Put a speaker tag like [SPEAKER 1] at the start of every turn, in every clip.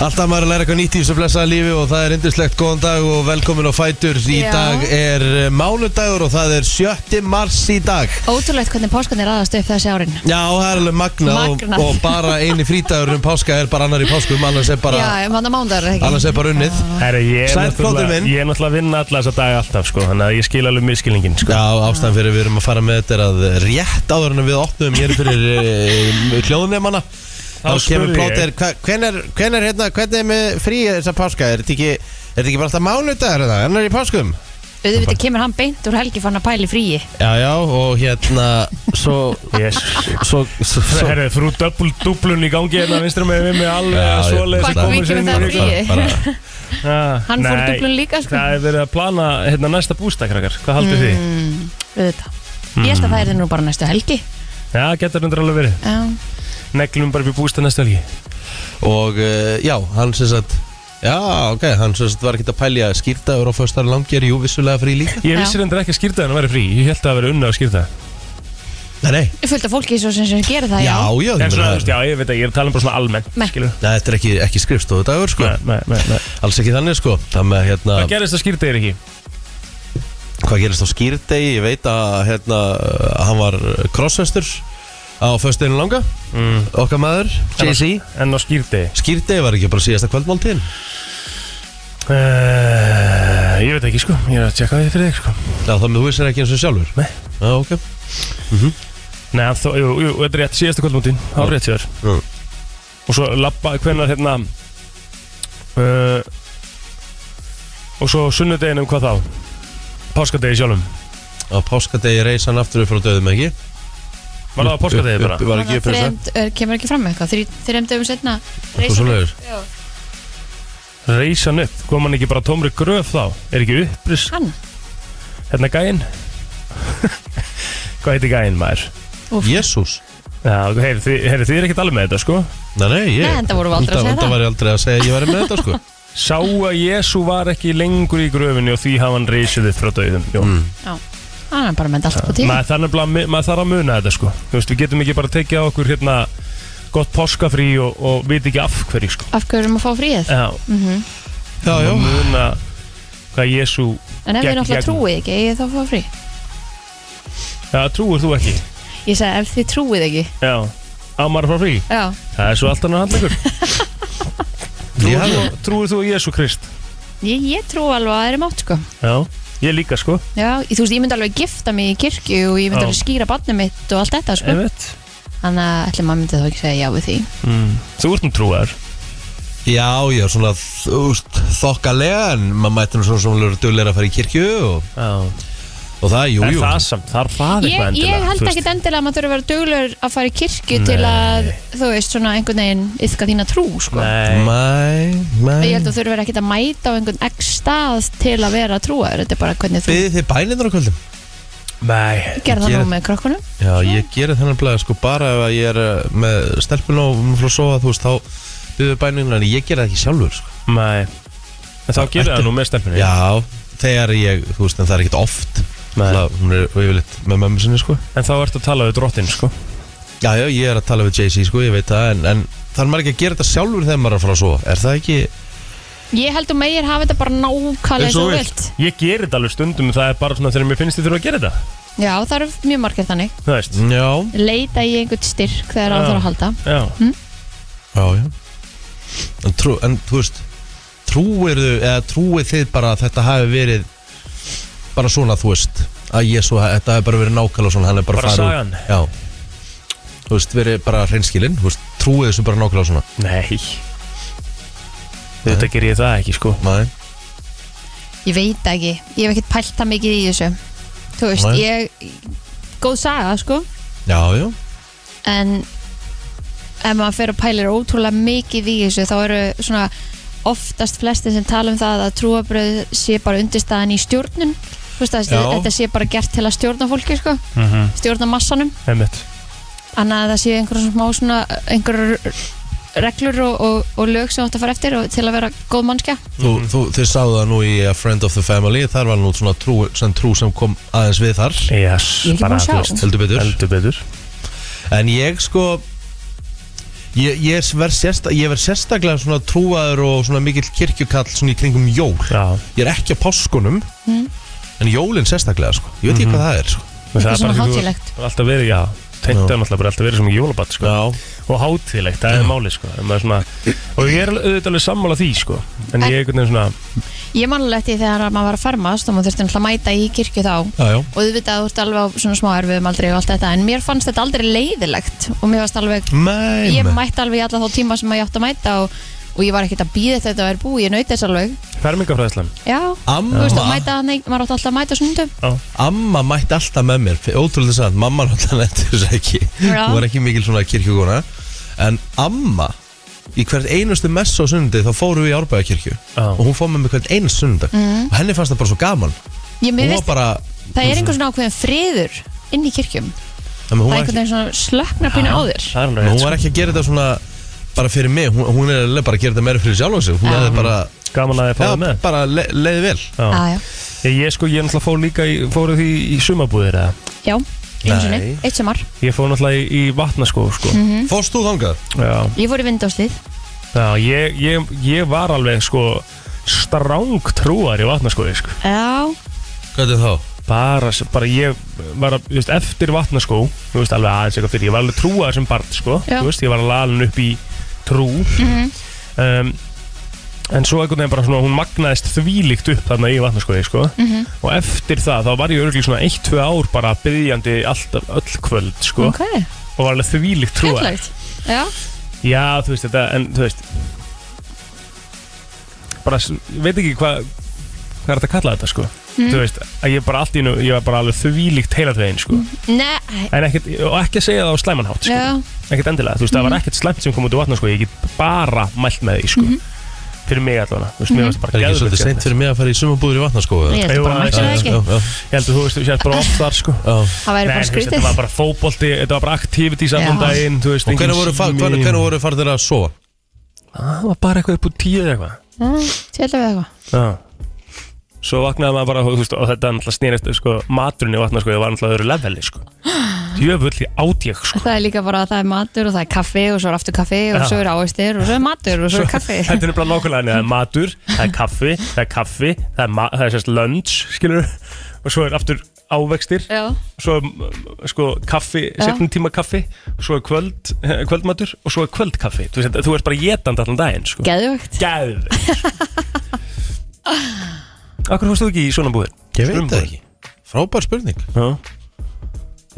[SPEAKER 1] Alltaf maður er að læra eitthvað nýtt í þessu flessa lífi og það er yndislegt góðan dag og velkomin á Fætur Í
[SPEAKER 2] Já.
[SPEAKER 1] dag er eh, mánudagur og það er 7. mars í dag
[SPEAKER 2] Ótrúlegt hvernig páskan er aðast upp þessi árin
[SPEAKER 1] Já, það er alveg magna,
[SPEAKER 2] Magnað.
[SPEAKER 1] Og, og bara eini frítagur um páska er bara annar í páskum annars er bara,
[SPEAKER 2] Já, um hann að mándar ekki
[SPEAKER 1] annars er bara unnið
[SPEAKER 3] Herra, ég er
[SPEAKER 1] Sæll,
[SPEAKER 3] náttúrulega-
[SPEAKER 1] flottur minn.
[SPEAKER 3] Ég er náttúrulega að vinna alla þessa daga alltaf sko, Þannig að ég skil alveg miskilningin sko.
[SPEAKER 1] Já, ástæðan fyrir við erum að fara með þetta er að rétt áður en við opnum hér fyrir e, hljóðunemana Þá
[SPEAKER 3] Þá
[SPEAKER 1] kemur
[SPEAKER 3] spurði
[SPEAKER 1] plóter, hvenar, hvenar, hérna, hvernig er með frí þessa páska? Er þetta ekki, er þetta ekki bara alltaf mánudagur eða, annar í páskum?
[SPEAKER 3] Ah,
[SPEAKER 2] Auðvitað kemur hann beint úr helgi fann að pæli fríi
[SPEAKER 1] Já, já, og hérna, svo,
[SPEAKER 3] yes.
[SPEAKER 1] svo, svo, svo
[SPEAKER 3] Herra, frú döbl, dublun í gangi Þannig að vinstra með við mig alveg að svoleiðis
[SPEAKER 2] Hvað
[SPEAKER 3] að koma
[SPEAKER 2] vikur
[SPEAKER 3] sér
[SPEAKER 2] er
[SPEAKER 3] inn
[SPEAKER 2] það
[SPEAKER 3] í viku.
[SPEAKER 2] fríi?
[SPEAKER 1] frí?
[SPEAKER 3] Ah,
[SPEAKER 2] Hann fór í
[SPEAKER 3] nei,
[SPEAKER 2] dublun líka, sko.
[SPEAKER 3] Það er verið að plana hérna, næsta bústakrakkar Hvað haldur mm. því? Mm.
[SPEAKER 2] Auðvitað Ég held að það er nú bara næstu helgi
[SPEAKER 3] Já, getur hundur alveg verið
[SPEAKER 2] Já,
[SPEAKER 3] Neglum bara upp í bústa næsta helgi
[SPEAKER 1] Og, uh, já, hann sem sagt, já, ok, hann sem sagt var ekki að pælja skýrtaður og föstar langir, jú, vissulega frí líka
[SPEAKER 3] Ég
[SPEAKER 2] Já.
[SPEAKER 3] vissi reyndar ekki að skýrtaðan að vera frí Ég held að það vera unna að skýrta
[SPEAKER 1] Nei, nei,
[SPEAKER 2] fullt af fólki svo sem, sem gera það,
[SPEAKER 1] já, já, ég
[SPEAKER 3] En svona,
[SPEAKER 1] meina,
[SPEAKER 3] þú veist, já, ég veit að ég er að tala um bara svona almennt
[SPEAKER 2] Nei.
[SPEAKER 3] skilur.
[SPEAKER 1] Nei, þetta er ekki, ekki skrifstofudagur, sko
[SPEAKER 3] Nei, nei, nei, nei.
[SPEAKER 1] Alls ekki þannig sko Það með hérna
[SPEAKER 3] Hvað gerist að skýrta ekki?
[SPEAKER 1] Hvað gerist á skýrdegi Ég veit að hérna að Hann var krossvestur Á föstudeginu langa
[SPEAKER 3] Mm.
[SPEAKER 1] Okkar maður JC
[SPEAKER 3] En á skýrta
[SPEAKER 1] Skýrdegi var ekki bara síðasta kvöldmáltíðin
[SPEAKER 3] Uh, ég veit ekki sko, ég er að tjekka því fyrir þig sko
[SPEAKER 1] Já, það með þú vissir ekki eins og sjálfur
[SPEAKER 3] Nei.
[SPEAKER 1] Já, ok Mhm.
[SPEAKER 3] Nei, en þó, jú, jú, þetta er rétt, síðasta kvöldmótin, það var rétt sér
[SPEAKER 1] Mm.
[SPEAKER 3] Og svo labba, hvenar hérna uh, Og svo sunnudeginum hvað þá? Páskadegi sjálfum
[SPEAKER 1] Á páskadegi reis hann aftur upp frá döðum ekki
[SPEAKER 3] Var það á páskadegi bara?
[SPEAKER 1] Upp- upp- Var
[SPEAKER 2] Þannig
[SPEAKER 1] ekki
[SPEAKER 2] að
[SPEAKER 1] upp fyrir
[SPEAKER 2] þrem, er, kemur ekki fram með eitthvað Þrý- Þrem dögum setna
[SPEAKER 1] það Svo leiður
[SPEAKER 3] Reis hann upp, kom hann ekki bara tómri gröf þá? Er ekki uppris,
[SPEAKER 2] Hann,
[SPEAKER 3] hérna gæinn? hvað heiti gæinn maður?
[SPEAKER 1] Jésús
[SPEAKER 3] Já, heyri, þið, heyri, þið er ekkert alveg með þetta sko
[SPEAKER 1] Nei, nei, ég
[SPEAKER 2] Nei, enda vorum við aldrei að segja
[SPEAKER 1] Enda- enda
[SPEAKER 2] það.
[SPEAKER 1] var ég aldrei að segja að Ég væri með þetta sko
[SPEAKER 3] Sá að Jésu var ekki lengur í gröfinni og því hafa hann reisið upp frá dauðum Jó.
[SPEAKER 1] Mm.
[SPEAKER 2] já Hann er bara með allt på tíma
[SPEAKER 3] maður, það er nefnilega að mu- maður þarf að muna þetta sko Þú veist, við getum ekki bara að tekið á okkur hérna gott páskafrí og, og við ekki af hverju sko
[SPEAKER 2] Af hverju erum að fá fríið Mhm.
[SPEAKER 3] Já,
[SPEAKER 1] Já, já
[SPEAKER 3] að muna hvað Jésu
[SPEAKER 2] En ef þið
[SPEAKER 3] gegn-
[SPEAKER 2] náttúrulega
[SPEAKER 3] gegn-
[SPEAKER 2] trúið ekki, eigið þá að fá frí
[SPEAKER 3] Já, trúir þú ekki
[SPEAKER 2] Ég segi ef þið trúið ekki
[SPEAKER 3] Já, á maður frá frí
[SPEAKER 2] Já,
[SPEAKER 3] Það er svo allt annar handlegur
[SPEAKER 1] Ég
[SPEAKER 3] trúir,
[SPEAKER 1] hafði-
[SPEAKER 3] þú- trúir þú á Jésu Krist
[SPEAKER 2] ég, ég trú alveg að það er mátt sko
[SPEAKER 3] Já, ég líka sko
[SPEAKER 2] Já, ég- þú veist, ég myndi alveg gifta mig í kirkju og ég myndi
[SPEAKER 3] Já.
[SPEAKER 2] alveg skýra barnið mitt og allt þetta, sko.
[SPEAKER 3] Einmitt.
[SPEAKER 2] Þannig að ætli maður myndi þá ekki segja já við því.
[SPEAKER 3] mm. Þú ert um trúar
[SPEAKER 1] Já, já, svona þú veist, þokkalega en maður mætti nú svona svona dölera að fara í kirkju og,
[SPEAKER 3] Já
[SPEAKER 1] og það, jú,
[SPEAKER 3] En
[SPEAKER 1] jú
[SPEAKER 3] það samt, það er það
[SPEAKER 2] Ég,
[SPEAKER 3] eitthvað endilega
[SPEAKER 2] ég held
[SPEAKER 3] þú veist.
[SPEAKER 2] ekkit endilega að maður þurfi að vera duglur að fara í kirkju til að, þú veist, svona einhvern veginn yfka þína trú, sko.
[SPEAKER 3] Nei,
[SPEAKER 1] Mæ, mæ
[SPEAKER 2] Ég held að þú þurfi ekkit að mæta á einhvern ekk stað til að vera trúar. Þetta er bara hvernig þú
[SPEAKER 1] Byðið þið bænindur á kvöldum?
[SPEAKER 3] nei
[SPEAKER 2] gerð það
[SPEAKER 1] Ég-
[SPEAKER 2] nú með krokkunum.
[SPEAKER 1] Já, ég gerir þennan blæða sko bara ef að ég er uh, með stelpun og hún frá að sofa, þú veist, þá byðið bænindur en ég gerir það ekki sjálfur sko.
[SPEAKER 3] Nei En þá gerir það nú með stelpunni
[SPEAKER 1] Já, þegar ég, þú veist, en það er ekkert oft
[SPEAKER 3] Nei.
[SPEAKER 1] Það- Hún er yfirleitt með mömmu sinni sko
[SPEAKER 3] En þá ertu að tala við drottin sko
[SPEAKER 1] Já, já, ég er að tala við JC sko, ég veit það en, en þarf maður ekki að gera þetta sjálfur þegar maður er að fara að sofa Er það ekki,
[SPEAKER 2] Ég held að meir hafa þetta bara nákvæmlega
[SPEAKER 1] Eins
[SPEAKER 2] eins og
[SPEAKER 1] og
[SPEAKER 2] þú
[SPEAKER 1] þú vilt.
[SPEAKER 2] vilt.
[SPEAKER 3] Ég gerir þetta alveg stundum Það er bara svona þegar mér finnst ég þurfa að gera þetta
[SPEAKER 2] Já, það eru mjög margir þannig.
[SPEAKER 3] Þú veist
[SPEAKER 1] já,
[SPEAKER 2] Leita í einhvern styrk þegar á
[SPEAKER 3] Já.
[SPEAKER 2] þarf að halda. Hm?
[SPEAKER 3] Já
[SPEAKER 1] Já, já En, trú, en þú veist Trúirðu, eða trúið þið bara að þetta hafi verið bara svona, þú veist að Jésu, þetta hafi bara verið nákvæmlega svona hann er bara,
[SPEAKER 3] Bara
[SPEAKER 1] farið-
[SPEAKER 3] sagan.
[SPEAKER 1] Já Þú veist, verið bara hreinskilinn, þú veist trúið þessu bara nákvæmlega svona
[SPEAKER 3] Nei Þetta gerir ég það ekki sko
[SPEAKER 1] Nei,
[SPEAKER 2] Ég veit ekki, ég hef ekkert pælt það mikið í þessu Þú veist,
[SPEAKER 1] Nei.
[SPEAKER 2] ég Góð saga, sko
[SPEAKER 1] já, já
[SPEAKER 2] En Ef maður fer og pælir ótrúlega mikið í þessu Þá eru svona oftast flestir sem tala um það að trúabröð sé bara undirstaðan í stjórnun Þú veist, að
[SPEAKER 1] Já.
[SPEAKER 2] þetta sé bara gert til að stjórna fólki sko,
[SPEAKER 3] mm -hmm.
[SPEAKER 2] stjórna massanum
[SPEAKER 3] Einmitt
[SPEAKER 2] annað að það sé einhverjum smá svona einhverjur reglur og, og, og lög sem þú átt að fara eftir og, til að vera góð mannskja
[SPEAKER 1] Þú,
[SPEAKER 3] Mhm.
[SPEAKER 1] þú, þið sáðu það nú í A Friend of the Family þar var nú svona trú sem, trú sem kom aðeins við þar
[SPEAKER 3] yes,
[SPEAKER 2] Ég er ekki búin að sjá.
[SPEAKER 1] heldur betur
[SPEAKER 3] Heldur betur
[SPEAKER 1] En ég sko Ég, ég, ver sérsta, ég verð sérstaklega svona trúaður og svona mikill kirkjukall svona í kringum jól
[SPEAKER 3] Já,
[SPEAKER 1] Ég er ekki á páskunum En jólin sérstaklega sko Ég
[SPEAKER 3] Mhm.
[SPEAKER 1] veit ekki hvað það er sko
[SPEAKER 3] það er
[SPEAKER 2] svona
[SPEAKER 3] bara því þú-
[SPEAKER 2] hátíðlegt.
[SPEAKER 3] það er Alltaf verið, já Tengt er náttúrulega bara alltaf verið sem jólabat sko. Og hátíðlegt, það er málið sko. Ef maður svona, Og ég er alveg- auðvitað alveg sammála því sko. En ég er einhvern veginn svona
[SPEAKER 2] Ég manlega eftir þegar maður var að farmast og maður þurfti náttúrulega að mæta í kirkju þá
[SPEAKER 1] Já, já
[SPEAKER 2] og þú veit að þú ert alveg á svona smá erfiðum aldrei og allt þetta en mér fannst þetta aldrei leiðilegt og mér fannst alveg,
[SPEAKER 1] Mæn
[SPEAKER 2] ég mætti alveg í alla þá tíma sem ég átti að mæta og, og ég var ekkert að býða þetta að vera búið, ég nauti þess alveg
[SPEAKER 3] fermingafræðislan
[SPEAKER 2] Já, þú
[SPEAKER 1] Amma,
[SPEAKER 2] veist að mæta hann maður átti alltaf að mæta sundum
[SPEAKER 1] amma mætti alltaf með mér F- Ótrúlega þess að mamma náttúrulega nefndi þess ekki
[SPEAKER 2] Já.
[SPEAKER 1] Hún var ekki mikil svona kirkjukona En amma Í hvert einustu messa á sundi þá fórum við í Árbæðakirkju
[SPEAKER 3] Já.
[SPEAKER 1] Og hún fór með mig hvert einast sundag Og henni fannst það bara svo gaman
[SPEAKER 2] Mhm. Ég
[SPEAKER 1] Hún
[SPEAKER 2] mér
[SPEAKER 1] var
[SPEAKER 2] veist,
[SPEAKER 1] bara
[SPEAKER 2] það er einhvern svona ákveðin friður inn í kirkjum
[SPEAKER 1] Þannig,
[SPEAKER 2] Það er
[SPEAKER 1] hún, var
[SPEAKER 2] einhvern
[SPEAKER 1] ekki,
[SPEAKER 2] veginn svona slöknar pínu á þér
[SPEAKER 3] Það er alveg
[SPEAKER 1] hún
[SPEAKER 3] rétt, sko.
[SPEAKER 1] var ekki að gera þetta svona Bara fyrir mig, hún, hún er eiginlega bara að gera þetta meira fyrir sjálf og sig Hún
[SPEAKER 2] Já.
[SPEAKER 1] hefði bara,
[SPEAKER 3] sko. Gaman að þið fáið
[SPEAKER 1] já,
[SPEAKER 3] með
[SPEAKER 1] bara le, leiði vel
[SPEAKER 3] Já.
[SPEAKER 2] Já, já,
[SPEAKER 3] Ég, ég sko, ég náttúrulega fór líka í, fóru því í sumabúðir eða.
[SPEAKER 2] já, einu sinni,
[SPEAKER 1] Nei.
[SPEAKER 2] eitt sumar
[SPEAKER 3] Ég fór náttúrulega í, í vatnaskó sko.
[SPEAKER 1] Fórst þú þangað?
[SPEAKER 3] Já,
[SPEAKER 2] Ég fór í vindástíð
[SPEAKER 3] já ég, ég, ég var alveg sko stráng trúar í vatnaskói sko.
[SPEAKER 2] Já,
[SPEAKER 1] Hvað er þá?
[SPEAKER 3] bara, bara ég var að, þú veist, eftir vatnaskó þú veist, alveg aðeins eitthvað fyrir, ég var alveg trúaður sem barn, sko,
[SPEAKER 2] Já. Mhm.
[SPEAKER 3] þú veist, ég var alveg alveg upp í trú um, en svo einhvern veginn bara svona hún magnaðist þvílíkt upp þarna í vatnaskói, sko,
[SPEAKER 2] Mhm.
[SPEAKER 3] og eftir það þá var ég örgulega svona 1-2 ár bara byggjandi alltaf öll kvöld, sko
[SPEAKER 2] ok,
[SPEAKER 3] og var alveg þvílíkt trúaður
[SPEAKER 2] skemmtlegt Já,
[SPEAKER 3] Já, þú veist þetta, en þú veist bara, s- ég veit ekki hvað hvað er þetta að kalla þetta, sko
[SPEAKER 2] Hmm.
[SPEAKER 3] þú veist, að ég bara allt í nú, ég var bara alveg þvílíkt heilatvegin, sko,
[SPEAKER 2] Hmm. nei,
[SPEAKER 3] en ekkert og ekki að segja það á slæmanhátt, sko,
[SPEAKER 2] Já. Hmm.
[SPEAKER 3] ekkert endilega þú veist, það var ekkert slæmt sem kom út úr vatna, sko ég get bara mælt með því, sko
[SPEAKER 2] Hmm.
[SPEAKER 3] fyrir mig allavega, þú veist, mér varst bara
[SPEAKER 1] Er ekki
[SPEAKER 3] geðveikt
[SPEAKER 1] svolítið seint
[SPEAKER 3] gert.
[SPEAKER 1] fyrir mig að fara í sumabúður í sko, vatnaskóðu?
[SPEAKER 2] Ég held
[SPEAKER 3] Jú,
[SPEAKER 2] bara að mæta
[SPEAKER 3] já,
[SPEAKER 2] það ekki
[SPEAKER 3] ég heldur, þú veist, þú sést bara oft þar, sko
[SPEAKER 1] Og
[SPEAKER 2] Það væri
[SPEAKER 3] Nei,
[SPEAKER 2] bara
[SPEAKER 3] þú veist, þetta
[SPEAKER 2] skrítið
[SPEAKER 3] var bara fótbolti, þetta var bara activities allan
[SPEAKER 2] Já.
[SPEAKER 3] daginn, þú veist, engin
[SPEAKER 1] hvernig voru, fa-
[SPEAKER 3] sími. Ah,
[SPEAKER 1] hvernig, hvernig voru farið þeirra að sofa?
[SPEAKER 3] Það var bara eitthvað upp úr tíu eða eitthvað
[SPEAKER 2] Tjöldum við eitthvað
[SPEAKER 3] Já Svo vaknaði maður bara, þú veist, og þetta náttúrulega snýrist, sko, maturinn í vatna, sko, það var náttúrulega öðru leveli, sko. Jöfull í átjök, sko.
[SPEAKER 2] Það er líka bara að það er matur og það er kaffi og svo er aftur kaffi og
[SPEAKER 3] Já.
[SPEAKER 2] svo er áistir og svo er matur og svo er kaffi
[SPEAKER 3] Þetta er bara nákvæmlega henni, það er matur, það er kaffi, það er kaffi, það er, ma- það er sérst lunch, skilur, og svo er aftur ávextir,
[SPEAKER 2] Já,
[SPEAKER 3] svo er, mm, sko, kaffi,
[SPEAKER 2] Já.
[SPEAKER 3] setnum tíma kaffi, svo er kvöld, eh, kvöldmatur og svo er kvöldkaffi. Þú veist, þú ert bara getandi allan daginn, sko.
[SPEAKER 2] geðvögt
[SPEAKER 3] Gæð. Akkur fórstu ekki í svona búðir?
[SPEAKER 1] Ég veit það
[SPEAKER 3] Strumbúðir?
[SPEAKER 1] ekki Frábær spurning
[SPEAKER 3] Já.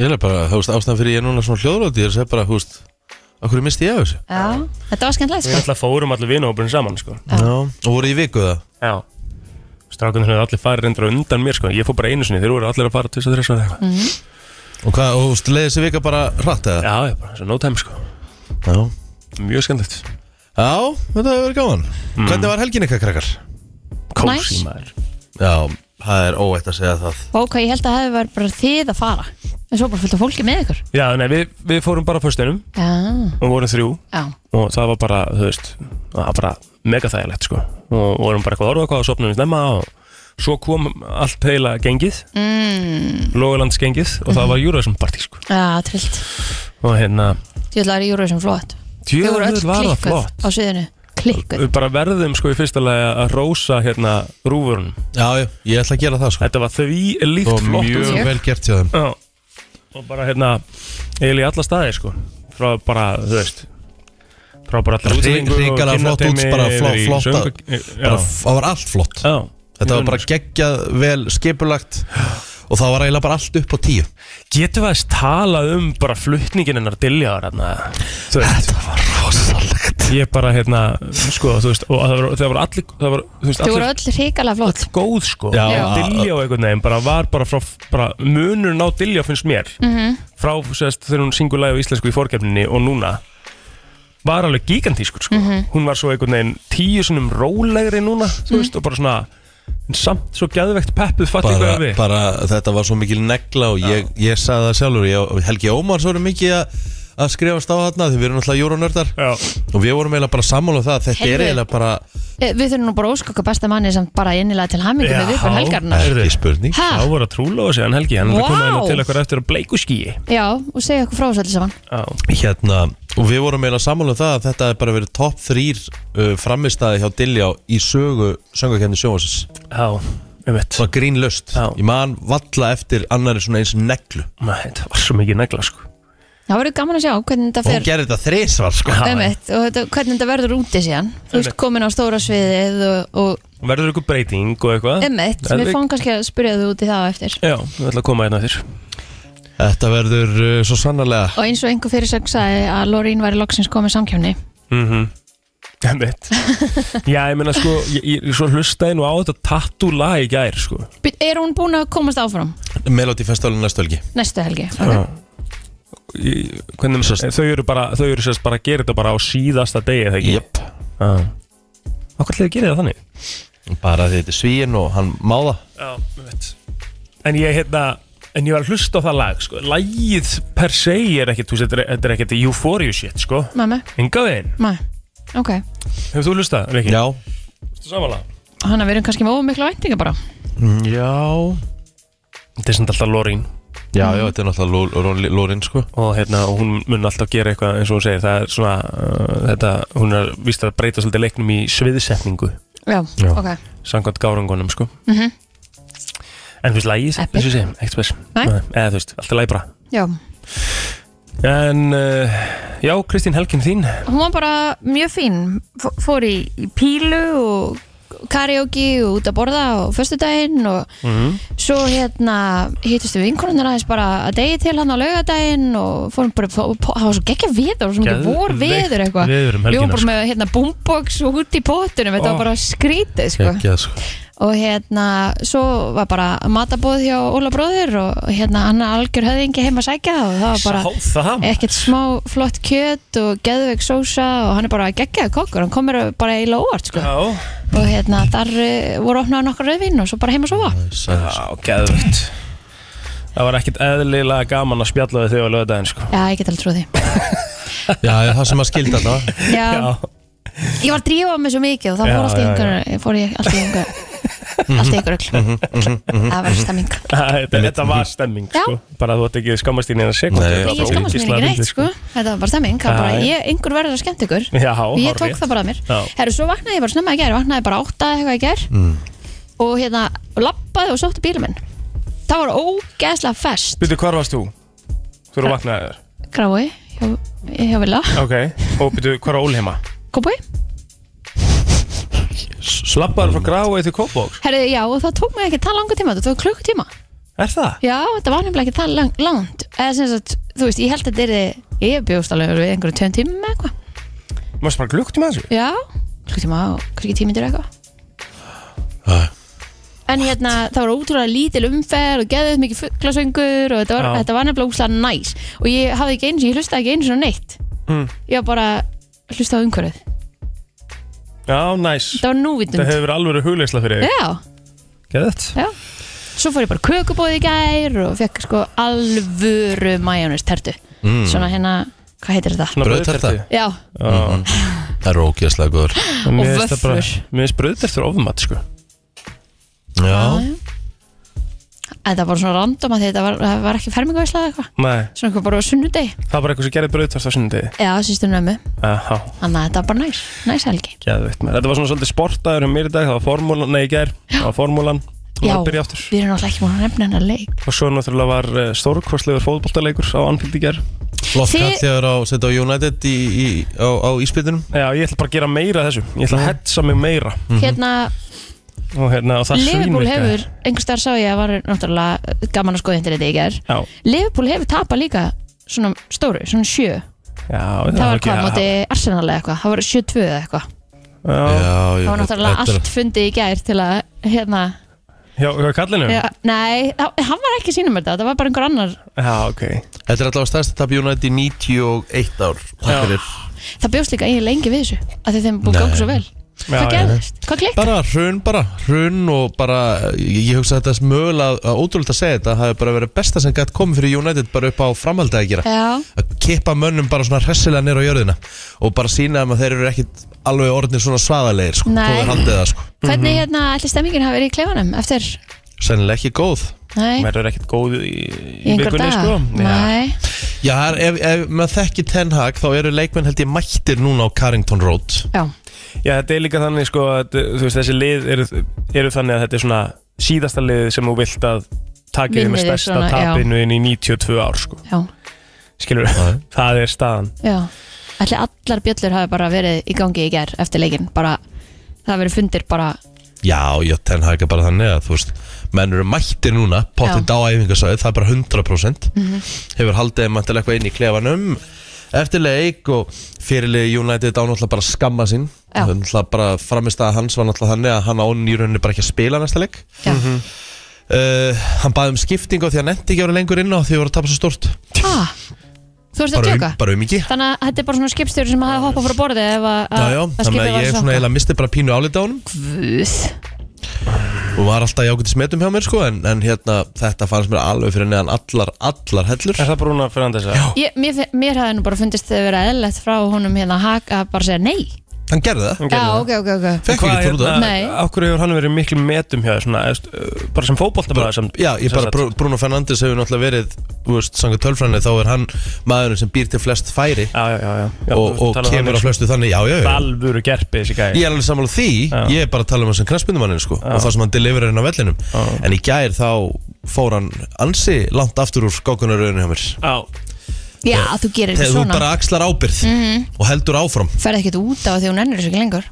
[SPEAKER 1] Ég er bara, þú veist, ástæðan fyrir ég er núna svona hljóðróti Ég er að segja bara, þú veist, okkur misti ég af þessu
[SPEAKER 2] Já, þetta var skemmtilegt
[SPEAKER 3] Við
[SPEAKER 2] sko
[SPEAKER 3] ætla fórum allir vinahópurinn saman sko.
[SPEAKER 2] Já.
[SPEAKER 1] Já Og voru í viku það?
[SPEAKER 3] Já Strákunir höfðu allir farið reyndra undan mér sko. Ég fór bara einu sinni, þeir voru allir að fara tvis og þrjus og eitthvað
[SPEAKER 1] Og hvað, og þú veist, leiði þessi vika bara hratt eða?
[SPEAKER 3] Já, já, bara svo no time sko.
[SPEAKER 1] Já
[SPEAKER 3] Mjög skemmtilegt
[SPEAKER 1] Já, þetta hefur verið gaman Hvernig var helgin eitthvað, krakkar?
[SPEAKER 3] Kósi
[SPEAKER 2] Nice.
[SPEAKER 3] maður
[SPEAKER 1] Já, það er óætt að segja það
[SPEAKER 2] Og hvað ég held að það hefði verið bara þið að fara En svo bara fullt af fólki með ykkur
[SPEAKER 3] Já, nei, við, við fórum bara á föstunum
[SPEAKER 2] Já,
[SPEAKER 3] og vorum þrjú
[SPEAKER 2] já,
[SPEAKER 3] og það var bara, þú veist það var bara mega þægilegt sko. og vorum bara eitthvað orða hvað og sopnum við snemma og svo kom allt heila gengið mm. Lóðlandsgengið og það var Júraðsson partí sko.
[SPEAKER 2] já, trillt
[SPEAKER 3] og hérna
[SPEAKER 2] Tjöldum er í júru sem flott Þau voru öll
[SPEAKER 3] djöfull var það
[SPEAKER 2] klikkuð
[SPEAKER 3] flott
[SPEAKER 2] á sviðinu Klikkuð
[SPEAKER 3] Við bara verðum sko í fyrsta lagi að rósa hérna rúfurunum.
[SPEAKER 1] Já, já, ég ætla að gera það, sko
[SPEAKER 3] Þetta var því líkt
[SPEAKER 1] Og
[SPEAKER 3] flott.
[SPEAKER 1] mjög
[SPEAKER 2] Mjög.
[SPEAKER 1] vel gert hjá þeim
[SPEAKER 3] Já. Og bara hérna, eiginlega í alla staði sko. Frá bara, þú veist, frá bara allir
[SPEAKER 1] Rí- ríkalega flott úts- bara fló- flott að-
[SPEAKER 3] Já.
[SPEAKER 1] Bara, Það var allt flott
[SPEAKER 3] Já.
[SPEAKER 1] Þetta var bara geggjað, vel skipulagt Og það var eiginlega bara allt upp á tíu
[SPEAKER 3] Getum við að talað um bara flutningin hennar diljaðar hérna? Þú veist. Þetta var rosalegt. Ég bara hérna, sko, þú veist, og það voru, það voru allir, það voru, þú veist,
[SPEAKER 2] Þau
[SPEAKER 3] allir
[SPEAKER 2] voru öll hrikalega flott
[SPEAKER 3] góð sko
[SPEAKER 1] Já.
[SPEAKER 2] Já.
[SPEAKER 3] Dilljá einhvern veginn bara var bara frá bara munurinn á Dilljá finnst mér
[SPEAKER 2] Mm. Mhm.
[SPEAKER 3] -hmm. frá sérst þegar hún syngur lagi á íslensku í fórkefninni og núna var alveg gigantískur sko hún var svo einhvern veginn tíu sinnum rólegri núna
[SPEAKER 2] Mhm.
[SPEAKER 3] þú veist og bara svona en samt svo gæðvegt peppuð fattig
[SPEAKER 1] bara,
[SPEAKER 3] hvað við
[SPEAKER 1] bara þetta var svo mikil negla og ég, ég sagði það sjálfur ég, Helgi Ómars voru mikið að, að skrifast á þarna því við erum alltaf júronördar
[SPEAKER 3] Já.
[SPEAKER 1] og við vorum eiginlega bara sammála um það að þetta
[SPEAKER 2] Heyrðu.
[SPEAKER 1] er eiginlega bara
[SPEAKER 2] Eh, Við þurfum nú bara að óska okkar besta manni samt bara innilega til hamingu með viðbjörn helgarnar
[SPEAKER 3] Herðu,
[SPEAKER 1] Ekki spurning
[SPEAKER 2] Ha?
[SPEAKER 3] Þá voru að trúla og segja hann helgi Hann er að koma
[SPEAKER 2] Vá.
[SPEAKER 3] hérna til okkar eftir á bleikuskíi
[SPEAKER 2] Já, og segja okkur frá þessu allir saman
[SPEAKER 3] Já,
[SPEAKER 1] Hérna, og við vorum eiginlega sammála um það að þetta er bara verið topp þrýr uh, framistæði hjá Dilljá í sögu söngakefni sjónvarsins
[SPEAKER 3] já, um veit
[SPEAKER 1] Svona grínlöst
[SPEAKER 3] Já.
[SPEAKER 1] Ég man valla eftir annari svona eins neglu
[SPEAKER 3] Þetta var svo mikið negla sko
[SPEAKER 2] Það verður gaman að sjá hvernig þetta
[SPEAKER 1] Og hún
[SPEAKER 2] fer
[SPEAKER 1] gerði þetta þrisvar sko
[SPEAKER 3] Já.
[SPEAKER 2] Einmitt, og þetta, hvernig þetta verður úti síðan Þú veist,
[SPEAKER 3] Einmitt.
[SPEAKER 2] komin á stóra sviðið og, og
[SPEAKER 3] Verður ykkur breyting og eitthvað
[SPEAKER 2] emmitt,
[SPEAKER 3] Það er
[SPEAKER 2] Um við
[SPEAKER 3] vik-
[SPEAKER 2] fáum kannski að spyrja þú út í það á eftir
[SPEAKER 3] Ah, Já, við ætlum að koma hérna þér
[SPEAKER 1] Þetta verður uh, svo sannarlega
[SPEAKER 2] Og eins og einhver fyrir sagði að Lorín væri loksins komið samkjöfni
[SPEAKER 3] Mhm Emmett Já, ég meina sko, ég, ég, ég svo hlustaði nú á þetta tattoo lag í gær sko
[SPEAKER 2] Bíddu, Er hún búin að komast áfram
[SPEAKER 1] Melody Festivalin næstu helgi
[SPEAKER 2] næstu helgi?
[SPEAKER 3] Já. Ég- Hvernig,
[SPEAKER 1] Sest-
[SPEAKER 3] þau eru bara, þau eru sérst bara að gera þetta bara á síðasta degi þegar ekki
[SPEAKER 1] Jöp
[SPEAKER 3] Hvað ætlaði að gera það þannig?
[SPEAKER 1] Bara því þetta er svíin og hann máða
[SPEAKER 3] Já, ég veit En ég hérna En ég var að hlusta á það lag sko. Lagið per se er ekkert þú veist, Þetta er- þetta er ekkert euphoria shit sko.
[SPEAKER 2] Mæmi,
[SPEAKER 3] Enga veginn
[SPEAKER 2] mæ, ok
[SPEAKER 3] Hefur þú hlustað? Riki?
[SPEAKER 1] Já
[SPEAKER 3] Samanlega
[SPEAKER 2] Hanna verður kannski með ómikla væntinga bara
[SPEAKER 1] Mm, Já
[SPEAKER 3] Þetta er samt alltaf Lorín
[SPEAKER 1] Já,
[SPEAKER 2] Mhm.
[SPEAKER 1] já, þetta er náttúrulega Ló- Ló- Lórin sko
[SPEAKER 3] og hérna, og hún mun alltaf gera eitthvað eins og hún segir, það er svona uh, þetta, hún er víst að breyta svolítið leiknum í sviðsetningu,
[SPEAKER 2] Já,
[SPEAKER 1] Já.
[SPEAKER 2] ok Mhm.
[SPEAKER 3] samkvæmt gárangunum sko. en þú veist, lagið
[SPEAKER 2] Epic.
[SPEAKER 3] eins og segir, ekkert spes,
[SPEAKER 2] Nei.
[SPEAKER 3] eða þú veist alltaf læbra,
[SPEAKER 2] Já,
[SPEAKER 3] en uh, já, Kristín Helgin þín
[SPEAKER 2] hún var bara mjög fín F- Fór í, í pílu og karaoke og út að borða og föstudaginn og
[SPEAKER 1] Mhm.
[SPEAKER 2] svo hérna hittist við vinkonunir aðeins bara að degi til hann á laugadaginn og fórum bara, fó, fó, það var svo geggja veður og svo mikið
[SPEAKER 3] Geðveikt
[SPEAKER 2] vor veður eitthvað
[SPEAKER 3] veður um helgina,
[SPEAKER 2] Við vorum bara
[SPEAKER 3] sko.
[SPEAKER 2] með hérna boombox og út í pottunum, þetta
[SPEAKER 3] Ó.
[SPEAKER 2] var bara skrítið sko.
[SPEAKER 1] Ekki að sko
[SPEAKER 2] og hérna, svo var bara matabóð hjá Óla bróðir og hérna annar algjör höfðingi heima að sækja og það var bara
[SPEAKER 3] Sá það
[SPEAKER 2] ekkert smá flott kjöt og geðveik sósa og hann er bara geggjaði kokkur, hann komur bara eiginlega óvart sko.
[SPEAKER 3] Já,
[SPEAKER 2] og hérna, þar eh, voru opnaði nokkar rauðvinn og svo bara heima að sofa
[SPEAKER 1] Sæður
[SPEAKER 3] já geðvögt Það var ekkert eðlilega gaman að spjalla við þau á löðdæðin sko.
[SPEAKER 2] Já, ég get alveg trúið því
[SPEAKER 1] Já, það sem að skilda þetta
[SPEAKER 2] Já, Ég var að drífa mig svo mikið og þá
[SPEAKER 3] Já,
[SPEAKER 2] fór allt í
[SPEAKER 3] já,
[SPEAKER 2] einhver fór ég allt í einhver allt í einhver
[SPEAKER 3] Mhm,
[SPEAKER 2] öll Það var stemming
[SPEAKER 3] þetta, þetta var stemming
[SPEAKER 2] Já.
[SPEAKER 3] sko. bara þú ætti ekki skammast þín eina sekund
[SPEAKER 1] Nei,
[SPEAKER 2] Nei, Ég skammast mér ekki neitt sko Þetta var bara stemming, það var
[SPEAKER 3] Já,
[SPEAKER 2] bara
[SPEAKER 3] já.
[SPEAKER 2] ég, einhver verður að skemmt ykkur
[SPEAKER 3] Já,
[SPEAKER 2] og ég
[SPEAKER 3] hárrétt.
[SPEAKER 2] tók það bara að mér
[SPEAKER 3] Já.
[SPEAKER 2] Herru, svo vaknaði ég bara snemma í gær vaknaði bara átta eða eitthvað í gær og hérna, lappaði og sótti bílum minn Það var ógeðslega fest
[SPEAKER 3] Býtu, hvar varst þú? Þú eru vaknaðið þér
[SPEAKER 2] Grái, hjá, hjá Villa
[SPEAKER 3] Ok, og býtu, hvar var Óli heima?
[SPEAKER 2] Kópúi
[SPEAKER 3] Slappaður frá gráið til Kópavóks
[SPEAKER 2] Herru, já, og það tók mig ekki það langa tíma, þetta tók klukkutíma
[SPEAKER 3] Er það?
[SPEAKER 2] Já, þetta var nefnilega ekki það lang- langt eða sem sagt, þú veist, ég held að þetta er ég bjóst alveg við einhverju tveim tímum eða eitthvað
[SPEAKER 3] Mást bara glukkt með þessu?
[SPEAKER 2] Já, klukkutíma og kannski tímyndir eitthvað En hérna, það var ótrúlega lítil umferð og geðið mikið fugglasöngur og þetta var,
[SPEAKER 3] Já.
[SPEAKER 2] þetta var nefnilega úslega næs og ég hafði ekki eins og ég hlustaði ekki eins og neitt
[SPEAKER 3] Mm.
[SPEAKER 2] ég var bara að hlusta á umhverfið
[SPEAKER 3] Já, næs
[SPEAKER 2] þetta var
[SPEAKER 3] Þetta
[SPEAKER 2] núvitund
[SPEAKER 3] hefur verið alveg hugleysla fyrir þig
[SPEAKER 2] Já,
[SPEAKER 3] Geðið
[SPEAKER 2] já Svo fór ég bara kökubóð í gær og fekk sko alvöru majónist tertu svona hérna, hvað heitir þetta?
[SPEAKER 1] Brauðterta.
[SPEAKER 2] Já,
[SPEAKER 3] Og
[SPEAKER 1] Mhm. Það er ógeðslega góður
[SPEAKER 3] Mér
[SPEAKER 2] vöfflur.
[SPEAKER 3] finnst bröðtertur ofmat sko
[SPEAKER 1] Já,
[SPEAKER 2] En það var svona random að því þetta var, það var ekki fermingavísla eða eitthvað
[SPEAKER 3] Nei,
[SPEAKER 2] Svona eitthvað bara á sunnudegi
[SPEAKER 3] það var bara eitthvað sem gerði bröðtart á sunnudegi
[SPEAKER 2] Já, sýstunum ömmu
[SPEAKER 3] Aha,
[SPEAKER 2] Þannig að þetta var bara næs, næs helgi
[SPEAKER 3] geðveikt maður Þetta var svona svolítið sportaður hjá mér í dag Það var formúlan, nei í gær Það var formúlan Hún var
[SPEAKER 2] Já,
[SPEAKER 3] að byrja aftur
[SPEAKER 2] við erum náttúrulega ekki múin að nefna hennar leik
[SPEAKER 3] Og svo náttúrulega var eh, stórkostlegur fótboltaleikur á Anfield í gær
[SPEAKER 1] flott
[SPEAKER 2] Þið-
[SPEAKER 1] kall þegar á, setja á United í, í, á, á íspytunum
[SPEAKER 3] Já, ég ætla bara að gera meira af þessu Ég ætla að hetsa mig meira
[SPEAKER 2] Hérna,
[SPEAKER 3] Og hérna, og Mhm. það
[SPEAKER 2] Liverpool
[SPEAKER 3] svínvirkaði.
[SPEAKER 2] hefur einhvers þar sá ég að var náttúrulega uh, gaman að skoða internet í ger
[SPEAKER 3] Já,
[SPEAKER 2] Liverpool hefur tapað líka svona stóru, svona sjö
[SPEAKER 3] já
[SPEAKER 2] Það var
[SPEAKER 3] ekki-
[SPEAKER 2] hvað, móti Arsenal eða eitthvað Það var 7-2 eða eitthvað
[SPEAKER 3] Já,
[SPEAKER 2] Það
[SPEAKER 1] Já,
[SPEAKER 2] var náttúrulega allt fundið í gær til að hérna,
[SPEAKER 3] já, hvað kallinu?
[SPEAKER 2] ja, nei, það- hann var ekki sínum þetta, það var bara einhver annar
[SPEAKER 3] Já, ok
[SPEAKER 1] Þetta er allavega stærsta tap United í 91 ár Takk
[SPEAKER 3] Já.
[SPEAKER 1] fyrir
[SPEAKER 2] Það bjóst líka eiginlega lengi við þessu að því þeim búið
[SPEAKER 1] Nei.
[SPEAKER 2] gangu svo vel Hvað
[SPEAKER 3] Já, já.
[SPEAKER 2] gerðist? Hvað klikkaði?
[SPEAKER 1] bara hrun bara, hrun og bara ég, ég hugsa að þetta er mögulega að ótrúlega að segja þetta það hefur bara verið besta sem gætt komið fyrir United bara upp á framhaldið að gera
[SPEAKER 2] Já,
[SPEAKER 1] að kippa mönnum bara svona hressilega nýra á jörðina og bara sína þeim að þeir eru ekkit alveg orðnir svona svaðalegir sko,
[SPEAKER 2] Nei.
[SPEAKER 1] þó þeir haldið það sko
[SPEAKER 3] Mhm.
[SPEAKER 1] Mhm.
[SPEAKER 2] hvernig hérna allir stemmingin hafi verið í klefanum eftir?
[SPEAKER 1] sennilega ekki góð
[SPEAKER 2] Nei,
[SPEAKER 3] verður ekkert góð í,
[SPEAKER 2] í
[SPEAKER 3] í
[SPEAKER 2] einhver
[SPEAKER 3] vikunni
[SPEAKER 2] dag?
[SPEAKER 3] sko. Já.
[SPEAKER 2] Nei,
[SPEAKER 1] Já, það er- ef, ef maður þekki Ten Hag þá eru leikmenn held ég mættir núna á Carrington Road
[SPEAKER 2] já,
[SPEAKER 3] Já, þetta er líka þannig sko að þú veist, þessi lið eru, eru þannig að þetta er svona síðasta lið sem þú vilt að taka yfir með
[SPEAKER 2] Vinnið þið
[SPEAKER 3] stærsta
[SPEAKER 2] svona, já.
[SPEAKER 3] tapinu inn í 92 ár sko.
[SPEAKER 2] já,
[SPEAKER 3] Skilur
[SPEAKER 1] Já.
[SPEAKER 3] það er staðan.
[SPEAKER 2] já Allir allar bjöllur hafi bara verið í gangi í ger eftir leikin, bara það hafi verið fundir bara
[SPEAKER 1] Já, já, Ten Hag er bara þannig að þú veist menn eru mættir núna, pottið á æfingasæði það er bara 100%
[SPEAKER 2] Mhm.
[SPEAKER 1] hefur haldið mæntilega eitthvað inn í klefanum eftir leik og fyrirlið United á náttúrulega bara að skamma sín
[SPEAKER 2] Já.
[SPEAKER 1] náttúrulega bara framist að hans var náttúrulega þannig að hann án í rauninni bara ekki að spila næsta leik
[SPEAKER 2] Já,
[SPEAKER 1] uh, hann baði um skiptingu því að hann endi ekki að vera lengur inn á því að voru að tapa svo stort
[SPEAKER 2] ah, þú veist að
[SPEAKER 1] bara um,
[SPEAKER 2] tjóka?
[SPEAKER 1] bara um ekki
[SPEAKER 2] Þannig að þetta er bara svona skipstjóri sem hafi hoppað frá borðið ef að-
[SPEAKER 1] Já,
[SPEAKER 2] að
[SPEAKER 1] já,
[SPEAKER 2] að
[SPEAKER 1] þannig
[SPEAKER 2] Ah, skipið
[SPEAKER 1] að
[SPEAKER 2] var að
[SPEAKER 1] ég svona
[SPEAKER 2] sökkva.
[SPEAKER 1] eiginlega misti bara pínu álita á honum
[SPEAKER 2] Guð,
[SPEAKER 1] og var alltaf í ágætis metum hjá mér sko en, en hérna, þetta fannst mér alveg fyrir neðan allar, allar hellur
[SPEAKER 3] Er það Bruna Fernandes að?
[SPEAKER 2] Ég- Mér, fe- mér hafði nú bara fundist þau verið eðlilegt frá honum hérna Hag að bara segja nei
[SPEAKER 1] Hann gerði það
[SPEAKER 3] Hann gerði
[SPEAKER 2] Já,
[SPEAKER 3] það.
[SPEAKER 2] ok, ok, ok
[SPEAKER 1] Fekk
[SPEAKER 3] Hvað
[SPEAKER 1] ekki trúð
[SPEAKER 3] hérna,
[SPEAKER 1] það
[SPEAKER 2] Nei.
[SPEAKER 3] okkur hefur hann verið miklu metum hjá þér svona, eðst, bara sem fótboltamæður sem
[SPEAKER 1] Já, ég
[SPEAKER 3] sem
[SPEAKER 1] bara,
[SPEAKER 3] sagt.
[SPEAKER 1] Bru- Bruno Fernandes hefur náttúrulega verið, þú veist, sanga tölfræðinni þá er hann maðurinn sem býr til flest færi
[SPEAKER 3] Já, já, já, já. já
[SPEAKER 1] og, og kemur á
[SPEAKER 3] sko.
[SPEAKER 1] flestu þannig, já, já, já
[SPEAKER 3] Alvöru gerpi þessi gæði
[SPEAKER 1] Ég er alveg sammála því,
[SPEAKER 3] Já.
[SPEAKER 1] ég er bara að tala um þessan knastbyndumannin sko, og það sem hann deliverir henn á vellinum
[SPEAKER 3] Já.
[SPEAKER 1] en í gær þá fór hann ansi langt aftur úr skákunaröðinu hjá mér
[SPEAKER 3] Já,
[SPEAKER 2] Já, þú gerir ekki
[SPEAKER 1] þegar þú
[SPEAKER 2] svona Mhm.
[SPEAKER 1] bara axlar ábyrð og heldur áfram,
[SPEAKER 2] Ferð ekkert út á því hún ennur þessu ekki lengur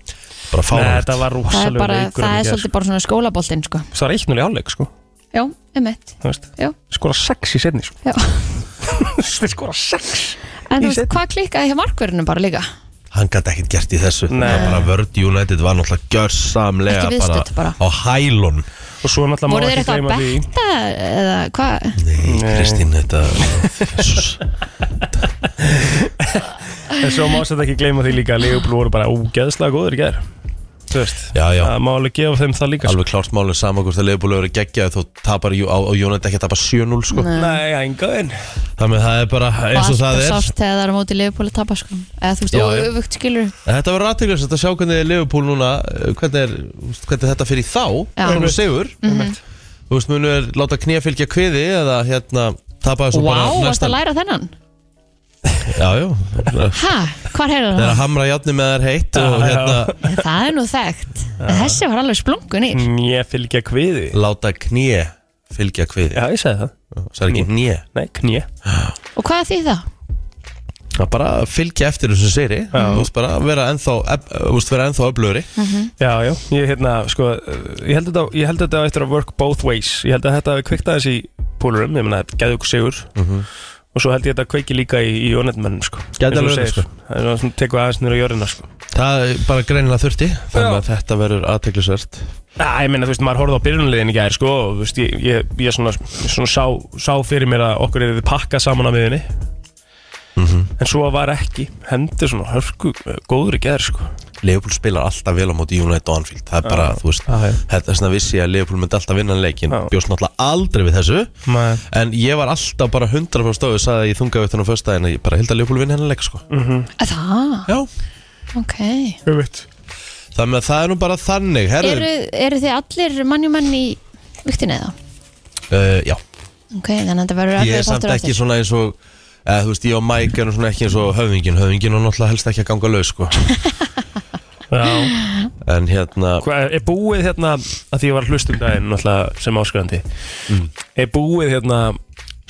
[SPEAKER 1] bara
[SPEAKER 3] Nei,
[SPEAKER 1] fáralt
[SPEAKER 3] þetta
[SPEAKER 2] Það er
[SPEAKER 3] var rosalega
[SPEAKER 2] bara,
[SPEAKER 3] leikur
[SPEAKER 2] það
[SPEAKER 3] hann
[SPEAKER 2] er
[SPEAKER 3] í gær,
[SPEAKER 2] svolítið bara svona skólaboltinn sko
[SPEAKER 3] sko. Það var 1-0 í áleik sko,
[SPEAKER 2] Já, emitt,
[SPEAKER 3] þú veist
[SPEAKER 2] já,
[SPEAKER 3] Skora 6 í setni sko.
[SPEAKER 2] já
[SPEAKER 3] Þeir skora
[SPEAKER 2] En
[SPEAKER 3] 6 Í
[SPEAKER 2] þú veist,
[SPEAKER 3] seinni.
[SPEAKER 2] hvað klikkaði hjá markverðinu bara líka?
[SPEAKER 1] hann gæti ekkert gert í þessu
[SPEAKER 3] Nei.
[SPEAKER 1] það var bara Vörd United var náttúrulega gjörsamlega
[SPEAKER 2] Ekki viðstödd bara.
[SPEAKER 1] á hælun
[SPEAKER 3] Og svo náttúrulega
[SPEAKER 2] Voru
[SPEAKER 3] má
[SPEAKER 2] þeir
[SPEAKER 3] ekki
[SPEAKER 2] eitthvað
[SPEAKER 3] gleyma
[SPEAKER 2] að
[SPEAKER 3] því
[SPEAKER 2] betta eða hvað?
[SPEAKER 1] Nei,
[SPEAKER 3] Nei.
[SPEAKER 1] Kristín, þetta Jesus.
[SPEAKER 3] En svo má þetta ekki gleyma því líka að Leopold voru bara ógeðslega góður í gær Þú veist
[SPEAKER 1] Já, já.
[SPEAKER 3] Það má alveg gefa þeim það líka sko.
[SPEAKER 1] Alveg klárt málið saman hvort að leifbúlu eru geggjað þó tapar Ju- á, á United ekki að tapa 7-0 sko.
[SPEAKER 3] Nei, enga en
[SPEAKER 1] Þannig að það er bara
[SPEAKER 2] Og
[SPEAKER 1] eins og það
[SPEAKER 2] alltaf
[SPEAKER 1] er
[SPEAKER 2] sárt þegar það er á móti Leifupóli tapa sko Eða þú veist,
[SPEAKER 1] Já, já.
[SPEAKER 2] öfugt skilur
[SPEAKER 1] En Þetta verður aðteglisast að sjá hvernig leifbúl núna eh, hvernig, er, þú veist, hvernig þetta fyrir þá
[SPEAKER 2] Já.
[SPEAKER 1] hvernig hún segur
[SPEAKER 2] Mhm.
[SPEAKER 1] Þú veist, munu er láta knýja fylgja kviði eða hérna tapa þessu
[SPEAKER 2] Vá,
[SPEAKER 1] bara
[SPEAKER 2] varst
[SPEAKER 1] næsta
[SPEAKER 2] að læra þennan?
[SPEAKER 1] Já, já
[SPEAKER 2] Ha, hvar heyrðu
[SPEAKER 1] Það er
[SPEAKER 2] það?
[SPEAKER 1] að hamra játni með þær heitt og
[SPEAKER 3] Já, já.
[SPEAKER 1] hérna
[SPEAKER 2] Það er nú þekkt En Þessi var alveg splungun í
[SPEAKER 3] Nýja fylgja kviði
[SPEAKER 1] láta knýja fylgja kviði
[SPEAKER 3] Já, ég segi það
[SPEAKER 1] Það er ekki knýja
[SPEAKER 3] Nei, knýja
[SPEAKER 2] Og hvað því það?
[SPEAKER 1] Það er bara að fylgja eftir þessu seri Þú veist bara að vera ennþá ef- eh, Þú veist vera ennþá öflöri
[SPEAKER 3] Já, já, ég, hérna, sko, eh, ég held þetta, ég held þetta á eftir að work both ways Ég held að þetta hafi kveikta þessi púlurum, ég meina, gæði okkur sigur Og svo held ég þetta kveiki líka í, í jónetmennum, sko
[SPEAKER 1] Gæti alveg
[SPEAKER 3] Eins og þú
[SPEAKER 1] verið,
[SPEAKER 3] segir,
[SPEAKER 1] sko.
[SPEAKER 3] Það er svona tekur aðeins nýra jörðina, sko
[SPEAKER 1] Það er bara greinilega þurfti Þannig að þetta verður aðteklisvert
[SPEAKER 3] Æ, ég meina, þú veist, maður horfði á byrjunliðin í gær, sko Og, þú veist, ég, ég, ég svona, svona sá, sá fyrir mér að okkur er þið pakka saman á miðinni En svo var ekki, hendur svona hörku, eh, góður í gær, sko
[SPEAKER 1] Leopold spilar alltaf vel á móti United og Anfield Það er bara, þú veist,
[SPEAKER 3] Já, já.
[SPEAKER 1] þetta er svona vissi ég að Leopold myndi alltaf vinna leikin
[SPEAKER 3] Já.
[SPEAKER 1] Bjóst náttúrulega aldrei við þessu
[SPEAKER 3] Nei.
[SPEAKER 1] En ég var alltaf bara 100% stóðu Saði að ég þungaði þetta á föstudaginn að Ég bara held að Leopold vinna hennar leik sko.
[SPEAKER 3] Mhm.
[SPEAKER 2] Það,
[SPEAKER 1] Já
[SPEAKER 2] ok
[SPEAKER 3] Ég veit
[SPEAKER 1] Þannig að það er nú bara þannig Herðu,
[SPEAKER 2] Eru, eru þið allir mannjumenn í viktinni eða?
[SPEAKER 1] uh, Já,
[SPEAKER 2] Ok, þannig að þetta verður
[SPEAKER 1] ég
[SPEAKER 2] allir
[SPEAKER 1] er samt
[SPEAKER 2] þáttur
[SPEAKER 1] ekki
[SPEAKER 2] eftir
[SPEAKER 1] svona eins og eða, þú veist, ég og Mike erum svona ekki eins og höfingin höfingin og náttúrulega helst ekki að ganga laus sko.
[SPEAKER 3] Já
[SPEAKER 1] en hérna,
[SPEAKER 3] Hvað er búið hérna að því ég var að hlusta um daginn náttúrulega sem áskrandi er búið hérna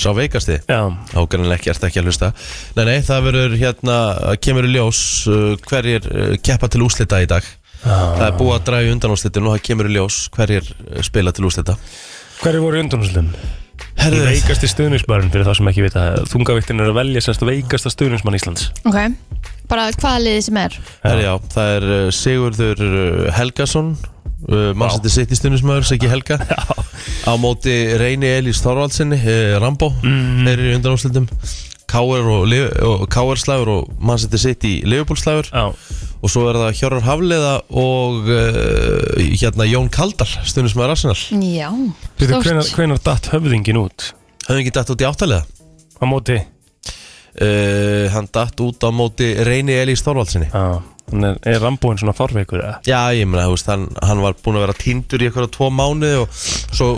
[SPEAKER 1] sá veikasti
[SPEAKER 3] já,
[SPEAKER 1] ágæðanlega ekki, ert ekki að hlusta nei, nei, það verður hérna, kemur í ljós uh, hverjir uh, keppa til úslita í dag
[SPEAKER 3] Ah.
[SPEAKER 1] það er búið að draga í undan úslitinu og það kemur í ljós hverjir uh, spila til úslita
[SPEAKER 3] hverju voru í undunarslum?
[SPEAKER 1] Herðu,
[SPEAKER 3] Veikasti stuðningsmann fyrir þá sem ekki vita þungaviktin er að velja sérst veikasta stuðningsmann Íslands
[SPEAKER 2] Ok, bara hvaða liði sem er
[SPEAKER 1] herðu, já, það er uh, Sigurður uh, Helgason Uh, Mannsætti sitt í stundismöður, Siggi Helga á móti Reyni Elís Þorvaldsinni uh, Rambo, þeir eru í undanúslitum Káur og, Liv- og Káur slagur og Mannsætti sitt í Leifubúl slagur
[SPEAKER 3] Já,
[SPEAKER 1] og svo er það Hjörvar Hafliða og uh, hérna Jón Kaldal stundum sem er Arsenal
[SPEAKER 2] Já,
[SPEAKER 3] Býtu,
[SPEAKER 2] stórt.
[SPEAKER 3] hvenar, hvenar datt höfðingin út
[SPEAKER 1] höfðum ekki dætt út í áttalega
[SPEAKER 3] á móti?
[SPEAKER 1] uh, hann dætt út á móti Reyni Elís Þorvaldsinni
[SPEAKER 3] Já, hann er, er rambóin svona farveikur eða?
[SPEAKER 1] Já, ég meina, þú veist, hann, hann var búinn að vera tindur í eitthvað tvo mánuði og svo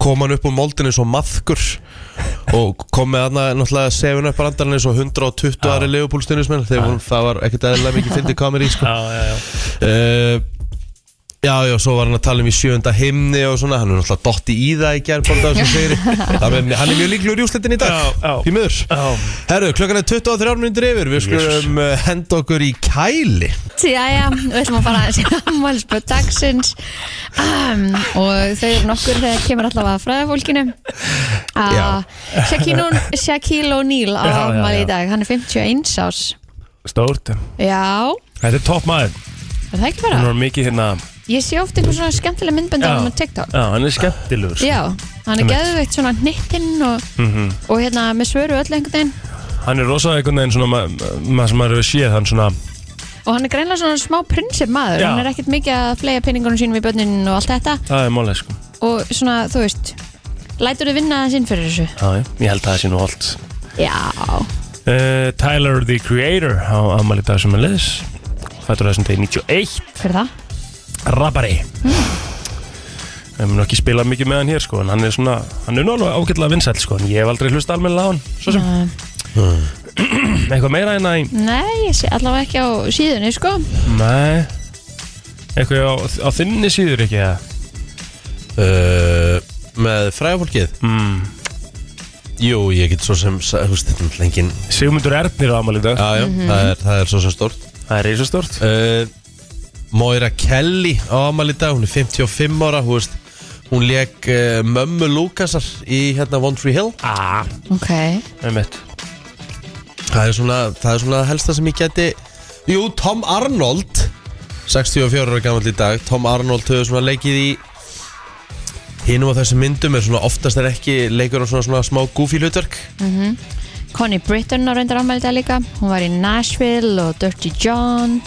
[SPEAKER 1] kom hann upp úr moldinu svo maðkur og kom með hann náttúrulega sefin upp brandarinn eins og 120 aðri legupúlstunismenn þegar hún, það var ekkert eðlilega mikið fyndið komið í sko.
[SPEAKER 3] Já, já, já.
[SPEAKER 1] uh, Já, já, svo var hann að tala um í sjönda himni og svona, hann er náttúrulega dotti í það í gerðbólda sem segir, hann er, hann er mjög líklegur í úslitin í dag,
[SPEAKER 3] Já, já.
[SPEAKER 1] í miður
[SPEAKER 3] Já.
[SPEAKER 1] Herru, klokkan er 23 minnir yfir, við skulum uh, henda okkur í kæli
[SPEAKER 2] Jæja, við ætlum að fara aðeins í ammálspöð dagsins um, og þau eru nokkur þegar kemur allavega að fræðafólkinu
[SPEAKER 1] Já.
[SPEAKER 2] uh, Shaquille O'Neal- Shaquille O'Neal á
[SPEAKER 3] Já, já,
[SPEAKER 2] afmæli
[SPEAKER 3] já.
[SPEAKER 2] í dag, hann er 51 ás
[SPEAKER 3] Stórt.
[SPEAKER 2] Já,
[SPEAKER 3] Þetta er topp maður.
[SPEAKER 2] er það ekki
[SPEAKER 3] Hann
[SPEAKER 2] bara?
[SPEAKER 3] var mikið hérna...
[SPEAKER 2] Ég sé oft einhver svona skemmtilega myndbönd á hann á TikTok
[SPEAKER 3] já, hann er skemmtilegur. sko.
[SPEAKER 2] Já, hann er
[SPEAKER 3] Einmitt.
[SPEAKER 2] geðveikt svona hnittinn og, og hérna með svöru öll einhvern veginn
[SPEAKER 3] Hann er rosalega einhvern veginn svona, ma- ma- maður sem maður hefur séð, hann svona...
[SPEAKER 2] og hann er greinlega svona smá prinsip maður
[SPEAKER 3] Já.
[SPEAKER 2] hann er ekkert mikið að flega peningunum sínum í börnin og allt þetta
[SPEAKER 3] Það er málega, sko.
[SPEAKER 2] og svona, þú veist lætur þau vinna þess inn fyrir þessu
[SPEAKER 3] Já, já. Ég held að það sé nú holdt.
[SPEAKER 2] Já,
[SPEAKER 3] Uh, Tyler, the creator, á ammali dag sem er liðs. Fættur þessum degi 91.
[SPEAKER 2] fyrir það
[SPEAKER 3] Rabari
[SPEAKER 1] Hmm.
[SPEAKER 3] Við hefum nú ekki spilað mikið með hann hér sko En hann er svona, hann er nú alveg ágætlega vinsæll sko En ég hef aldrei hlust almennilega á hann Svo sem,
[SPEAKER 2] Uh,
[SPEAKER 1] Hmm.
[SPEAKER 3] eitthvað meira en að í
[SPEAKER 2] Nei, ég sé allavega ekki á síðunni sko
[SPEAKER 3] Nei Eitthvað á, á þinni síður ekki eða?
[SPEAKER 1] uh, með fræðafólkið
[SPEAKER 3] mm.
[SPEAKER 1] Jú, ég get svo sem, sa- þú veist, þetta er lengin
[SPEAKER 3] Sigmundur Ernir á ammali dag
[SPEAKER 1] Já, já, það, er, það er svo sem stort
[SPEAKER 3] Mhm. Það er reysa stort
[SPEAKER 1] uh, Moira Kelly á amal í dag, hún er 55 ára, þú veist Hún leik uh, mömmu Lukasar í hérna One Tree Hill
[SPEAKER 3] Ah,
[SPEAKER 2] Ok
[SPEAKER 3] með mitt
[SPEAKER 1] Það er svona, það er svona helsta sem ég geti Jú, Tom Arnold 64 ára gamall í dag Tom Arnold höfðu svona leikið í Hinum á þessum myndum er svona oftast er ekki leikur á svona, svona smá goofy hlutverk
[SPEAKER 2] Mhm. Connie Britton á reyndar afmæli í dag líka Hún var í Nashville og Dirty John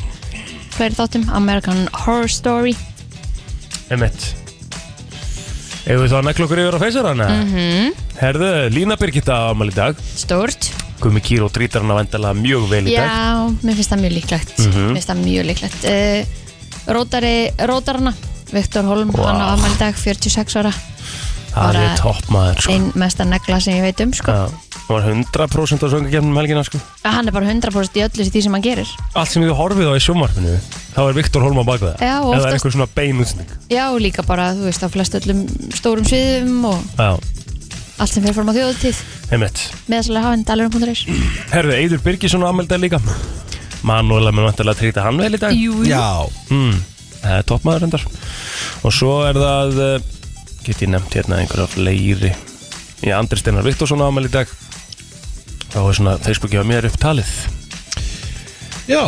[SPEAKER 2] Fleiri þáttum American Horror Story
[SPEAKER 3] Með mitt Ef við þá nekla okkur yfir á feysar hann mm -hmm.
[SPEAKER 2] Mhm.
[SPEAKER 3] Herðu, Lína Birgitta á ammali dag
[SPEAKER 2] Stórt
[SPEAKER 3] Gumi Kíró trítar hann að vendala mjög vel í dag Mhm.
[SPEAKER 2] Já, mér finnst það mjög líklegt Mér finnst það mjög líklegt uh, Rótari, Rótarana Viktor Holm,
[SPEAKER 3] Vá.
[SPEAKER 2] hann á afmæli í dag 46 ára
[SPEAKER 3] Það
[SPEAKER 2] bara-
[SPEAKER 3] er topp maður sko.
[SPEAKER 2] Einn mesta negla sem ég veit um sko
[SPEAKER 3] Já, Það var 100% á söngakefnum helgina sko.
[SPEAKER 2] Hann er bara 100% í öllu því sem hann gerir
[SPEAKER 3] Allt sem þið horfið á í sjónvarpinu Þá er Viktor Holm á baka það
[SPEAKER 2] Já,
[SPEAKER 3] Ef það er
[SPEAKER 2] oftast-
[SPEAKER 3] eitthvað svona bein útsending
[SPEAKER 2] Já, og líka bara, þú veist, á flest öllum stórum sviðum og
[SPEAKER 3] Já,
[SPEAKER 2] allt sem fyrir fram á þjóðutíð
[SPEAKER 3] einmitt
[SPEAKER 2] meðsalega hafinn dalurum.is
[SPEAKER 3] Herðu, Eidur Birgisson á amelda líka Manuela mun vantilega að trýta hann vel í dag
[SPEAKER 2] Jú,
[SPEAKER 1] Já,
[SPEAKER 3] mm, Það er toppmaður endar Og svo er það eh, Get ég nefnt hérna einhverja fleiri Já, Andri Steinar Viktorsson á amel í dag Þá er svona Facebooki á mér upptalið
[SPEAKER 1] Já,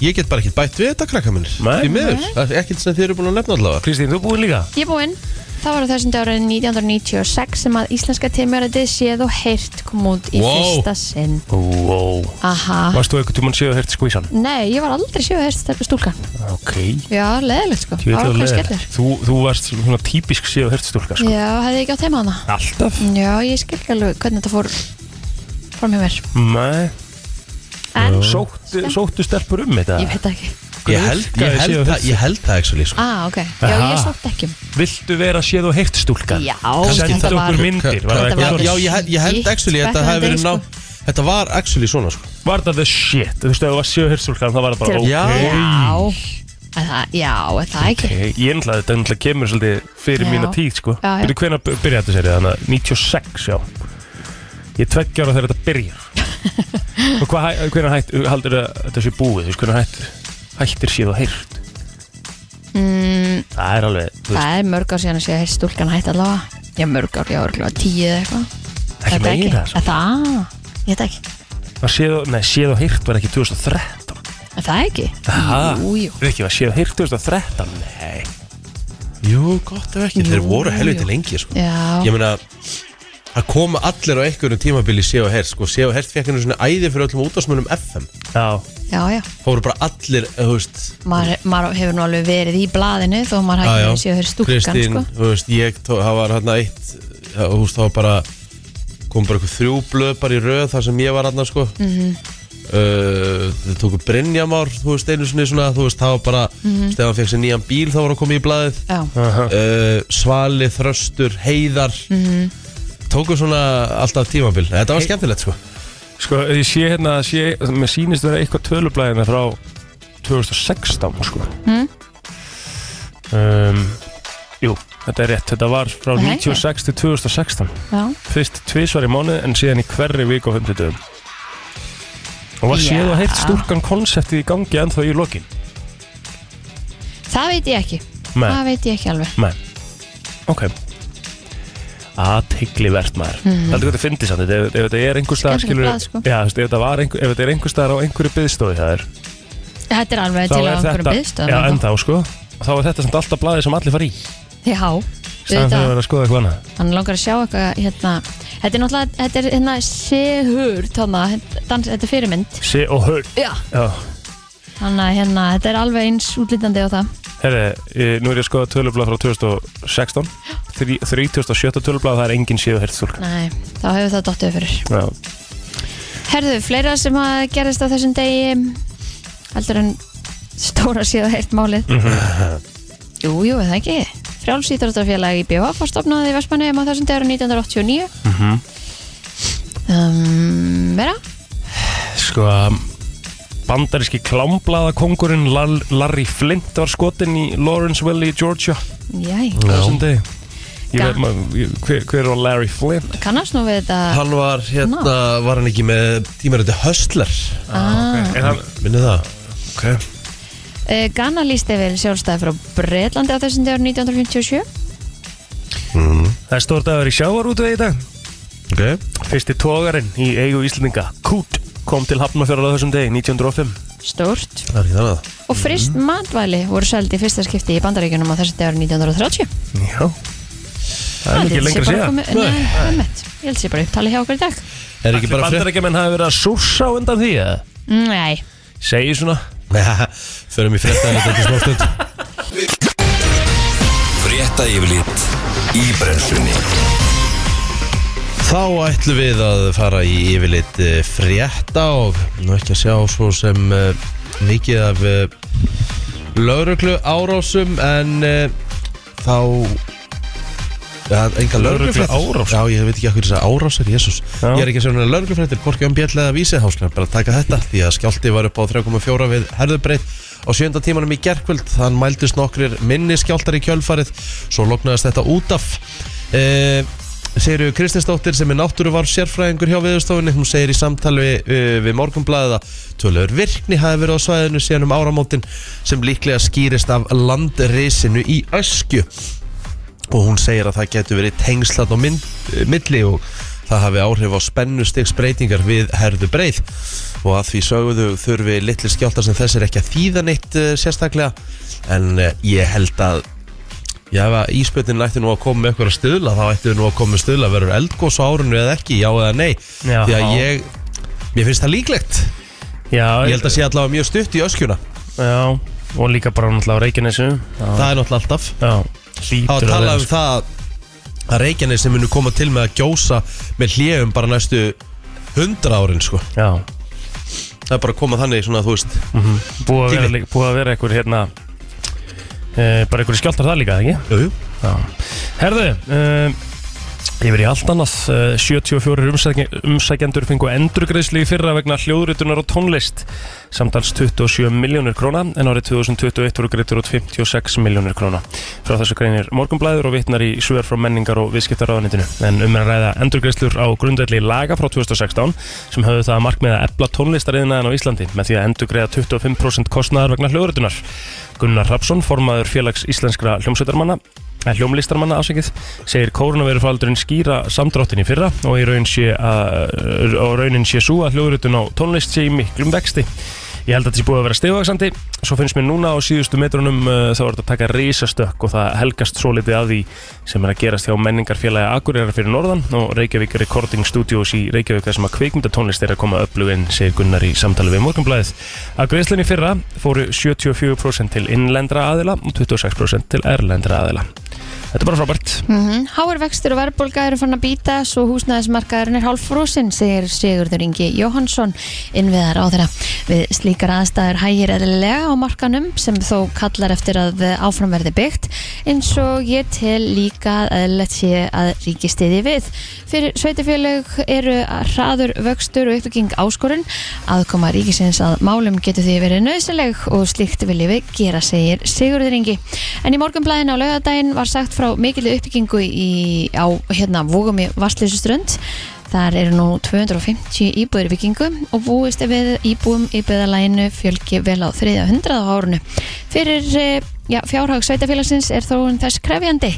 [SPEAKER 1] ég get bara ekkert bætt við þetta krakka minnir
[SPEAKER 3] Nei.
[SPEAKER 1] Því miður, það er ekkert sem þið eru búin að nefna allavega
[SPEAKER 3] Kristín, þú búin líka?
[SPEAKER 2] Ég er búinn. Það var á þessum dagur 1996 sem að íslenska teimjöriði séð og heyrt kom út í
[SPEAKER 1] Wow.
[SPEAKER 2] fyrsta sinn.
[SPEAKER 3] Wow
[SPEAKER 2] Aha.
[SPEAKER 3] Varst þú eitthvað tímann séu að hérta skvísan?
[SPEAKER 2] Nei, ég var aldrei séð heyrt stelpa stúlka.
[SPEAKER 3] Ok
[SPEAKER 2] Já, leðilegt sko.
[SPEAKER 3] Ég veit
[SPEAKER 2] Það
[SPEAKER 3] að
[SPEAKER 2] var hvað
[SPEAKER 3] leiðilegt.
[SPEAKER 2] skellur.
[SPEAKER 3] Þú, þú varst svona típisk séu hérststúlka sko.
[SPEAKER 2] Já, hefði ég ekki á teima hana.
[SPEAKER 3] Alltaf
[SPEAKER 2] Já, ég skil ekki alveg hvernig þetta fór fór með mér.
[SPEAKER 3] Nei
[SPEAKER 2] En,
[SPEAKER 3] Sóttu, sóttu stelpur um þetta
[SPEAKER 2] ég veit það ekki.
[SPEAKER 1] Ég held, ég held,
[SPEAKER 3] Séu
[SPEAKER 1] það, ég held það sko. ekki svo líka
[SPEAKER 2] Ah, ok. Já,
[SPEAKER 3] Sko. Aha.
[SPEAKER 2] ég sótt ekki um.
[SPEAKER 3] Viltu vera séð og heyrt stúlka?
[SPEAKER 2] Já,
[SPEAKER 3] Sendu
[SPEAKER 2] þetta var-
[SPEAKER 3] okkur myndir Var það
[SPEAKER 2] Þetta var-
[SPEAKER 3] eitthvað
[SPEAKER 2] sko.
[SPEAKER 1] Já,
[SPEAKER 3] svona?
[SPEAKER 1] ég, held- ég held
[SPEAKER 2] Gitt
[SPEAKER 1] actually að þetta
[SPEAKER 2] back in
[SPEAKER 1] hefði
[SPEAKER 2] the day,
[SPEAKER 1] verið ná Þetta var actually svona sko
[SPEAKER 3] Var það the shit? Þú veist, ef það var séð og heyrt stúlka Það var það bara
[SPEAKER 2] Til-
[SPEAKER 3] ok
[SPEAKER 1] Já.
[SPEAKER 2] Já, En það- já, er það ekki.
[SPEAKER 3] okay. Ég ætla að þetta náttúrulega kemur svolítið fyrir
[SPEAKER 2] Já.
[SPEAKER 3] mína tíð sko.
[SPEAKER 2] Já, já.
[SPEAKER 3] Byrju, hvenær b- byrjaði þetta serið? Þannig að 96, já Ég er tveggja ára þegar þetta byrjar Og hvað, hæ- hvenær hætt, haldur þetta sé búið? Þú veist, hvenær hætt, hættir séð og heyrt?
[SPEAKER 2] Mm,
[SPEAKER 3] Það er alveg, þú veist,
[SPEAKER 2] Það er mörg ár síðan að sé að stúlkan hætti allavega Já, mörg ár, já, örgulega tíu eða eitthvað
[SPEAKER 3] ekki sko.
[SPEAKER 2] Þetta
[SPEAKER 3] meira
[SPEAKER 2] ekki. Er Það, ég veit ekki
[SPEAKER 3] Var séð og, nei, séð og heyrt var ekki 2013
[SPEAKER 2] Er Það ekki
[SPEAKER 3] Aha.
[SPEAKER 2] Jú, jú
[SPEAKER 3] Rikki, var séð og heyrt 2013? Nei
[SPEAKER 1] Jú, gott ef ekki,
[SPEAKER 2] Jú,
[SPEAKER 1] þeir voru helviti
[SPEAKER 2] jú.
[SPEAKER 1] lengi sko
[SPEAKER 2] Já,
[SPEAKER 1] Ég meina, það koma allir á einhverjum tímabili Séu og Hert sko Séu og Hert fekk henni svona æði fyrir öllum útásmunum FM
[SPEAKER 3] Já,
[SPEAKER 2] já, já
[SPEAKER 1] fóru bara allir, eh, þú veist
[SPEAKER 2] maður maður hefur nú alveg verið í blaðinu þó maður
[SPEAKER 1] Já,
[SPEAKER 2] hafi
[SPEAKER 1] já.
[SPEAKER 2] ekki séu fyrir stúkan
[SPEAKER 1] Kristín,
[SPEAKER 2] sko.
[SPEAKER 1] þú veist, ég, tó- það var hérna eitt það, þú veist, það var bara kom bara eitthvað þrjú blöð bara í röð þar sem ég var hérna, sko mm
[SPEAKER 2] Mhm.
[SPEAKER 1] þau tóku Brynjamár þú veist, einu sinni svona, þú veist, það var bara mm -hmm. Stefán fekk sér nýjan bíl, þá var að koma í blaðið
[SPEAKER 2] Mhm. já,
[SPEAKER 1] uh, Svali, Þröstur, Heiðar
[SPEAKER 2] Mhm.
[SPEAKER 1] tóku svona alltaf tímabil, þetta var skemmtilegt, sko
[SPEAKER 3] Sko, ég sé hérna, sé, mér sýnist vera eitthvað tölublæðina frá 2016, sko.
[SPEAKER 2] Mm.
[SPEAKER 3] Um, jú, þetta er rétt. Þetta var frá
[SPEAKER 2] Það er
[SPEAKER 3] 96 til 2016.
[SPEAKER 2] já,
[SPEAKER 3] Fyrst tvisvar í mánuð en síðan í hverri viku á 50 dögum. Og var séð
[SPEAKER 2] Já.
[SPEAKER 3] og heilt stúrkan konseptið í gangi ennþá í lokin.
[SPEAKER 2] það veit ég ekki
[SPEAKER 3] Nei,
[SPEAKER 2] það veit ég ekki alveg
[SPEAKER 3] nei. Ok. Aðtegglivert maður. Mm. Heldur hvað þetta fyndi samt, ef, ef þetta er einhver staðar,
[SPEAKER 2] Skemmtilegt
[SPEAKER 3] skilur,
[SPEAKER 2] blað, Mhm. sko.
[SPEAKER 3] já, þú veist, ef þetta var einhver, ef þetta er einhver staðar á einhverju byðstóði það er,
[SPEAKER 2] þetta er alveg
[SPEAKER 3] Þá
[SPEAKER 2] til á
[SPEAKER 3] er
[SPEAKER 2] einhverjum
[SPEAKER 3] þetta- Já,
[SPEAKER 2] byðstöðum
[SPEAKER 3] ennþá sko Og Þá er þetta samt alltaf blaðið sem allir fara í
[SPEAKER 2] já, auðvitað
[SPEAKER 3] Sæðan þegar það er að skoða eitthvað annað
[SPEAKER 2] hann langar að sjá eitthvað hérna þetta er náttúrulega, þetta er hérna sehur, tóna, dans, þetta er fyrirmynd
[SPEAKER 3] Sé og hör
[SPEAKER 2] já,
[SPEAKER 3] Já,
[SPEAKER 2] þannig að hérna þetta er alveg eins útlítandi á það
[SPEAKER 3] herri, eh, nú er ég að skoða tölublað frá 2016 Þrí- 37. tölublað, það er engin séu hert stúlka
[SPEAKER 2] nei, þá hefur það dottuð fyrir
[SPEAKER 3] Já,
[SPEAKER 2] herðu, fleira sem að gerðist á þessum degi heldur en stóra síðan heilt málið
[SPEAKER 4] Mhm.
[SPEAKER 2] jú, jú, er það ekki frjálsýþróttarfélag í BH var stopnað í Vestmannheim á þessum degur 1989 mm
[SPEAKER 3] Mhm.
[SPEAKER 2] um, vera?
[SPEAKER 3] sko Bandaríski klámblaða kongurinn Larry Flint var skotin í Lawrenceville í Georgia
[SPEAKER 2] Jæ,
[SPEAKER 3] Þessum degi Ég
[SPEAKER 2] Ga-
[SPEAKER 3] veit maður, ég- hver, hver var Larry Flint?
[SPEAKER 2] kannast nú við þetta
[SPEAKER 1] hann var, hérna, var hann ekki með tímaröndi Höstler,
[SPEAKER 2] ah.
[SPEAKER 3] Er hann,
[SPEAKER 1] minnið það
[SPEAKER 3] okay.
[SPEAKER 2] uh, Ghana líst yfir sjálfstæði frá Breitlandi á þessum degur 1957
[SPEAKER 3] Það er stór dagur í sjávarútu í dag
[SPEAKER 1] Mhm. ok,
[SPEAKER 3] Fyrsti tógarinn í eigu Íslandinga, Kút, kom til Hafnarfjörður á þessum degi, 1905.
[SPEAKER 2] stórt
[SPEAKER 1] það er ekki þannig að
[SPEAKER 2] og
[SPEAKER 3] Mhm.
[SPEAKER 2] frist matvæli voru seldi í fyrsta skipti í bandaríkjunum á þessum degur 1930
[SPEAKER 3] Já. Það er mikið lengra síðan.
[SPEAKER 2] Nei, nei. Nei, ég held sér bara upptalið hjá okkur í dag
[SPEAKER 1] er ekki bara frétt
[SPEAKER 3] Bandarækjumenn hafi verið að súrsa á undan því, eða?
[SPEAKER 2] Nei,
[SPEAKER 3] Segir svona.
[SPEAKER 1] Nei, förum í fréttaðan þetta ekki smá stund
[SPEAKER 5] Frétta yfirlit í brenslunni
[SPEAKER 1] Þá ætlum við að fara í yfirleitt eh, frétta og nú ekki að sjá svo sem eh, mikið af lauruglu árásum en eh, þá ja, enga lauruglufréttir
[SPEAKER 3] Lögregluárás?
[SPEAKER 1] Já, ég veit ekki hvað þess að árásir, jésús
[SPEAKER 3] Já.
[SPEAKER 1] Ég er ekki að sjá hérna lauruglufréttir, hvorki um bjall eða vísi þá skulum við bara taka þetta því að skjálti var upp á 3,4 við herðubreyt á sjönda tímanum í gerkvöld, þann mældist nokkrir minni skjáltar í kjölfarið svo loknaðist þetta út af e Segir við Kristinsdóttir sem er náttúruvar sérfræðingur hjá viðurstofunni hún segir í samtali við, við morgunblæða tölur virkni hafi verið á svæðinu síðan um áramótin sem líklega skýrist af landrisinu í öskju og hún segir að það getur verið tengslat á mynd, eh, milli og það hafi áhrif á spennustigsbreytingar við herðu breið og að því sögðu þurfi litli skjálta sem þessir ekki að þýða neitt uh, sérstaklega en uh, ég held að já, ef að íspjötin ætti nú að koma með eitthvað stuðla þá ætti nú að koma með stuðla verður eldgós á árinu eða ekki, já eða nei
[SPEAKER 3] Já.
[SPEAKER 1] því að ég, mér finnst það líklegt
[SPEAKER 3] Já,
[SPEAKER 1] ég held að sé allavega mjög stutt í öskjuna
[SPEAKER 3] Já, og líka bara náttúrulega á Reykjanesu.
[SPEAKER 1] það er náttúrulega alltaf
[SPEAKER 3] Já,
[SPEAKER 1] Það var
[SPEAKER 3] hlýtur
[SPEAKER 1] talað um
[SPEAKER 3] sko.
[SPEAKER 1] það að- að Reykjanes sem munu koma til með að gjósa með hljegum bara næstu 100 árin sko.
[SPEAKER 3] Já,
[SPEAKER 1] Það er bara að koma þannig svona, þú veist
[SPEAKER 3] búið að vera,
[SPEAKER 1] Tími.
[SPEAKER 3] líka- búið að vera einhver hérna, e, bara einhver skjáltar það líka, ekki?
[SPEAKER 1] Jú, jú
[SPEAKER 3] Já. Herðu, um, ég verið í allt annað. Uh, 74 umsækje, umsækjendur fengu endurgreðsli í fyrra vegna hljóðritunar og tónlist. Samtals 27 miljónir króna en árið 2021 voru greittur út 56 miljónir króna. Frá þessu greinir morgunblæður og vitnar í svör frá menningar og viðskiptaráðanitinu. En um er að ræða endurgreðslur á grundvelli laga frá 2016 sem höfðu það að markmiða að ebla tónlistariðnaðan á Íslandi með því að endurgreða 25% kostnaðar vegna hljóðritunar. Gunnar Rapsson, formaður félags íslenskra hljómsveitarmanna, eh, hljómlistarmanna afsakið, segir kórnaverufaldurinn skýra samdráttin í fyrra eh, og í raun sé, að, og raunin sé svo að hljóðrutun á tónlist sé í miklum vexti. Ég held að þetta sé búið að vera stigvaksandi Svo finnst mér núna á síðustu metrunum uh, þá er þetta að taka risastökk og það helgast svo litið að því sem er að gerast hjá menningarfélagi Akureyrar fyrir norðan og Reykjavík Recording Studios í Reykjavík þar sem að kveikmyndatónlist er að koma öfluginn segir Gunnar í samtali við morgunblæðið Að greiðslunni fyrra fóru 74% til innlendra aðila og 26% til erlendra aðila Þetta er bara frábært
[SPEAKER 2] Mm Háar vextir og verðbólga eru fann að býta svo húsnæðismarkaðurinn er hálfrósin segir Sigurður Ingi Jóhansson innviðar á þeirra. Við slíkar aðstæður hægir eðlilega á markanum sem þó kallar eftir að áframverði byggt eins og ég til líka að eðlilegt sé að ríkistiði við. Fyrir sveitafélög eru hraður vöxtur og uppbygging áskorun aðkoma ríkisins að málum getur því verið nöðsileg og slíkt viljum við gera segir Sigurður Ingi. En í morgunblæðin á laugardaginn var sagt frá mikil uppbyggingu í, á hérna, Vógami Vastleysuströnd. Þar eru nú 250 íbúðir í byggingu og búist er við íbúum í byggðalæginu fjölgi vel á 300 á árunu. Fyrir eh, já, fjárhag sveitafélagsins er þróun þess krefjandi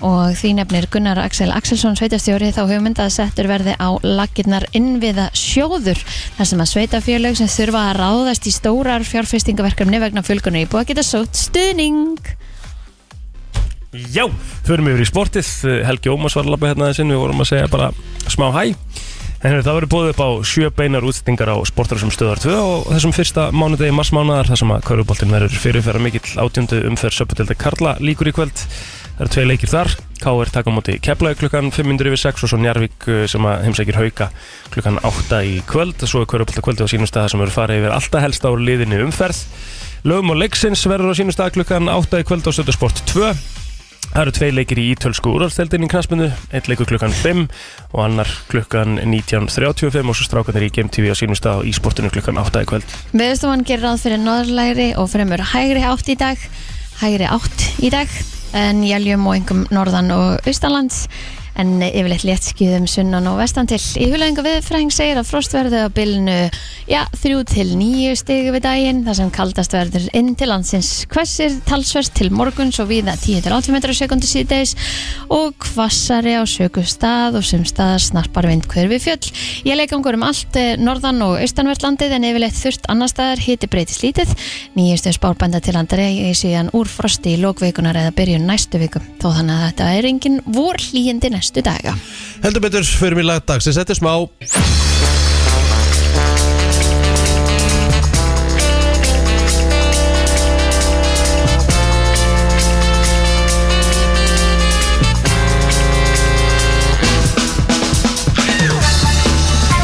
[SPEAKER 2] og því nefnir Gunnar Axel Axelsson sveitastjóri þá hugmynd að settur verði á lakirnar innviða sjóður þar sem að sveitafélög sem þurfa að ráðast í stórar fjárfestingaverkefni vegna fjölgunu íbúa geta sótt stuðning.
[SPEAKER 3] Já, förum yfir í sportið Helgi Ómas var að labba hérna aðeins inn Við vorum að segja bara smá hæ En hérna, það verður búið upp á sjö beinar útsendingar á sportar sem stöðar 2 og þessum fyrsta mánudegi massmánaðar þar sem að kauruboltin verður fyrirferða mikill átjöndu umferð söputildi Karla líkur í kvöld Það eru tvei leikir þar, K.R. taka á móti Keflavík klukkan 5.06 og svo Njarvík eh, sem að heimsækir hauka klukkan 8 í kvöld Svo er Körubolta kvöldi á sínum stað sem verður farið yfir alltaf helst á liðinni umferð Lögum og leiksins verður á sínum stað klukkan 8 í kvöld á Stöðusport 2 Það eru tvei leikir í ítölsku úrvalstældin í knaspinu, einn leikur klukkan 5 og annar klukkan 19.35 og svo strákanir í Game TV á sínum stað og í sportinu klukkan 8 í kvöld.
[SPEAKER 2] Veðurstofan gerir ráð fyrir norðlægri og fremur hægri átt í dag, hægri átt í dag, en jæljum og engum norðan og austanlands, en yfirleitt léttskýðum sunnan og vestan til. Í hulöðingu viðfræðing segir að frost verður á bylnu, já, þrjú til nýju stigu við daginn, þar sem kaldast verður inn til landsins hversir talsverð til morguns og viða 10 til 80 metrar á sekundu síðdeis og hvassari á söku stað og sem stað snarpar vind hver við fjöll. Ég leikangur um allt eh, norðan og austanvertlandið en yfirleitt þurft annar staðar hiti breytist lítið. Nýjastu spárbænda til andri í síðan úr frosti í lókveikunar eða byrjun næstu viku. Þó þannig að þetta er engin vor hlýjindi næstu daga.
[SPEAKER 1] Heldur betur, förum í lagdagsins, þetta er smá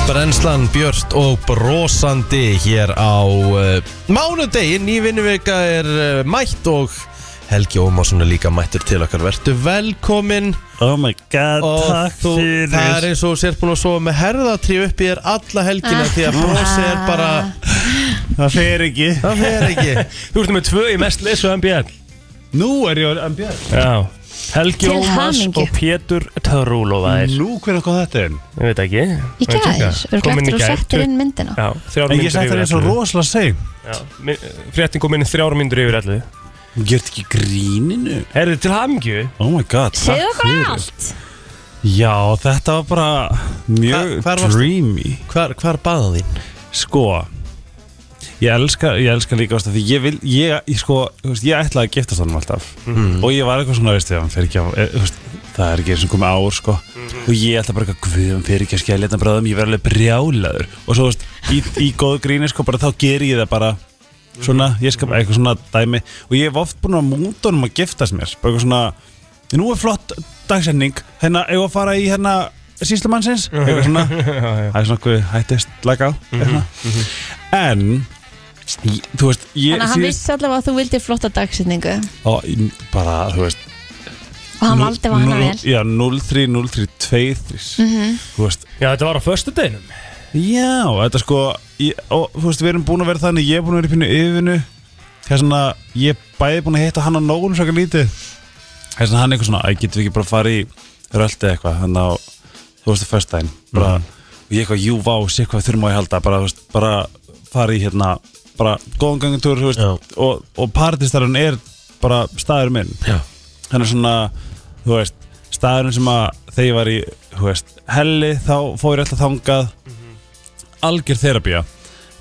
[SPEAKER 1] Brennslan Björt og brosandi hér á uh, mánudegi, ný vinnuvika er uh, mætt og Helgi Ómarsson er líka mættur til okkar, vertu velkominn
[SPEAKER 4] Oh my god,
[SPEAKER 1] og
[SPEAKER 4] takk
[SPEAKER 1] þú,
[SPEAKER 4] fyrir
[SPEAKER 1] það er eins og þú sér búin að sofa með herðatrí upp í þér alla helgina
[SPEAKER 2] Ah.
[SPEAKER 1] því að brosi er bara,
[SPEAKER 4] Það fer ekki
[SPEAKER 1] það fer ekki
[SPEAKER 3] Þú ert með tvö í mest lesu MBL.
[SPEAKER 4] Nú er ég á MBL
[SPEAKER 3] Já. Helgi
[SPEAKER 2] Til
[SPEAKER 3] Ómas
[SPEAKER 2] hamingju.
[SPEAKER 3] og Pétur Törúlofaðir.
[SPEAKER 4] Nú hvernig kom þetta inn
[SPEAKER 3] Ég veit ekki.
[SPEAKER 2] Í gær,
[SPEAKER 3] Kom
[SPEAKER 2] örglættur
[SPEAKER 3] inn í
[SPEAKER 2] og
[SPEAKER 3] gær.
[SPEAKER 2] settir inn myndina.
[SPEAKER 3] Já,
[SPEAKER 4] En
[SPEAKER 3] þrjár
[SPEAKER 4] ég
[SPEAKER 3] myndur
[SPEAKER 4] sætti
[SPEAKER 3] yfir
[SPEAKER 4] það eins og
[SPEAKER 3] ellu.
[SPEAKER 4] rosalega seint
[SPEAKER 3] Já, mi- Fréttin kom inn þrjár myndur yfir allu.
[SPEAKER 4] Ég ert ekki í gríninu
[SPEAKER 3] Herðið til hamingju.
[SPEAKER 4] Oh my god,
[SPEAKER 2] Segðu
[SPEAKER 4] takk
[SPEAKER 2] okkur
[SPEAKER 4] fyrir
[SPEAKER 2] allt.
[SPEAKER 4] Já, þetta var bara mjög
[SPEAKER 1] Hva- hvar varstu?
[SPEAKER 4] dreamy
[SPEAKER 1] hvar, hvar baða þín?
[SPEAKER 4] Sko Ég elska, ég elska líka ást af því ég vil, ég, ég sko, þú veist, ég ætlaði að giftast honum alltaf og ég var eitthvað svona, veist, ég, hann fer ekki á, e, þú veist, það er ekki eins og komið ár, sko og ég ætla bara eitthvað, guð, hann fer ekki að skilja þetta bráðum, ég verð alveg brjálaður og svo, þú veist, í, í góðu gríni, sko, bara þá ger ég það bara svona, ég skap eitthvað svona dæmi og ég hef oft búin að múta honum að giftast mér, bara eitthvað svona nú er flott dagsending, hérna, eigum við að fara í hérna, síslumannsins, eitthvað svona það er svona okkur hættist laga á
[SPEAKER 3] Mhm,
[SPEAKER 4] mm en ég- þú veist ég,
[SPEAKER 2] Þannig að hann vissi allavega að þú vildi flotta dagsetningu
[SPEAKER 4] og, bara þú veist
[SPEAKER 2] og hann valdi var hana vel. Mm. Mhm.
[SPEAKER 4] já 03 03 23 þú veist
[SPEAKER 3] Já, þetta var á förstu deginum.
[SPEAKER 4] já þetta sko ég, og þú veist við erum búin að vera þannig ég er búin að vera í pínu yfirnu það er svona ég er bæði búin að hitta hann á nógum svo ekki lítið það er svona hann eitthvað svona æ getum við ekki bara að fara í röldi eitthvað þannig á þú veist föstudaginn
[SPEAKER 1] Mhm.
[SPEAKER 4] bara og ég eitthvað jú vá sé hvað við þurfum á að halda bara þú veist bara fara í hérna bara góðan gangutúr þú
[SPEAKER 1] Já.
[SPEAKER 4] veist og, og partistarun er bara staður minn
[SPEAKER 1] Já.
[SPEAKER 4] hann er svona þú veist staðurinn sem að þegar ég var í þú veist helli þá fór ég alltaf þangað algjör þerapía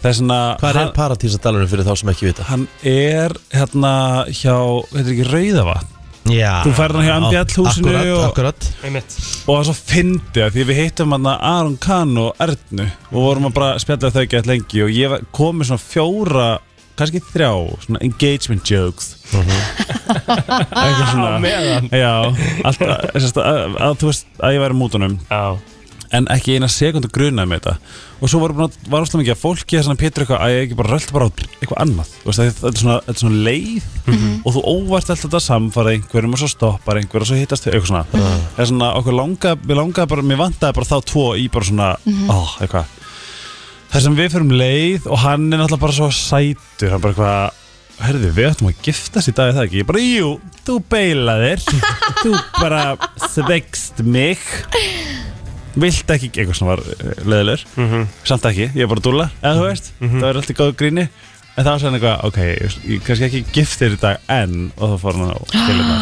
[SPEAKER 4] Þess vegna
[SPEAKER 1] Mhm. Hvað er
[SPEAKER 4] hann,
[SPEAKER 1] paratísadalurinn fyrir þá sem ekki vita?
[SPEAKER 4] hann er hérna hjá, heitir ekki Rauðavatn
[SPEAKER 1] Já
[SPEAKER 4] Þú færð hann hjá MBL húsinu
[SPEAKER 1] Akkurat,
[SPEAKER 4] og-
[SPEAKER 1] akkurat
[SPEAKER 3] Einmitt.
[SPEAKER 4] og það er svo fyndi að því við hittum hann Aron Kahn og Ernu og vorum að bara spjalla þau gett lengi og ég var- kom með svona fjóra kannski þrjá, svona engagement jokes eitthvað
[SPEAKER 3] Á
[SPEAKER 4] svona
[SPEAKER 3] meðan
[SPEAKER 4] Já, alltaf, sérst, að, að þú veist að ég væri mútunum
[SPEAKER 3] Já,
[SPEAKER 4] en ekki eina sekundu grunaði með þetta og svo var, búin að- var óslega mikið að fólki að Pétur eitthvað að ég ekki bara röldi bara á eitthvað annað Þú veist, að þetta er svona, þetta er svona leið og þú óvart alltaf þetta samfara einhverjum og svo stoppar einhver og svo hittast þau eitthvað svona, það er svona okkur langa, mér langaði bara, mér vantaði bara þá tvo í bara svona, mm eitthvað það sem við fyrum leið og hann er náttúrulega bara svo sætur hann bara eitthvað Herði, við ættum að giftast í dag er það ekki? Ég bara, jú, þú beilaðir Þú bara svegst mig vilt ekki, eitthvað sem var leðilegur samt ekki, ég er bara að dúlla eða þú veist, það er alltaf góð gríni en það var svona eitthvað, ok, ég kannski ekki gift þér í dag en, og þá fór hann á kjölina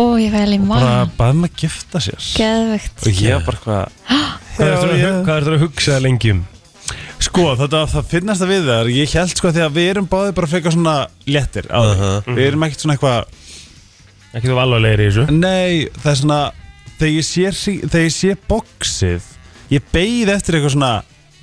[SPEAKER 2] Ó, ég fæli
[SPEAKER 4] bara
[SPEAKER 2] mann
[SPEAKER 4] baðum að gifta sér
[SPEAKER 2] Geðvegt
[SPEAKER 4] og ég var bara eitthvað
[SPEAKER 3] hvað er
[SPEAKER 4] Já, já.
[SPEAKER 3] þetta að, að hugsa lengi um?
[SPEAKER 4] Sko, þetta, það finnast það við þar Ég held sko því að við erum báðið bara frekar svona léttir á því Við erum ekkert svona eitthvað
[SPEAKER 3] Mhm. Ekki þú alvarlegir í þessu?
[SPEAKER 4] Nei, það er svona Þegar ég sé, hring- þegar ég sé boxið Ég beið eftir eitthvað svona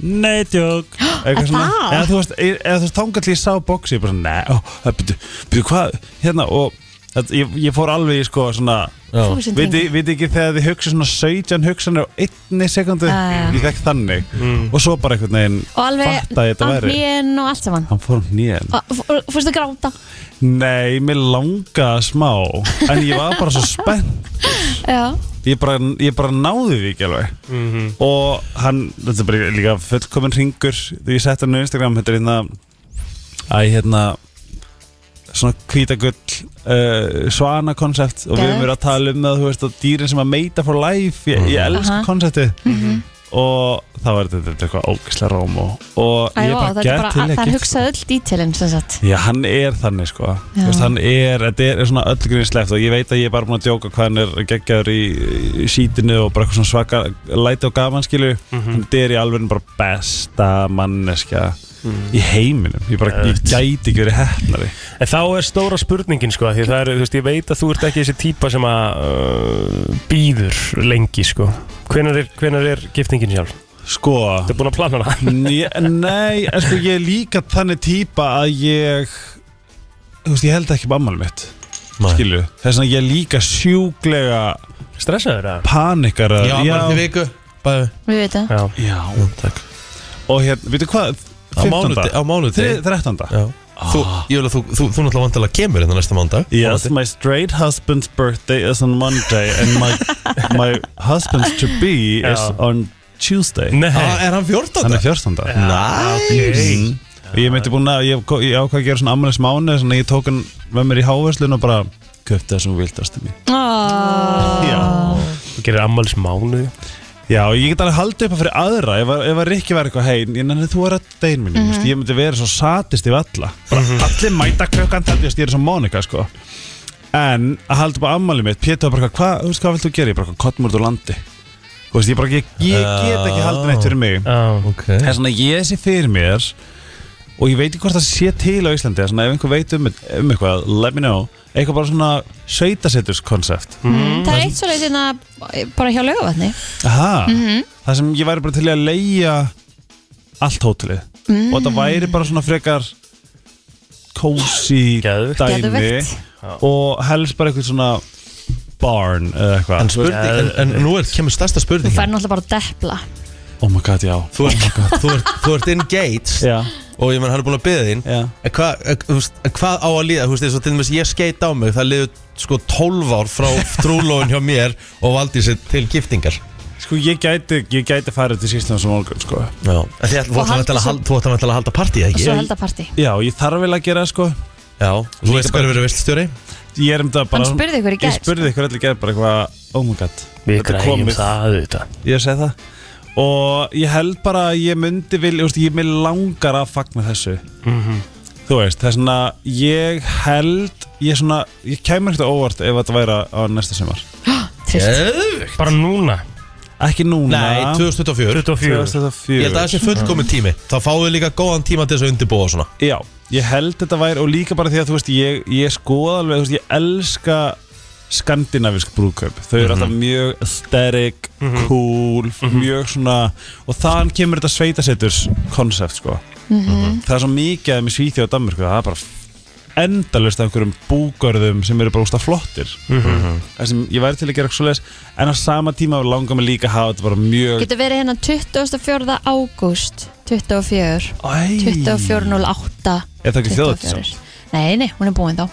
[SPEAKER 4] Nei, djók Eitthvað
[SPEAKER 2] Er
[SPEAKER 4] svona
[SPEAKER 2] það?
[SPEAKER 4] Eða þú veist, eða, eða þú veist, þangat ég sá boxið Ég bara svona, nei, ó, það byrju, byrju hvað Hérna, og þetta, ég, ég fór alveg í sko svona
[SPEAKER 2] Þúsund
[SPEAKER 4] Viti,
[SPEAKER 2] ringi
[SPEAKER 4] viti ekki þegar þið hugsa svona 17 hugsanir á einni sekundu
[SPEAKER 2] Ah, Já, já.
[SPEAKER 4] Ég fekk þannig Og svo bara einhvern veginn
[SPEAKER 2] Og alveg
[SPEAKER 4] fattaði ég þetta
[SPEAKER 2] á
[SPEAKER 4] væri
[SPEAKER 2] hlén og allt saman
[SPEAKER 4] Hann fór um nýjan
[SPEAKER 2] Og- og- Fórstu að gráta
[SPEAKER 4] Nei, mér langaði smá En ég var bara svo spennt
[SPEAKER 2] Já,
[SPEAKER 4] Ég bara, ég bara náði því ekki alveg Og hann, þetta er bara líka fullkomin ringur Þegar ég setti hann á Instagram Þetta er hérna Æ, hérna Svona hvítagull uh, Svana koncept Og við höfum verið að tala um það Þú veist að dýrin sem að meita for life Ég, ég elska
[SPEAKER 2] Aha. Mhm.
[SPEAKER 4] konceptið Og það var þetta þetta er eitthvað ógislega róm Og, og ég
[SPEAKER 2] Æjó,
[SPEAKER 4] bara
[SPEAKER 2] það er
[SPEAKER 4] gætt til
[SPEAKER 2] bara
[SPEAKER 4] að
[SPEAKER 2] Það er
[SPEAKER 4] giftast.
[SPEAKER 2] hugsað öll dítilinn sem sagt
[SPEAKER 4] Já, hann er þannig sko Þú veist, Hann er, þetta er, er svona öll grínslegt og ég veit að ég er bara búin að djóka hvað hann er geggjaður í, í sítinu og bara eitthvað svona svaka læti og gaman skilju
[SPEAKER 3] Mhm.
[SPEAKER 4] Þetta er í alveg bara besta manneskja
[SPEAKER 3] Mhm.
[SPEAKER 4] í heiminum Ég bara, ég gæti ekki verið hefnari
[SPEAKER 3] Eh. En þá er stóra spurningin sko því það er, þú veist, ég veit að þú ert ekki þessi típa sem að uh, býður lengi sko Hvenær er, hvenær er giftingin sjálf?
[SPEAKER 4] Sko,
[SPEAKER 3] Þú er búin að plana hana?
[SPEAKER 4] Né- Nei, en sko ég er líka þannig típa að ég Þú veist, ég held ekki um ammál mitt
[SPEAKER 1] Nei.
[SPEAKER 4] Skilju, þess að ég er líka sjúklega
[SPEAKER 3] Stressaður það?
[SPEAKER 4] panikar
[SPEAKER 1] Já, bara því viku Bæði
[SPEAKER 2] Við veitum
[SPEAKER 3] Já,
[SPEAKER 4] Já,
[SPEAKER 1] Jú, takk
[SPEAKER 4] og hérna, veitu hvað
[SPEAKER 1] Á mánudag Á mánudag
[SPEAKER 4] 13.
[SPEAKER 1] Já Þú, ég vil að þú, þú, þú náttúrulega vantilega kemur hérna næsta mándag
[SPEAKER 4] Yes, my straight husband's birthday is on Monday and my, my husband's to be is
[SPEAKER 3] Já.
[SPEAKER 4] on Tuesday
[SPEAKER 3] Nei,
[SPEAKER 1] ah, Er hann 14?
[SPEAKER 4] Hann er 14.
[SPEAKER 1] Næs
[SPEAKER 4] Mm. Ég myndi búin að, ég, ég ákvað að gera svona ammanis mánu þannig að ég tók hann með mér í háverslun og bara köpti það sem þú vilt ástu mér
[SPEAKER 2] Ó,
[SPEAKER 4] Já,
[SPEAKER 3] þú gerir ammælis mánuði
[SPEAKER 4] Já og ég get alveg haldið upp að fyrir aðra ef, að- ef að Rikki væri eitthvað hei, en þú er að dein minni, mm ég myndi vera svo satist yfir alla, bara
[SPEAKER 3] Mhm.
[SPEAKER 4] allir mæta klukkan þetta, ég er svo Monika sko en að halda upp á ammali mitt Pétur var bara, eitthvað, hvað, þú veist hvað vilt þú gera ég bara, kottmúrt úr landi þú veist, ég bara, ég, ég get ekki haldið neitt fyrir mig
[SPEAKER 3] Já,
[SPEAKER 1] Ok
[SPEAKER 4] það er svona ég sé fyrir mér og ég veit ekki hvort það sé til á Íslandi það er svona ef einhver veit um, um eitthvað let me know, eitthvað bara svona sveitasetturs koncept
[SPEAKER 2] Mm. Það er eitt svo leiðin að bara hjá lögavatni Mhm.
[SPEAKER 4] það sem ég væri bara til í að leia allt hótelið
[SPEAKER 2] Mm.
[SPEAKER 4] og það væri bara svona frekar cozy
[SPEAKER 3] Geðveikt.
[SPEAKER 4] dæmi
[SPEAKER 2] Geðveikt.
[SPEAKER 4] og helst bara eitthvað svona barn eða
[SPEAKER 1] En,
[SPEAKER 4] eitthvað
[SPEAKER 1] spurning, en, en nú er, kemur stærsta
[SPEAKER 2] Þú
[SPEAKER 1] spurning
[SPEAKER 2] fær náttúrulega bara að depla
[SPEAKER 4] oh my god, já
[SPEAKER 1] Þú ert, þú ert, þú ert engaged
[SPEAKER 4] já,
[SPEAKER 1] Og ég menn hann er búin að byggja þín
[SPEAKER 4] já,
[SPEAKER 1] En hvað hva, hva á að líða, þú veist, eins og til dæmis ég skeit á mig Það liður sko 12 ár frá trúlóin hjá mér Og valdi sér til giftingar
[SPEAKER 4] sko ég gæti ég gæti farið til sístum sem morgun sko
[SPEAKER 1] Já En þið ætl- þú
[SPEAKER 2] Og
[SPEAKER 1] ætlar
[SPEAKER 2] halda
[SPEAKER 1] væntanlega að
[SPEAKER 2] svo-
[SPEAKER 1] hal- þú ætlar væntanlega að halda partíð,
[SPEAKER 2] og
[SPEAKER 1] ekki?
[SPEAKER 2] svo held að partí
[SPEAKER 4] já, ég þarf vel að gera það, sko
[SPEAKER 1] Já Þú veist hverju verið veiststjóri?
[SPEAKER 4] Ég er um þetta bara
[SPEAKER 2] Hann spurði ykkur í gær, sko.
[SPEAKER 4] Ég spurði ykkur allir í gær bara eitthvað Oh my god
[SPEAKER 3] við
[SPEAKER 4] þetta er
[SPEAKER 3] græjum
[SPEAKER 4] komið.
[SPEAKER 3] það auðvitað
[SPEAKER 4] Ég segi það Og ég held bara að ég myndi vil Ég, veist, ég mig langar að fagna þessu
[SPEAKER 1] Mhm.
[SPEAKER 4] Þú veist, það er svona Ég held Ég, svona, ég kæmur ekkert á óvart ef þetta væri á næsta sumar
[SPEAKER 2] Trist
[SPEAKER 1] Geðvig
[SPEAKER 3] Bara núna
[SPEAKER 4] Ekki núna
[SPEAKER 1] Nei, 2024
[SPEAKER 3] 24
[SPEAKER 1] Ég held að það sé
[SPEAKER 4] 2004
[SPEAKER 1] fullkomin tími Þá fáum við líka góðan tíma til þess að undirbúa og svona
[SPEAKER 4] Já, ég held þetta væri og líka bara því að þú veist ég, ég skoða alveg, þú veist, ég elska skandinavisk brúðkaup þau eru alltaf mjög aesthetic cool, mjög svona og þaðan kemur þetta sveitasetturs konsept sko
[SPEAKER 2] Mhm.
[SPEAKER 4] það er svo mikið með Svíþjóð og Danmörku, það er bara endalust af einhverjum búgörðum sem eru bara ústa flottir Mhm. það sem ég væri til að gera eitthvað svoleiðis en á sama tíma langar mig líka að hafa þetta bara mjög
[SPEAKER 2] Getur verið hérna 24. ágúst 24
[SPEAKER 4] Æ,
[SPEAKER 2] 24.08
[SPEAKER 4] Er það ekki þjóðhátíð
[SPEAKER 2] 24. Nei, nei, hún er búin þá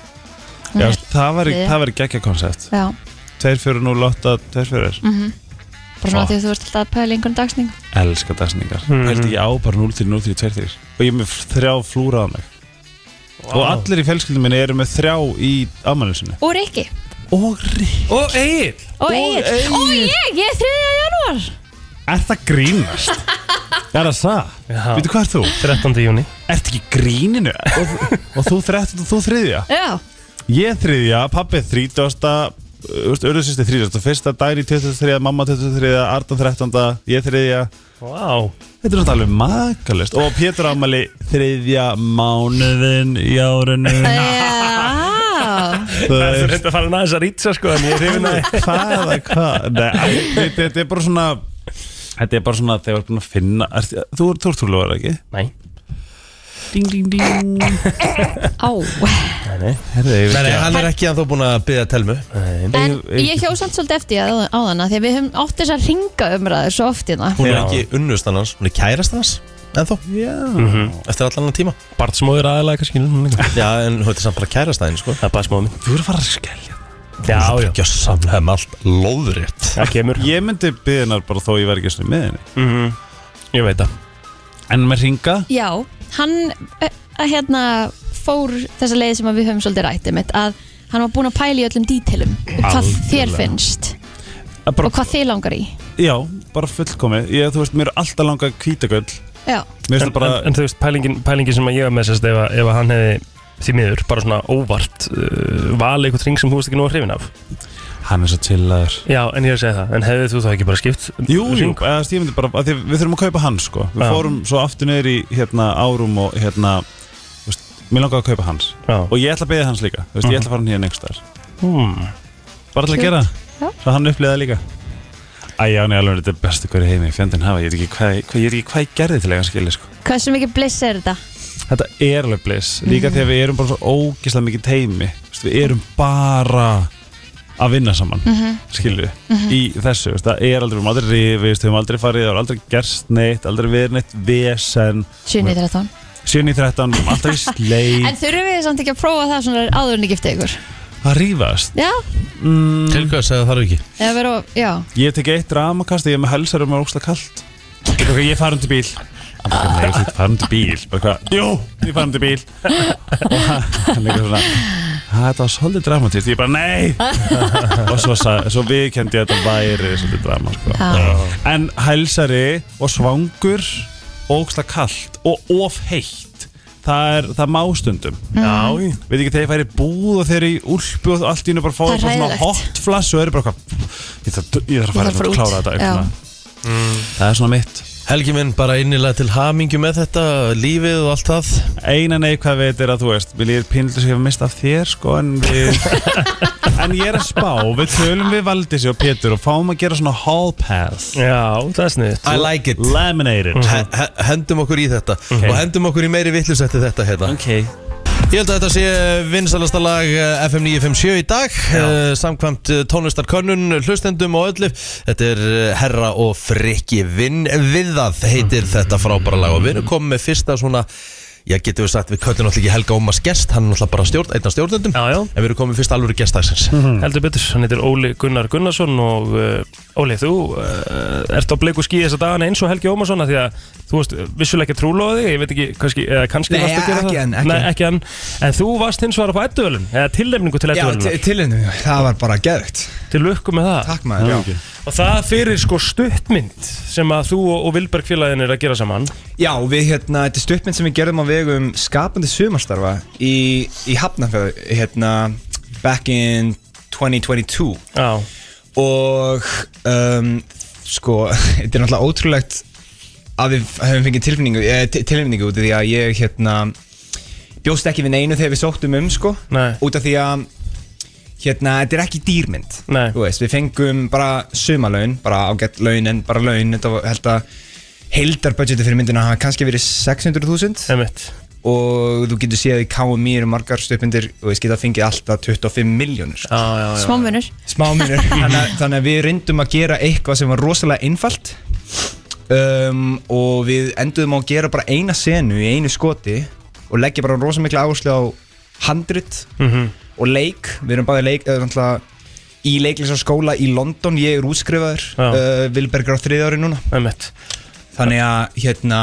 [SPEAKER 2] Hún
[SPEAKER 4] Já,
[SPEAKER 2] er-
[SPEAKER 4] það væri, það væri geggja konsept
[SPEAKER 2] Já, Mhm.
[SPEAKER 4] 2408, 24 mm.
[SPEAKER 2] bara svona
[SPEAKER 4] Ó.
[SPEAKER 2] því að þú ert alltaf að pæla í einhvern dagsning
[SPEAKER 4] Elska dagsningar mm Hældi ég á bara 0 til 0 til 2 til Og ég er með þrjá flúraða mig Og allir í fjölskyldum minni eru með þrjá í afmælisinu
[SPEAKER 2] Og Rikki
[SPEAKER 4] Og rík
[SPEAKER 3] Og Egil
[SPEAKER 2] Og Egil Og ég, ég er 3. janúar
[SPEAKER 4] Er það grínast? er það það?
[SPEAKER 3] Já.
[SPEAKER 4] Veitu hvað er þú?
[SPEAKER 3] 13. júni
[SPEAKER 4] Ert ekki í gríninu? og, og þú þrettin og þú þriðja
[SPEAKER 2] Já,
[SPEAKER 4] Ég þriðja, pappi þrítjósta Urðursýsti þrítjósta Fyrsta dæri 23, mamma 23, Arna 13 Ég þriðja
[SPEAKER 3] Vá
[SPEAKER 4] Þetta er náttúrulega makalist Og Pétur Amali þriðja mánuðin í árinu
[SPEAKER 2] já
[SPEAKER 4] Þú
[SPEAKER 3] Það er svo
[SPEAKER 4] veist,
[SPEAKER 3] reynd að fara næðis að rýtsa sko En ég er hrifin að
[SPEAKER 4] Hvað að hvað Nei, æ, þetta- Þetta er bara svona Þetta er bara svona að þeir var búin að finna er, Þú ert tortúrlóðar ekki?
[SPEAKER 3] Nei
[SPEAKER 4] Ding, ding, ding
[SPEAKER 2] Á
[SPEAKER 4] Herðu, ég veit
[SPEAKER 1] Nei, nei,
[SPEAKER 4] ekki
[SPEAKER 1] hann er ekki að þó búin að byggja telmu
[SPEAKER 2] En
[SPEAKER 4] Ég- ég-
[SPEAKER 2] ég hjá samt svolítið eftir á, á þann Því að við höfum oft þess að ringa umræður svo oft hérna
[SPEAKER 1] Hún er
[SPEAKER 4] Já.
[SPEAKER 1] ekki unnust annars, hún er kærast annars En þó,
[SPEAKER 4] Já,
[SPEAKER 1] Mhm. eftir allan annan tíma
[SPEAKER 3] Bartsmóður aðalega kannski núna líka.
[SPEAKER 1] Já, en hún er samt bara kærast aðeins, sko
[SPEAKER 3] Það er bartsmóður minn
[SPEAKER 4] þú eru að fara að skellja
[SPEAKER 3] Já, já
[SPEAKER 1] Ekki að samlega með allt loðrétt
[SPEAKER 3] Það kemur Mhm.
[SPEAKER 4] Ég myndi byggja hennar bara þó ég væri ekki svona með henni
[SPEAKER 3] Ég veit það
[SPEAKER 4] En með ringa
[SPEAKER 2] Já, hann eh, að hérna fór þessa leið sem að við höfum svolítið rættið mitt að hann var búinn að pæla í öllum dítilum hvað þér
[SPEAKER 4] Algjörlega.
[SPEAKER 2] finnst
[SPEAKER 4] bara,
[SPEAKER 2] og hvað þið langar í
[SPEAKER 4] Já, bara fullkomi ég, Þú veist, mér er alltaf langað kvítagull
[SPEAKER 2] Já,
[SPEAKER 4] Mér finnst
[SPEAKER 3] en,
[SPEAKER 4] það bara
[SPEAKER 3] en, en þú veist, pælingin, pælingin sem að ég var með sérst ef, að- ef að hann hefði því miður bara svona óvart uh, valið eitthvað ring sem þú veist ekki nú að hrifin af
[SPEAKER 4] Hann er svo chillaður
[SPEAKER 3] Já, en ég er að segja það En hefði þú þá ekki bara skipt
[SPEAKER 4] Jú, jú,
[SPEAKER 3] hring?
[SPEAKER 4] eða, ég myndi bara, að því við þurfum að kaupa hann sko Við
[SPEAKER 3] Já.
[SPEAKER 4] fórum svo aftur niður í hérna, árum og hérna, þú veist, mér langaði að kaupa hans
[SPEAKER 3] Já
[SPEAKER 4] Og ég ætla að beða hans líka, þú veist, ég ætla að fara hann hér einhvers þar
[SPEAKER 3] hmm.
[SPEAKER 4] Bara til að
[SPEAKER 2] Cute.
[SPEAKER 4] gera,
[SPEAKER 2] Já.
[SPEAKER 4] svo hann upplýða líka Æ, já, nei, alveg, þetta er bestu hverju heimi, fjandinn hafa, ég veit ekki hvað, hvað, ég, veit ekki hvað ég gerði til að hann skilja sko
[SPEAKER 2] hversu mikið bliss er þetta?
[SPEAKER 4] Þetta er alveg bliss, líka mm. því að við erum bara svo ógislega mikið teimi þú veist, Við erum bara að vinna saman, mm í þessu, þú veist, það er aldrei, við höfum aldrei rifist, við höfum aldrei farið, það er aldrei gerst neitt, aldrei verið neitt vesen
[SPEAKER 2] 7.13
[SPEAKER 4] 7 í 13, við höfum alltaf í sleik
[SPEAKER 2] En þurfum við samt ekki að prófa það svona áður en ég giftið ykkur?
[SPEAKER 4] að rífast
[SPEAKER 2] Já,
[SPEAKER 1] Til hvað segja það ekki
[SPEAKER 2] eða vera, já
[SPEAKER 4] Mm. Ég tek eitt ramakast, ég er með helsar og mér er ógslag kallt Ég tók að ég fara um til bíl Hann bara, Nei, þú ert fara um til bíl Bara hvað, Jú, ég fara um til bíl Og hann líka svona "Ha, Þetta var svolítið dramatist, ég bara nei Og svo, sa- svo viðkendi ég að þetta væri svolítið drama sko.
[SPEAKER 2] Já.
[SPEAKER 4] En hælsari og svangur Ógslag kallt og of heitt Það er, það má stundum Já Veit ekki þegar ég færi í búð og þeir eru í úlpu og allt í hennu bara fá
[SPEAKER 2] Mm. Það er
[SPEAKER 4] eitthvað svona
[SPEAKER 2] hræðilegt.
[SPEAKER 4] hot flash og eru bara eitthvað Ég þarf ég
[SPEAKER 2] Ég þarf
[SPEAKER 4] þarf að fara
[SPEAKER 2] að fara
[SPEAKER 4] að
[SPEAKER 2] út.
[SPEAKER 4] klára þetta
[SPEAKER 2] Já.
[SPEAKER 4] eitthvað Það er svona mitt
[SPEAKER 1] Helgi minn bara innilega til hamingju með þetta Lífið og allt það
[SPEAKER 4] Eina neikvæð veit er að þú veist Vil ég pínlega sem ég hef mist af þér sko En, við, en ég er að spá Við tölum við Valdísi og Pétur Og fáum að gera svona hall pass
[SPEAKER 3] Já, það er sniðt
[SPEAKER 1] I like it
[SPEAKER 4] Laminated
[SPEAKER 1] He- he- Hendum okkur í þetta Og hendum okkur í meiri vittlust eftir þetta hérna.
[SPEAKER 4] Ok
[SPEAKER 1] Ég held að þetta sé vinsalasta lag eh, FM 957 í dag Já. Samkvæmt eh, tónlistarkönnun, hlustendum og öllu Þetta er eh, Herra og Frikki Vinn við það heitir þetta frábæra lag Og við erum komið með fyrsta svona Já, getum við sagt, við köllum náttúrulega ekki Helga Ómas gest Hann er náttúrulega bara stjórn, einn af stjórnendum
[SPEAKER 3] Já, já.
[SPEAKER 1] En við erum komið með fyrsta alvöru gestdagsins mm
[SPEAKER 3] Heldur betur, hann heitir Óli Gunnar Gunnarsson og uh, Óli, þú uh, ert á bleiku skíði þessa dagana eins og Helgi Ómarsson af því að þú varst vissulega ekki trúlóði ég veit ekki, kannski, eða kannski
[SPEAKER 6] Nei,
[SPEAKER 3] varstu að gera
[SPEAKER 6] ekki
[SPEAKER 3] það
[SPEAKER 6] enn, ekki
[SPEAKER 3] Nei,
[SPEAKER 6] enn.
[SPEAKER 3] ekki hann, en þú varst hins vegar á ættuvölun eða tilnefningu til
[SPEAKER 6] Já,
[SPEAKER 3] ættuvölunar
[SPEAKER 6] til hennu, það var bara geðvegt
[SPEAKER 3] til lukku með það
[SPEAKER 6] Takk maður, já
[SPEAKER 3] og það fyrir sko stuttmynd sem að þú og, og Vilberg félagin er að gera saman
[SPEAKER 6] Já, við hérna, þetta er stuttmynd sem við gerðum á vegum skapandi sumarstarfa í, í Hafnafjörð, hérna, back in 2022
[SPEAKER 3] Já,
[SPEAKER 6] og um, sko, þetta er náttúrulega ótrúlegt að við höfum fengið tilfinningu, eh, ti- tilfinningu út af því að ég hérna bjóst ekki við neinu þegar við sóttum um sko,
[SPEAKER 3] Nei.
[SPEAKER 6] út af því að hérna, þetta er ekki dýrmynd
[SPEAKER 3] Nei.
[SPEAKER 6] Þú veist, við fengum bara sumalaun, bara ágætt laun en bara laun, þetta var held að heildarbudgeti fyrir myndina hafa kannski verið 600.000
[SPEAKER 3] Einmitt.
[SPEAKER 6] og þú getur séð í KMI eru margar stöpundir og ég skita að fengið alltaf 25 miljónir
[SPEAKER 3] Já, já, já.
[SPEAKER 2] smámunur
[SPEAKER 6] smáminur þannig, að- þannig að við reyndum að gera eitthvað sem var rosalega einfalt um, og við enduðum á að gera bara eina senu í einu skoti og leggja bara rosalega mikla áherslu á handrit
[SPEAKER 3] Mhm.
[SPEAKER 6] og leik við erum bæði leik, eða náttúrulega í leiklisarskóla í London, ég er útskrifaður
[SPEAKER 3] Já.
[SPEAKER 6] uh, Vilbergur á þriðja ári núna
[SPEAKER 3] Einmitt.
[SPEAKER 6] þannig að hérna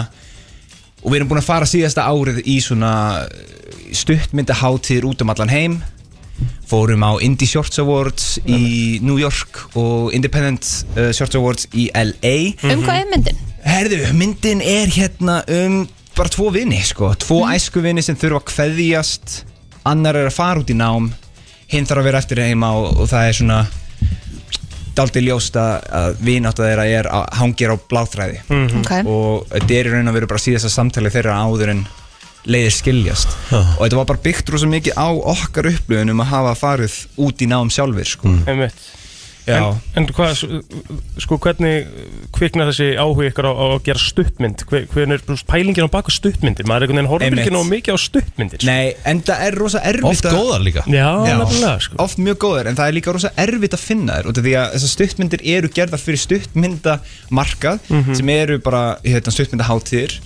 [SPEAKER 6] og við erum búin að fara síðasta árið í svona stuttmyndaháttir út um allan heim fórum á Indie Shorts Awards í New York og Independent uh, Shorts Awards í LA
[SPEAKER 2] um hvað er myndin?
[SPEAKER 6] Herðu, myndin er hérna um bara tvo vini sko, tvo
[SPEAKER 3] Mhm.
[SPEAKER 6] mm. æskuvini sem þurfa að kveðjast annar er að fara út í nám hinn þarf að vera eftir heima og, og það er svona daldið ljóst að, að vinátt að þeirra er að hangir á bláþræði
[SPEAKER 3] Mhm.
[SPEAKER 2] ok,
[SPEAKER 6] og þetta er í raun að vera bara síðasta samtali þeirra áður en leiðir skiljast og þetta var bara byggt rosa mikið á okkar upplöðun um að hafa farið út í nám sjálfur sko.
[SPEAKER 3] Einmitt.
[SPEAKER 6] Já.
[SPEAKER 3] En, en hvað, sko, hvernig kviknar þessi áhuga ykkur á, á að gera stuttmynd? Hver- Hvernig er þú veist, pælingin á baku stuttmyndir? Maður er einhvern veginn horfir
[SPEAKER 6] Einmitt.
[SPEAKER 3] ekki nóg mikið á stuttmyndir. sko.
[SPEAKER 6] Nei, en það er rosa erfitt
[SPEAKER 1] Oft
[SPEAKER 6] að-
[SPEAKER 1] góðar líka
[SPEAKER 3] Já,
[SPEAKER 6] Já.
[SPEAKER 3] nefnilega, sko.
[SPEAKER 6] oft mjög góðar en það er líka rosa erfitt að finna þér út af því að þessar stuttmyndir eru gerðar fyrir stuttmyndamarkað
[SPEAKER 3] Mhm.
[SPEAKER 6] sem eru bara hérna, stuttmyndaháttir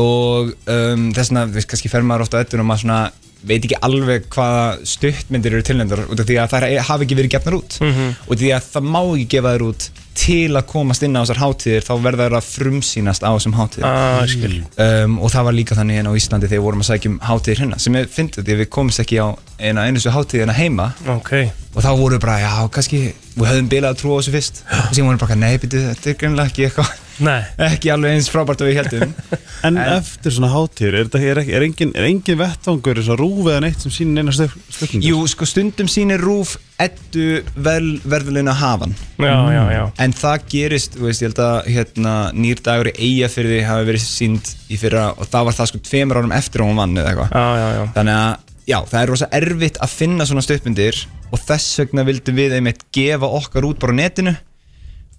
[SPEAKER 6] og um, þess vegna við kannski fer maður ofta öllur og maður svona veit ekki alveg hvaða stuttmyndir eru tilnefndar út af því að það er, hafa ekki verið gefnar út
[SPEAKER 3] Mhm.
[SPEAKER 6] út af því að það má ekki gefa þér út til að komast inn á þessar hátíðir þá verða þær að frumsýnast á þessum hátíðir
[SPEAKER 3] Ah, skil.
[SPEAKER 6] um, og það var líka þannig hérna á Íslandi þegar við vorum að sækjum hátíðir hérna sem ég fyndi því að við komist ekki á eina einustu hátíðina heima
[SPEAKER 3] Ok.
[SPEAKER 6] og þá voru við bara, já, kannski við höfðum bilað að trúa þessu fyrst og síðan vorum við bara, nei, byrju, þetta er greinlega ekki eitthvað
[SPEAKER 3] Nei.
[SPEAKER 6] ekki alveg eins frábært og við heldum
[SPEAKER 4] En, eftir svona hátíður, er, þetta- er, ekki- er, engin, er engin vettvangur eins og rúf eða neitt sem sýnir neina stökningar?
[SPEAKER 6] Jú, sko, stundum sýnir Rúf ettu vel verðulegna hafan
[SPEAKER 3] Já, já, já.
[SPEAKER 6] en það gerist, þú veist, ég held að hérna, nýr dagur í eiga fyrir því hafi verið sínd í fyrra og það var það sko tveimur árum eftir að hún vann eða eitthvað
[SPEAKER 3] Já, já, já.
[SPEAKER 6] þannig að, já, það er rosa erfitt að finna svona stöpmyndir og þess vegna vildum við einmitt gefa okkar út bara á netinu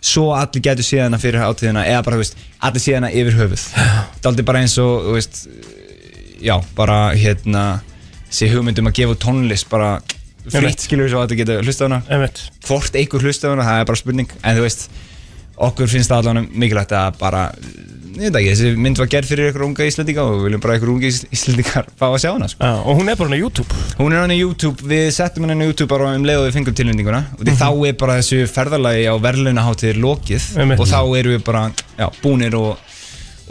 [SPEAKER 6] svo allir getur síðana fyrir átíðina eða bara, þú veist, allir síðana yfir höfuð það er aldrei bara eins og, þú veist já, bara, hérna sé hugmyndum að gefa út tónlist bara
[SPEAKER 3] Einmitt.
[SPEAKER 6] fritt skilur við svo að þetta getur hlustað á hana
[SPEAKER 3] Einmitt.
[SPEAKER 6] hvort einhver hlusta á hana, það er bara spurning en þú veist, okkur finnst það allan mikilvægt að bara, ég veit ekki þessi mynd var gerð fyrir ykkur unga íslendinga og við viljum bara ykkur unga íslendingar fá að sjá hana sko.
[SPEAKER 3] Já, og hún er bara hann á YouTube.
[SPEAKER 6] hún er hann í YouTube, við settum hann í YouTube bara um leið og við fengum tilvendinguna og
[SPEAKER 3] Mhm.
[SPEAKER 6] því þá er bara þessu ferðalagi á verðlunaháttir lokið
[SPEAKER 3] Einmitt.
[SPEAKER 6] og þá erum við bara já, búnir og,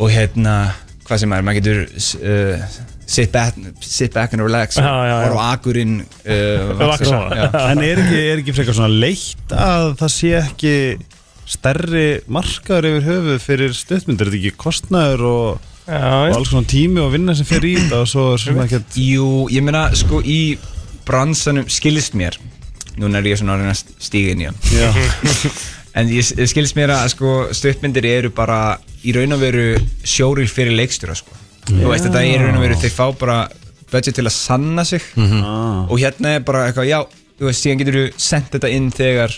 [SPEAKER 6] og hérna hvað sem er, maður getur uh, sit, back, sit back and relax
[SPEAKER 3] Já, já, já.
[SPEAKER 6] og á akurinn
[SPEAKER 1] eh,
[SPEAKER 6] uh,
[SPEAKER 3] Vaxa.
[SPEAKER 6] já.
[SPEAKER 4] En er ekki, er ekki frekar svona leitt að það sé ekki stærri markaður yfir höfuð fyrir stöðmyndir, er þetta ekki kostnaður og,
[SPEAKER 3] Já,
[SPEAKER 4] og
[SPEAKER 3] já.
[SPEAKER 4] alls konar tími og vinna sem fer í þetta og svo er svona ekkert
[SPEAKER 6] Jú, ég meina sko í bransanum skilist mér Núna er ég svona að reyna að stíga inn í hann
[SPEAKER 4] Já.
[SPEAKER 6] En ég, ég skilist mér að sko stuttmyndir eru bara í raun og veru sjóril fyrir leikstjóra sko Þú veist þetta er í raun og veru þeir fá bara budget til að sanna sig
[SPEAKER 3] Mhm.
[SPEAKER 6] og hérna er bara eitthvað, já, þú veist, síðan getur þú sendt þetta inn þegar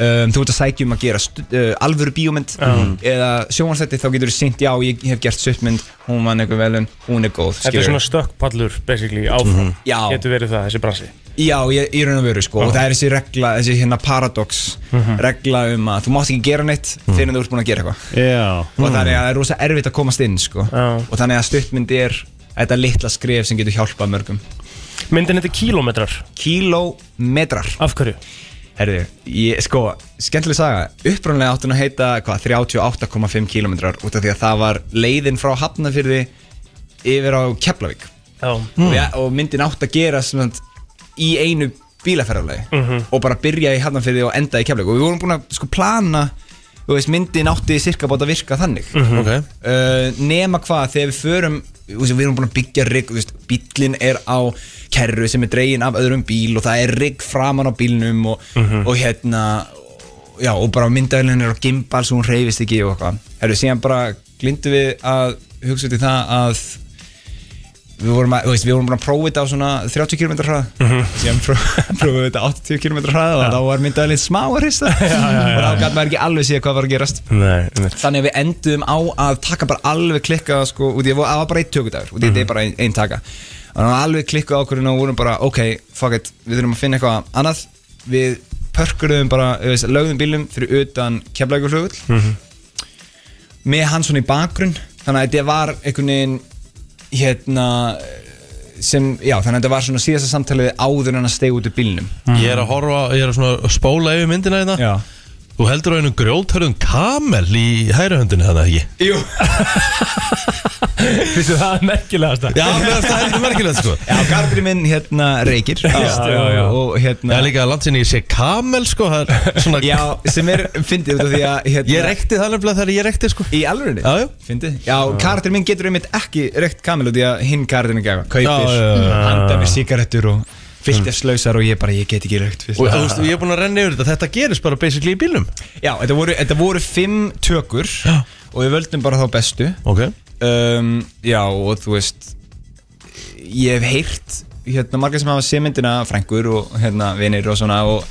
[SPEAKER 6] um, þú ert að sækja um að gera stu- uh, alvöru bíómynd Mhm. eða sjónvarsætti þá getur þú sent, já, ég hef gert stuttmynd hún vann eitthvað velun, hún er góð
[SPEAKER 3] Þetta er
[SPEAKER 6] skilurðu.
[SPEAKER 3] svona stökkpallur, basically, áfram.
[SPEAKER 6] Já.
[SPEAKER 3] Getur verið það, þessi bransi.
[SPEAKER 6] Já, ég, í raun og veru sko og það er þessi regla, þessi hérna paradox
[SPEAKER 3] Mhm.
[SPEAKER 6] regla um að þú mátt ekki gera neitt fyrir en þú ert búin að gera eitthvað
[SPEAKER 4] Já,
[SPEAKER 6] og þannig að það er rosa erfitt að komast inn sko
[SPEAKER 3] Mhm. Já.
[SPEAKER 6] og þannig að stuttmynd er þetta litla skref sem getur hjálpað mörgum
[SPEAKER 3] Myndin heitir Kílómetrar.
[SPEAKER 6] Kílómetrar
[SPEAKER 3] Af hverju?
[SPEAKER 6] Herðu, ég, sko, skemmtileg saga upprunlega átti hún að heita hvað, 38,5 kílómetrar út af því að það var leiðin frá Hafnafyrði yfir á Keflavík
[SPEAKER 3] Já. Mm.
[SPEAKER 6] og, ja, og myndin átt að gera svona, í einu bílaferðarlegi og bara byrja í Hafnarfirði og enda í Keflavík og við vorum búin að sko plana þú veist, myndin átti cirka bóta að virka þannig
[SPEAKER 1] Ok
[SPEAKER 6] uh, nema hvað þegar við förum þú veist, við erum búin að byggja rigg þú veist, bíllinn er á kerru sem er dregin af öðrum bíl og það er rigg framan á bílnum og, og hérna og já, og bara myndaðilin er á gimbal svo hún reyfist ekki og eitthvað Herru, síðan bara glindu við að hugsa til það að við vorum, að, þú veist, við vorum búin að prófa þetta á svona 30 km hraða síðan pró, prófum við þetta á 80 km hraða og þá var myndaðilin smá að hrista og þá gæti maður ekki alveg séð hvað var að gerast
[SPEAKER 3] Nei, einmitt.
[SPEAKER 6] þannig að við endum á að taka bara alveg klikka sko, út í að það var bara einn tökudagur út í að þetta er bara einn ein taka og það var alveg klikka ákvörðin og vorum bara ok, fuck it, við þurfum að finna eitthvað annað við pörkurum bara, þú veist, lögðum bílum fyrir utan keflækurflögull
[SPEAKER 7] Mhm.
[SPEAKER 6] með hann svona í bakgrunn þannig að þetta var einhvern veginn hérna sem, já, þannig að þetta var svona síðasta samtalið áður en að stegu út úr bílnum
[SPEAKER 1] Ég er að horfa, ég er að svona spóla yfir myndina þetta
[SPEAKER 6] Já
[SPEAKER 1] Þú heldur á einu grjóthörðum kamel í hægri höndinu þannig ekki
[SPEAKER 6] Jú,
[SPEAKER 3] Vissu það er merkilegast það
[SPEAKER 1] Já, mér finnst það heldur merkilegt sko
[SPEAKER 6] já, garbri minn hérna reykir
[SPEAKER 3] já, já.
[SPEAKER 6] og hérna
[SPEAKER 1] Já, líka að landsinni ég sé kamel sko það er svona,
[SPEAKER 6] Já, sem er fyndið út af því að hérna,
[SPEAKER 1] Ég rekti það nefnilega þegar ég rekti sko
[SPEAKER 6] Í alvörinni?
[SPEAKER 1] Já, já.
[SPEAKER 6] Fyndið? Já, karakterinn minn getur einmitt ekki reykt kamil út í að hinn karakterinn gefa
[SPEAKER 1] Já,
[SPEAKER 6] Kaupir,
[SPEAKER 1] já, já, já.
[SPEAKER 6] handa með sigarettur og fyllt af slausar og ég bara, ég get ekki reykt
[SPEAKER 1] Og þú veist, ég er búin að renna yfir þetta Þetta gerist bara basically í bílnum
[SPEAKER 6] Já, þetta voru, þetta voru fimm tökur
[SPEAKER 1] Já.
[SPEAKER 6] og við völdum bara þá bestu
[SPEAKER 1] Ok
[SPEAKER 6] um, Já, og þú veist ég hef heyrt hérna margar sem hafa séð myndina frængur og hérna vinir og svona og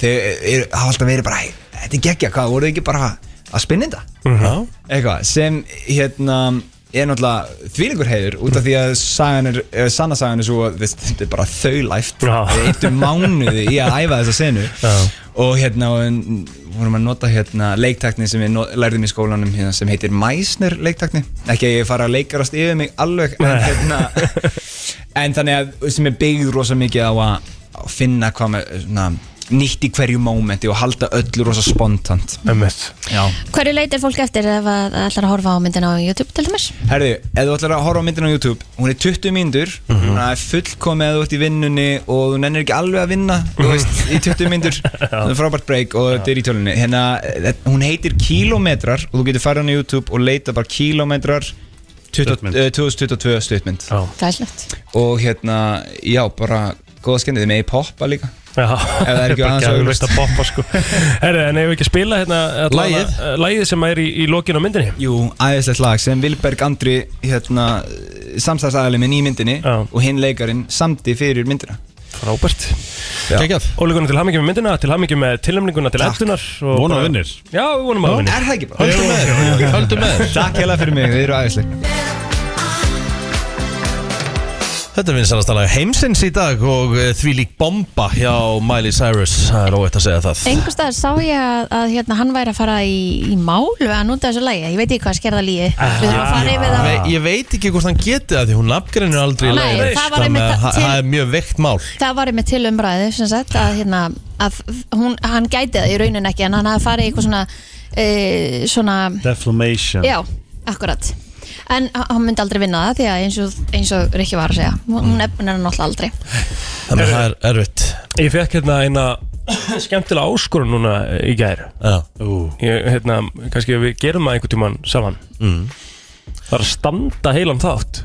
[SPEAKER 6] þau er- hafa alltaf verið bara "Hey, þetta er geggja, hvað, voruð þið ekki bara að spinna þetta?
[SPEAKER 1] Já
[SPEAKER 6] eitthvað sem hérna er náttúrulega þvílingur heiður út af því að sagan er, eh, sanna sagan er svo að þess- þetta er bara þaulæft
[SPEAKER 3] Já.
[SPEAKER 6] við eittum mánuði í að æfa þessa senu og hérna og, en, vorum að nota hérna leiktakni sem við no lærðum í skólanum hérna, sem heitir Meisner leiktakni ekki að ég fara að leikarast yfir mig alveg en, hérna, en þannig að sem er byggð rosa mikið á að að finna hvað með svona, nýtt í hverju mómenti og halda öllu rosa spontant
[SPEAKER 3] Einmitt.
[SPEAKER 6] Já.
[SPEAKER 2] Hverju leitir fólk eftir ef að það ætlar að horfa á myndina á YouTube til dæmis?
[SPEAKER 6] Herðu, ef þú ætlar að horfa á myndin á YouTube Hún er 20 mínútur mm
[SPEAKER 3] Mhm.
[SPEAKER 6] -hmm. Það er fullkomið að þú ert í vinnunni Og þú nennir ekki alveg að vinna
[SPEAKER 4] Mhm.
[SPEAKER 6] Þú veist, í 20 mínútur Það er frábært break og þetta er í tölunni Hérna, eh, hún heitir Kilometrar Og þú getur farið hann á YouTube og leita bara Kilometrar 20,
[SPEAKER 4] Stuttmynd.
[SPEAKER 6] eh, 2022 stuttmynd
[SPEAKER 3] Já.
[SPEAKER 2] Það er slögt
[SPEAKER 6] Og hérna, já, bara Góða skemmið, þið megi poppa líka
[SPEAKER 3] Já,
[SPEAKER 6] það er ekki
[SPEAKER 3] Bara
[SPEAKER 6] aðeins
[SPEAKER 3] geðveikt að poppa sko Herri, en ef við ekki að spila hérna allavega,
[SPEAKER 1] Lagið.
[SPEAKER 3] eh, Lagið sem er í, í lokin á myndinni
[SPEAKER 6] Jú, æðislegt lag sem Vilberg Andri hérna, samstæðsæðalið minn í myndinni
[SPEAKER 3] Já.
[SPEAKER 6] og hinn leikarinn samdi fyrir myndina
[SPEAKER 3] Frábært
[SPEAKER 1] Kekjað
[SPEAKER 3] Óleikuna til hamingjum með myndina, til hamingjum með tilnæmninguna til eldunar og
[SPEAKER 4] Vona
[SPEAKER 3] bara-
[SPEAKER 4] vinnir
[SPEAKER 3] Já, við vonum að vinni
[SPEAKER 6] Er það ekki bara?
[SPEAKER 1] Haldum með þér Haldum með þér
[SPEAKER 6] Takk hella fyrir mig, þið eru aðeinsleik
[SPEAKER 1] Þetta er vinsanastala heimsins í dag og eh, þvílík bomba hjá Miley Cyrus Það er óvægt að segja það
[SPEAKER 2] Engur staðar sá ég að, að hérna, hann væri að fara í, í mál við að nota þessu lagi Ég veit ekki hvað skerða líi
[SPEAKER 1] Ah.
[SPEAKER 2] Við þurfum að fara yfir það
[SPEAKER 1] Ve ég veit ekki hvort hann geti það því hún nafngreinir aldrei í
[SPEAKER 2] Nei,
[SPEAKER 1] laginu,
[SPEAKER 2] það var
[SPEAKER 1] þannig
[SPEAKER 2] einmitt
[SPEAKER 1] að
[SPEAKER 2] að-
[SPEAKER 1] það
[SPEAKER 2] til-
[SPEAKER 1] það er mjög veikt mál
[SPEAKER 2] Það var einmitt til umræði sem sagt að, hérna, að hún, hann gæti það í raunin ekki en hann hafði farið í eitthvað svona, e, svona
[SPEAKER 4] Deflamation
[SPEAKER 2] Já, akkurat En h- hann myndi aldrei vinna það því að eins og, eins og Rikki var að segja Hún nefnir hann alltaf aldrei
[SPEAKER 1] Þannig að það er erfitt
[SPEAKER 3] Ég fekk hérna eina skemmtilega áskorun núna í gær
[SPEAKER 1] Já.
[SPEAKER 3] ég, hérna, Kannski við gerum það einhvern tímann saman
[SPEAKER 1] Mm.
[SPEAKER 3] Það er að standa heilan þátt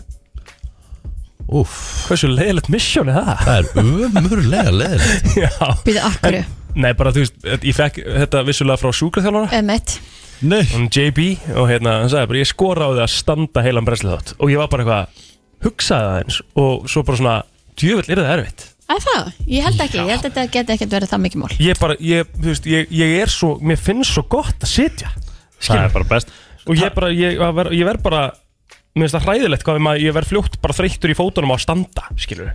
[SPEAKER 1] Úff,
[SPEAKER 3] Hversu leiðilegt misjón er það?
[SPEAKER 1] það er umurlega leðilegt
[SPEAKER 3] Já
[SPEAKER 2] Býðu akkurju,
[SPEAKER 3] Nei, bara þú veist, eh, ég fekk þetta vissulega frá sjúkraþjálfara
[SPEAKER 2] ömmett
[SPEAKER 4] Nei
[SPEAKER 3] Hún JB og hérna, hann sagði bara ég skora á því að standa heilan brensli þátt og ég var bara eitthvað, hugsaði það eins og svo bara svona, djöfull er það erfitt
[SPEAKER 2] Að það, ég held ekki, ég held að þetta geti ekkert verið það mikið mál
[SPEAKER 3] ég bara, ég, þú veist, ég, ég er svo mér finnst svo gott að sitja
[SPEAKER 4] Það er bara best
[SPEAKER 3] og ég bara, ég, að ver, ég verð bara mér finnst það hræðilegt hvað maður, ég verð fljótt bara þreyttur í fótunum á að standa, skilur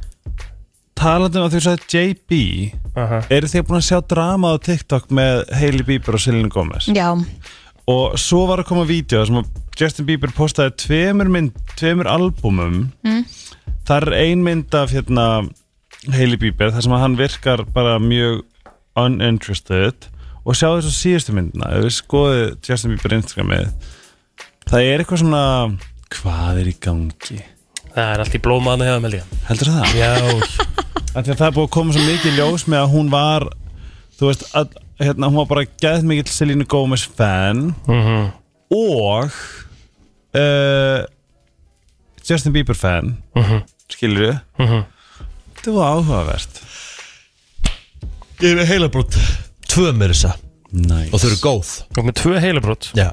[SPEAKER 4] Talandi um að þú sagði JB Eru þið búin að sjá drama á TikTok með Hailey Bieber og Selena Gomez?
[SPEAKER 2] Já,
[SPEAKER 4] Og svo var að koma vídeo sem að Justin Bieber postaði tveimur, mynd, tveimur albumum
[SPEAKER 2] Mhm. Hm?
[SPEAKER 4] mm. Það er ein mynd af hérna Hailey Bieber þar sem að hann virkar bara mjög uninterested og sjá þessu síðustu myndina ef við skoðið Justin Bieber Instagramið það er eitthvað svona hvað er í gangi
[SPEAKER 3] það er allt í blómaðan hefðan, held ég
[SPEAKER 4] heldur það?
[SPEAKER 3] já,
[SPEAKER 4] Af því að það er búið að koma svo mikið ljós með að hún var þú veist, að, hérna, hún var bara gæðt mikill Selena Gomez fan Mhm. og uh, Justin Bieber fan mm -hmm. skilur við þetta var áhugavert
[SPEAKER 1] Ég er heila brútt Tvö mér þess að
[SPEAKER 4] Nice.
[SPEAKER 1] og þau eru góð
[SPEAKER 3] Og með tvö heilabrót
[SPEAKER 1] Já,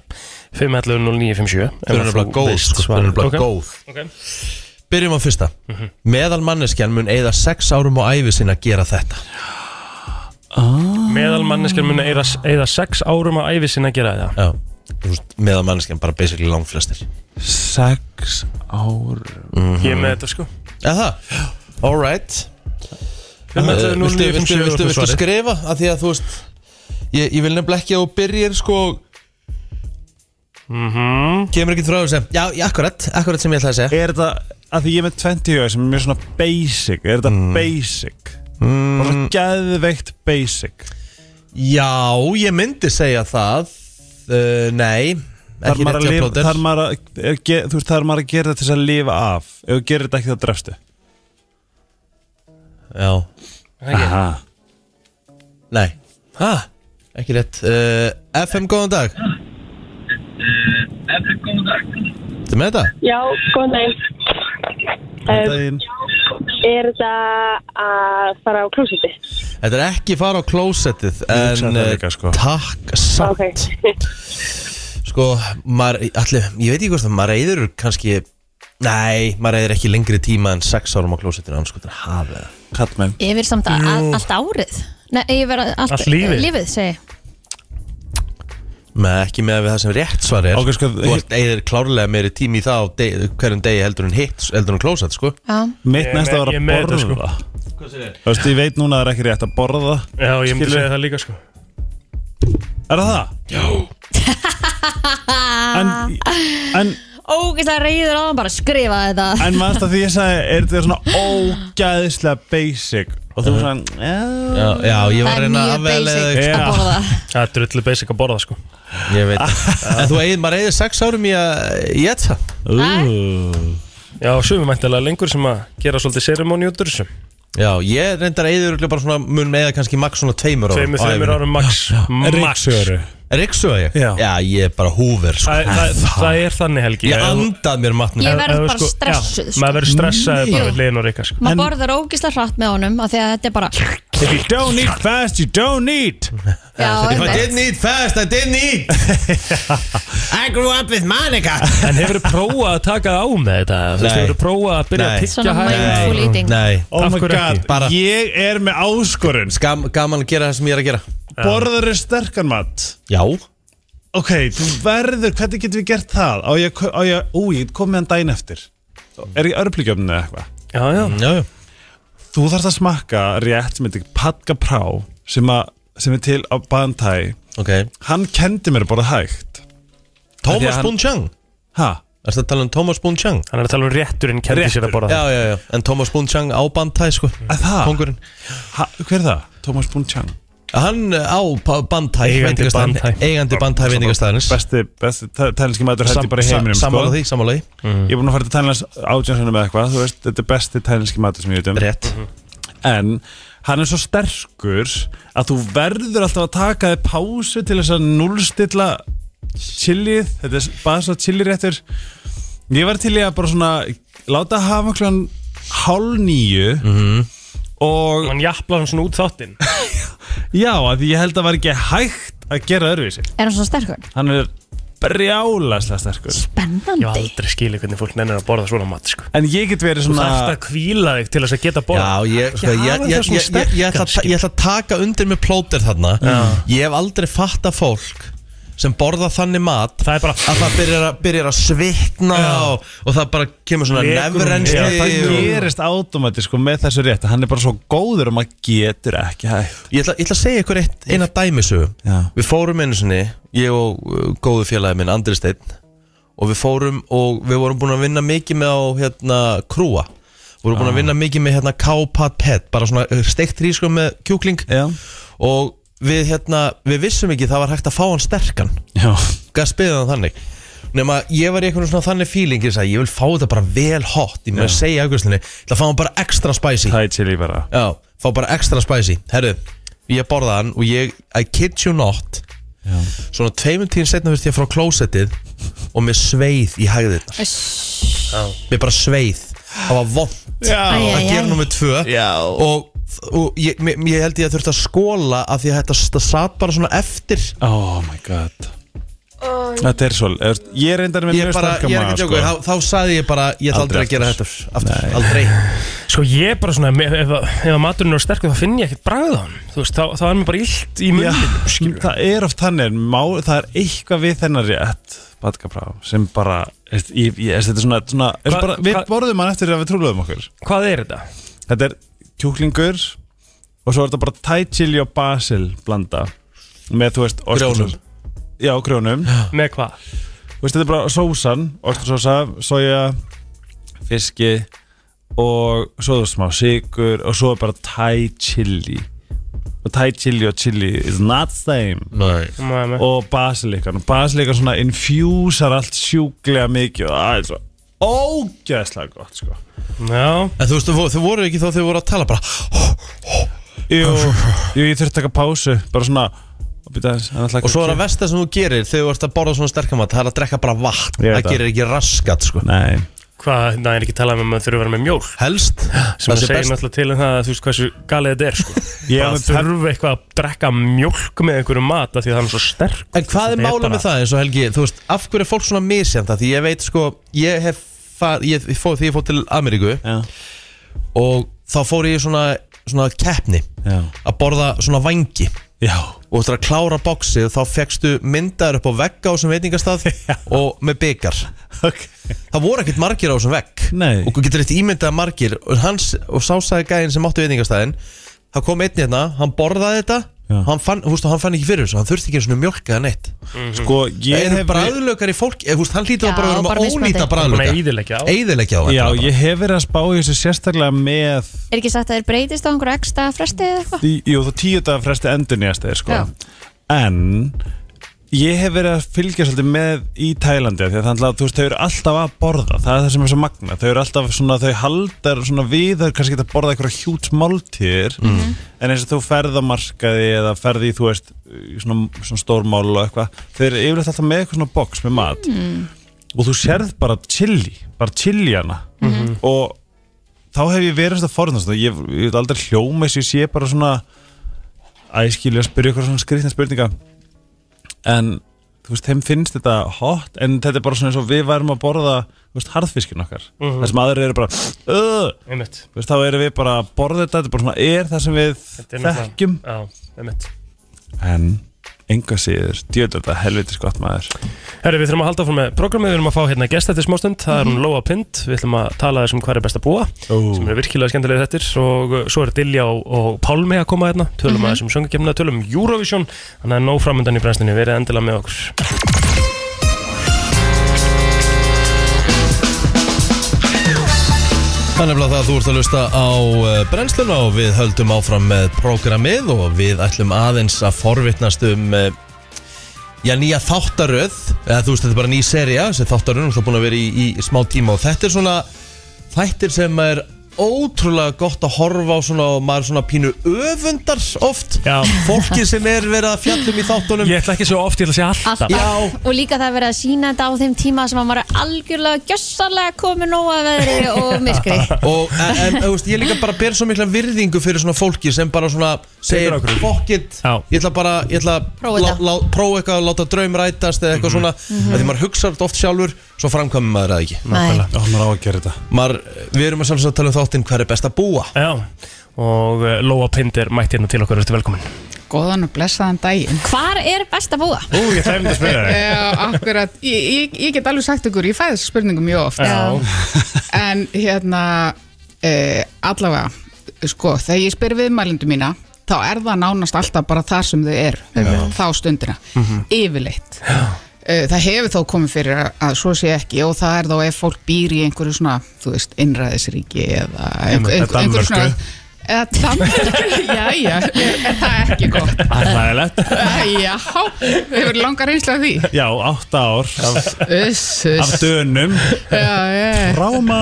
[SPEAKER 3] 511 0957
[SPEAKER 1] þau eru nefnilega góð, sko, þau eru nefnilega góð
[SPEAKER 3] okay.
[SPEAKER 1] Byrjum á fyrsta Meðal manneskjan mun eigða sex árum á ævi sinna að gera þetta
[SPEAKER 2] Ah.
[SPEAKER 3] Meðal manneskjar muni eyða eyða sex árum á æfi sinna að gera það
[SPEAKER 1] Já Þú veist, Meðal manneskjan bara basically langflestir
[SPEAKER 4] Sex ára
[SPEAKER 3] Ég er með þetta sko
[SPEAKER 1] Já Mhm. það, alright
[SPEAKER 3] 511
[SPEAKER 1] Eh, viltu, viltu, viltu,
[SPEAKER 3] 0957
[SPEAKER 1] viltu,
[SPEAKER 3] er svarið.
[SPEAKER 1] skrifa að því að þú veist ég, ég vil nefnilega ekki að þú byrjir sko kemur ekki frá þér sem já, já, akkurat, akkurat sem ég ætlaði að segja
[SPEAKER 4] Er þetta, að því ég er með 20 huga sem er mjög svona basic Er þetta basic? Mm. Bara svona geðveikt basic
[SPEAKER 1] já, ég myndi segja það uh, nei
[SPEAKER 4] Þar
[SPEAKER 1] ekki
[SPEAKER 4] maður að
[SPEAKER 1] rétt hjá
[SPEAKER 4] lifa,
[SPEAKER 1] plóter
[SPEAKER 4] þar maður að, er, ge, þú veist, þar maður að gera þetta til þess að lifa af Ef þú gerir þetta ekki þá drefstu
[SPEAKER 1] já,
[SPEAKER 4] Aha
[SPEAKER 1] nei ha, ekki rétt uh, FM, góðan dag FM, góðan dag Þetta með þetta?
[SPEAKER 8] Já, góðan daginn. Um,
[SPEAKER 4] Daginn.
[SPEAKER 8] er það að fara á klósiti?
[SPEAKER 1] Þetta er ekki fara á klósettið
[SPEAKER 4] hugsaði
[SPEAKER 1] En
[SPEAKER 4] það
[SPEAKER 1] eh,
[SPEAKER 4] líka, sko.
[SPEAKER 1] takk samt
[SPEAKER 8] Ok.
[SPEAKER 1] Sko, maður, allir, ég veit ekki hvort það, maður reyður kannski, nei, maður reyður ekki lengri tíma en sex árum á klósettinu, annars sko, þetta er hafið það.
[SPEAKER 4] Kallmenn
[SPEAKER 2] Ég verð samt að, að, allt árið Nei, ég verð að- allt,
[SPEAKER 3] Allt lífið?
[SPEAKER 2] lífið segi. ég.
[SPEAKER 1] Með ekki með það sem rétt svar er,
[SPEAKER 4] Ok, sko,
[SPEAKER 1] þú ert eigður klárlega meiri tími í það á deg, hverjum degi heldur en hitt, heldur en klósett, sko.
[SPEAKER 2] Já.
[SPEAKER 4] Mitt
[SPEAKER 3] Ég er
[SPEAKER 4] næsta
[SPEAKER 3] með-
[SPEAKER 4] var
[SPEAKER 3] ég er
[SPEAKER 4] að
[SPEAKER 3] með þetta,
[SPEAKER 4] borða
[SPEAKER 3] sko.
[SPEAKER 4] Þú veist, ég veit núna að það er ekki rétt að borða
[SPEAKER 3] Já, ég myndi
[SPEAKER 4] Skilur.
[SPEAKER 3] segja það líka sko
[SPEAKER 4] Er það það? Já En, en,
[SPEAKER 2] Ógeðslega reyður á hann bara skrifa þetta
[SPEAKER 4] en mannst að því ég sagði Er þetta svona ógæðislega basic Og þú sagði, "Eh."
[SPEAKER 1] Já,
[SPEAKER 4] já
[SPEAKER 1] já, ég
[SPEAKER 2] Það
[SPEAKER 1] var að
[SPEAKER 2] er
[SPEAKER 1] reyna
[SPEAKER 2] mjög
[SPEAKER 1] að vega
[SPEAKER 2] basic
[SPEAKER 4] Já.
[SPEAKER 2] að borða
[SPEAKER 3] Það er drullu basic að borða sko
[SPEAKER 1] Ég veit það. En þú eigður, maður eigður sex árum í að, í þetta.
[SPEAKER 3] Já, sumum mæntilega lengur sem að gera svolítið ceremony út úr þessu
[SPEAKER 1] Já, ég reyndar eigður örugglega bara svona, mun eigða kannski max svona tveimur árum.
[SPEAKER 3] Tveimur, þreimur árum max Max
[SPEAKER 4] Ríksöru
[SPEAKER 1] Ríksuða ég?
[SPEAKER 4] Já.
[SPEAKER 1] Já, ég er bara húver, sko.
[SPEAKER 3] Það, það, það er þannig helgi
[SPEAKER 1] Ég andað mér matnum.
[SPEAKER 2] Ég verð
[SPEAKER 3] Ef- ef-
[SPEAKER 2] bara stressuð,
[SPEAKER 3] já,
[SPEAKER 2] sko.
[SPEAKER 3] Maður verður stressaði bara
[SPEAKER 2] Jú.
[SPEAKER 3] við liðin og reyka sko.
[SPEAKER 2] Maður borðar ógeðslega hratt með honum af því að þetta er bara Já,
[SPEAKER 4] If you don't eat fast, you don't eat
[SPEAKER 1] If I
[SPEAKER 2] einmitt.
[SPEAKER 1] didn't eat fast, I didn't eat I grew up with Monica
[SPEAKER 3] En hefur þið prófað að taka á með þetta? Þú veist,
[SPEAKER 1] Nei.
[SPEAKER 3] hefur þið prófað að byrja
[SPEAKER 1] Nei.
[SPEAKER 3] að tyggja
[SPEAKER 2] Svona
[SPEAKER 3] hægt?
[SPEAKER 2] mindful eating
[SPEAKER 1] Nei
[SPEAKER 4] Oh
[SPEAKER 3] Af
[SPEAKER 4] my
[SPEAKER 3] hverju
[SPEAKER 4] god,
[SPEAKER 3] ekki?
[SPEAKER 1] Bara-
[SPEAKER 4] ég er með áskorun sko.
[SPEAKER 1] Gam, Gaman að gera það sem ég er að gera
[SPEAKER 4] Borðar er sterkan mat
[SPEAKER 1] Já
[SPEAKER 4] Ok, þú verður, hvernig getum við gert það? Á ég, á ég, ú, ég kom meðan dæn eftir Er ég örplíkjöfninu eða eitthvað?
[SPEAKER 3] Já, já
[SPEAKER 1] Mm, Já, já
[SPEAKER 4] Þú þarfst að smakka rétt sem heitir Patka Prá sem, að, sem er til á Bantæ
[SPEAKER 1] Ok
[SPEAKER 4] Hann kendi mér að borða hægt Af því að
[SPEAKER 1] Thomas
[SPEAKER 4] hann-
[SPEAKER 1] Boon Chang
[SPEAKER 4] Ha?
[SPEAKER 1] Erstu að tala um Thomas Boon Chang?
[SPEAKER 3] Hann er að tala um rétturinn kendi sér að borða
[SPEAKER 1] Já, já, já En Thomas Boon Chang á bandtæ, sko
[SPEAKER 4] Að það?
[SPEAKER 1] Kongurinn
[SPEAKER 4] ha? Hver er það? Thomas Boon Chang
[SPEAKER 1] Hann á pa- bandtæ
[SPEAKER 3] Eigandi
[SPEAKER 1] veitingastaðarins-
[SPEAKER 3] Bandhæ.
[SPEAKER 1] Eigandi bandtæ veitingastæðinins
[SPEAKER 4] Besti, besti tælinski matur held ég bara í heiminum sko.
[SPEAKER 1] Sammála því, sammála því
[SPEAKER 3] Mhm.
[SPEAKER 4] Ég er búin að fara til tælins átjánsunum eða eitthvað Þú veist, þetta er besti tælinski matur sem ég veit um
[SPEAKER 1] Rétt
[SPEAKER 3] Mhm.
[SPEAKER 4] en hann er svo sterkur að þú verður alltaf að taka þig pásu til þess að núlstilla chilið, þetta er bara svo chiliréttur ég var til í að bara svona láta hafa kljóðan hálf nýju og
[SPEAKER 3] Mhm. Hann jafla hann svona út þáttinn
[SPEAKER 4] já, að því ég held að var ekki hægt að gera öðruvísi,
[SPEAKER 2] Er hann svona sterkur?
[SPEAKER 4] hann er brjálaslega sterkur
[SPEAKER 3] Ég var
[SPEAKER 2] Bennandi
[SPEAKER 3] aldrei skilið hvernig fólk nennir að borða svona mat sko.
[SPEAKER 4] en ég get verið
[SPEAKER 3] Þú
[SPEAKER 4] svona
[SPEAKER 3] þarft að kvíla þig til þess að geta borða
[SPEAKER 1] Já, ég, sko,
[SPEAKER 3] Já,
[SPEAKER 1] ég,
[SPEAKER 3] það er
[SPEAKER 1] ég, ég,
[SPEAKER 3] svona
[SPEAKER 1] ég, ég, ég, ætla,
[SPEAKER 3] sterkan, skil.
[SPEAKER 1] ég ætla að taka undir með plóter þarna Ég hef aldrei fatta fólk sem borða þannig mat
[SPEAKER 3] Það er bara
[SPEAKER 1] að það byrjar, að- byrjar að svitna og, og það bara kemur svona
[SPEAKER 3] Lekur hún.
[SPEAKER 1] nefrensli
[SPEAKER 4] Já, það
[SPEAKER 1] og-
[SPEAKER 4] gerist automatisk sko, með þessu rétt hann er bara svo góður og maður getur ekki hægt
[SPEAKER 1] Ég ætla, ég ætla að segja ykkur eitt, eina dæmisögu
[SPEAKER 4] Já.
[SPEAKER 1] Við fórum einu sinni, ég og uh, góðu félagi minn, Andri Steinn Og við fórum og við vorum búin að vinna mikið með á hérna krúa Við vorum búin
[SPEAKER 4] Ah.
[SPEAKER 1] að vinna mikið með hérna kápat pet Bara svona uh, steikt rískum með kjúkling
[SPEAKER 4] Já.
[SPEAKER 1] Og við hérna, við vissum ekki það var hægt að fá hann sterkan
[SPEAKER 4] Já.
[SPEAKER 1] Gast beðið hann þannig Nefna ég var í einhvern svona þannig feeling Ég sagði, ég vil fá þetta bara vel hot Ég með að segja í augustinni, ég ætla að fá hann bara extra spicy
[SPEAKER 4] Thai chili bara
[SPEAKER 1] Já, fá bara ekstra spicy Herru, ég borða hann og ég I kid you not Svona tveimur tíðin setna fyrst ég frá klósettið Og mér sveið í hægðirnar Mér bara sveið Það var vond
[SPEAKER 2] Æ, æ, æ.
[SPEAKER 1] að gera nummer tvö Já. Og og ég, mér- mér- ég held ég að þurfti að skóla af því að þetta st- satt bara svona eftir
[SPEAKER 4] Oh my god Þetta er svol Ég reyndar með
[SPEAKER 1] ég,
[SPEAKER 4] mjög
[SPEAKER 1] bara,
[SPEAKER 4] sterka
[SPEAKER 1] ég er ekki
[SPEAKER 4] maga,
[SPEAKER 1] að tjóka, þá, þá saði ég bara ég ætla aldrei
[SPEAKER 4] Aldrei
[SPEAKER 1] að gera þetta
[SPEAKER 4] aftur.
[SPEAKER 1] aftur,
[SPEAKER 4] Nei.
[SPEAKER 1] aldrei
[SPEAKER 3] Sko ég er bara svona, ef, ef, ef að maturinn er sterkur þá finn ég ekkert bragð á hann Þú veist, þá, þá er mér bara illt í
[SPEAKER 4] Já,
[SPEAKER 3] munninum skilur.
[SPEAKER 4] það er oft þannig en má, það er eitthvað við þennar rétt badkabrá sem bara veist, ég, ég, veist, þetta er svona, svona er
[SPEAKER 3] Hva-
[SPEAKER 4] bara, við
[SPEAKER 3] hva-
[SPEAKER 4] borðum hann eftir að við trúluðum okkur
[SPEAKER 3] Hvað er þetta?
[SPEAKER 4] þetta er kjúklingur og svo er þetta bara thai chili og basil blanda með þú veist
[SPEAKER 1] Grjónum.
[SPEAKER 4] ostursos- já grjónum
[SPEAKER 3] Með hvað?
[SPEAKER 4] Þú veist, þetta er bara sósan, ostursósa, soja, fiski og svo þú smá sigur og svo er bara thai chili og thai chili og chili is not same
[SPEAKER 1] Nei.
[SPEAKER 3] Má ég með?
[SPEAKER 4] og basilikan og basilikan svona infjúsar allt sjúklega mikið og það er svo ógeðslega gott sko
[SPEAKER 3] Já,
[SPEAKER 1] en þú veist, þú, þú voru ekki þá þau voru að tala bara "Oh,
[SPEAKER 4] Jú, jú ég þurfti að taka pásu bara svona og býta aðeins hann ætlaði
[SPEAKER 1] og
[SPEAKER 4] ekki
[SPEAKER 1] svo er
[SPEAKER 4] að
[SPEAKER 1] að versta sem þú gerir þegar þú ert að borða svona sterkamat það er að drekka bara vatn,
[SPEAKER 4] Ég veit
[SPEAKER 1] það
[SPEAKER 4] það.
[SPEAKER 1] gerir ekki raskat sko.
[SPEAKER 4] Nei,
[SPEAKER 3] hvað, það er ekki talað um að maður þurfa að vera með mjól
[SPEAKER 1] helst,
[SPEAKER 3] sem
[SPEAKER 1] það
[SPEAKER 3] að
[SPEAKER 1] sé
[SPEAKER 3] segja
[SPEAKER 1] best
[SPEAKER 3] náttúrulega til um það að þú veist hversu galið þetta er sko.
[SPEAKER 4] Ég er
[SPEAKER 3] bara
[SPEAKER 4] með pep-
[SPEAKER 3] þurfa eitthvað að drekka mjólk með einhverju mat af því að það er svo sterk
[SPEAKER 1] En hvað er
[SPEAKER 3] Þetta er
[SPEAKER 1] mála
[SPEAKER 3] bara-
[SPEAKER 1] með það eins og Helgi, þú veist, af hverju er fólk svona misjanda? Því ég veit sko, ég hef far, ég, ég fó, því ég fór til Ameríku
[SPEAKER 4] já,
[SPEAKER 1] og þá fór ég í svona, svona keppni
[SPEAKER 4] já,
[SPEAKER 1] að borða svona vangi
[SPEAKER 4] já.
[SPEAKER 1] og þú ætlar að klára boxið þá fegstu myndaður upp á vegg á þessum veitingastað og með byggar
[SPEAKER 4] Okay.
[SPEAKER 1] það voru ekkert margir á þessum vegg
[SPEAKER 4] Nei.
[SPEAKER 1] og þú getur eitt ímyndað margir og, hans, og sásæði gæðin sem áttu veitingastæðin það kom einn hérna, hann borðaði þetta
[SPEAKER 4] Já.
[SPEAKER 1] hann fann, þú veist, hann fann ekki fyrir þessu hann þurfti ekki svona mjölkaða neitt
[SPEAKER 3] Mhm.
[SPEAKER 4] Sko, ég
[SPEAKER 1] Ég
[SPEAKER 4] hef
[SPEAKER 1] hef bræðlökar í fólk eða, húst, Hann hlýtur
[SPEAKER 2] Já,
[SPEAKER 1] að bara vera
[SPEAKER 2] bara
[SPEAKER 1] með
[SPEAKER 2] mismunandi.
[SPEAKER 1] ónýta
[SPEAKER 3] Hann er búin
[SPEAKER 1] bræðlöka
[SPEAKER 3] að eyðileggja á.
[SPEAKER 1] Eyðileggja á
[SPEAKER 4] Já,
[SPEAKER 1] þetta bara.
[SPEAKER 4] ég hef verið að spá í þessu sérstaklega með
[SPEAKER 2] Er ekki sagt að þeir breytist á einhverja ekstra fresti eða eitthvað?
[SPEAKER 4] í- Jú, þú tíu dagar fresti endur nýjast þeir sko
[SPEAKER 2] Já.
[SPEAKER 4] En ég hef verið að fylgja svolítið með í Tælandi af Því að þannig að þú veist, þau eru alltaf að borða Það er það sem er svo magna Þau eru alltaf svona, þau haldar svona við Þau kannski geta borðað einhverja hjút máltíðir
[SPEAKER 1] Mhm.
[SPEAKER 4] En eins og þú ferð á markaði Eða ferði í, þú veist, í svona, svona stórmál og eitthvað Þau eru yfirleitt alltaf með eitthvað svona box með mat og þú sérð bara chili bara chili hana
[SPEAKER 3] Mhm.
[SPEAKER 4] og þá hef ég verið svona forðan svona, ég, ég vil aldrei hljóma þess ég sé bara svona æskilja að spyrja ykkur svona skrýtna spurninga en þú veist, þeim finnst þetta hot en þetta er bara svona eins og við værum að borða þú veist, harðfiskin okkar þar sem aðrir eru bara "Ugh",
[SPEAKER 3] Mhm. einmitt,
[SPEAKER 4] þú veist, þá erum við bara að borða þetta þetta er bara svona er það sem við
[SPEAKER 3] Þetta er náttúrulega-
[SPEAKER 4] þekkjum
[SPEAKER 3] já, einmitt
[SPEAKER 4] en enga síður, djöður þetta helvitis gott maður
[SPEAKER 3] Herri, við þurfum að halda fór með programmið, við erum að fá hérna gest eftir smástund, það er hún
[SPEAKER 1] Mhm.
[SPEAKER 3] Lóa Pind, við ætlum að tala þessum hvað er best að búa,
[SPEAKER 4] Ó.
[SPEAKER 3] sem eru virkilega skemmtilega þettir og uh, svo er Dilja og, og Pálmi að koma hérna, tölum
[SPEAKER 1] Mhm.
[SPEAKER 3] að þessum söngakefna, tölum um Eurovision, þannig að nóg framöndan í brennslunni, verið endilega með okkur.
[SPEAKER 1] Þannig að það að þú ert að lusta á eh, brennsluna og við höldum áfram með prógramið og við ætlum aðeins að forvitnast um eh, já, nýja þáttaröð eða þú veist, þetta er bara ný seria sem þáttaröð er búin að vera í, í smá tíma og þetta er svona þættir sem er ótrúlega gott að horfa á svona og maður svona pínu öfundar oft
[SPEAKER 3] Já.
[SPEAKER 1] fólkið sem er verið að fjallum í þáttunum
[SPEAKER 3] Ég ætla ekki svo oft, ég ætla að segja alltaf.
[SPEAKER 2] Alltaf.
[SPEAKER 1] Já.
[SPEAKER 2] Og líka það er verið að sína þetta á þeim tíma sem að maður er algjörlega gjössalega komið nóga veðri og myrkri.
[SPEAKER 1] og, en, en þú veist, ég líka bara ber svo mikla virðingu fyrir svona fólki sem bara svona segir
[SPEAKER 3] ákvörðun.
[SPEAKER 1] fuck it,
[SPEAKER 3] Já.
[SPEAKER 1] ég ætla bara ég ætla að
[SPEAKER 2] Prófa
[SPEAKER 1] lá-
[SPEAKER 2] þetta. Mhm.
[SPEAKER 1] lá- prófa eitthvað að láta draum rætast eða
[SPEAKER 4] Mhm.
[SPEAKER 1] eitthvað svona að því maður hugsar þetta oft sjálfur svo framkvæmum maður það ekki
[SPEAKER 2] Nei.
[SPEAKER 4] og maður á að gera þetta
[SPEAKER 1] maður, við erum að sjálfsög að tala um þáttinn hver er best að búa
[SPEAKER 3] Já, og uh, Lóa Pind er mætt hérna til okkur, ertu velkomin.
[SPEAKER 9] Góðan og blessaðan daginn
[SPEAKER 2] Hvar er best að búa?
[SPEAKER 4] Ú, ég þæfum þetta að spyrja þig
[SPEAKER 9] Já, akkurat, ég, ég, ég get alveg sagt ykkur, ég fæði þessu spurningu mjög oft
[SPEAKER 2] Já.
[SPEAKER 9] En hérna, e, allavega, sko, þegar ég spyr viðmælindu mína Þá er það nánast alltaf bara þar sem þau eru Þá stundina,
[SPEAKER 4] Mhm.
[SPEAKER 9] yfirleitt Eh, Það hefur þó komið fyrir að, að svo sé ekki og það er þá ef fólk býr í einhverju svona, þú veist, innræðisríki eða einhver, einhver, einhver svona
[SPEAKER 4] Danmörku.
[SPEAKER 9] eða Danmörku, já, já, er það ekki gott?
[SPEAKER 4] Það er hlæðilegt
[SPEAKER 9] Æ, Já, hefur langar einslega því
[SPEAKER 4] Já, átta ár af,
[SPEAKER 9] Uss, uss
[SPEAKER 4] af dönum
[SPEAKER 9] Já, já.
[SPEAKER 4] Ráma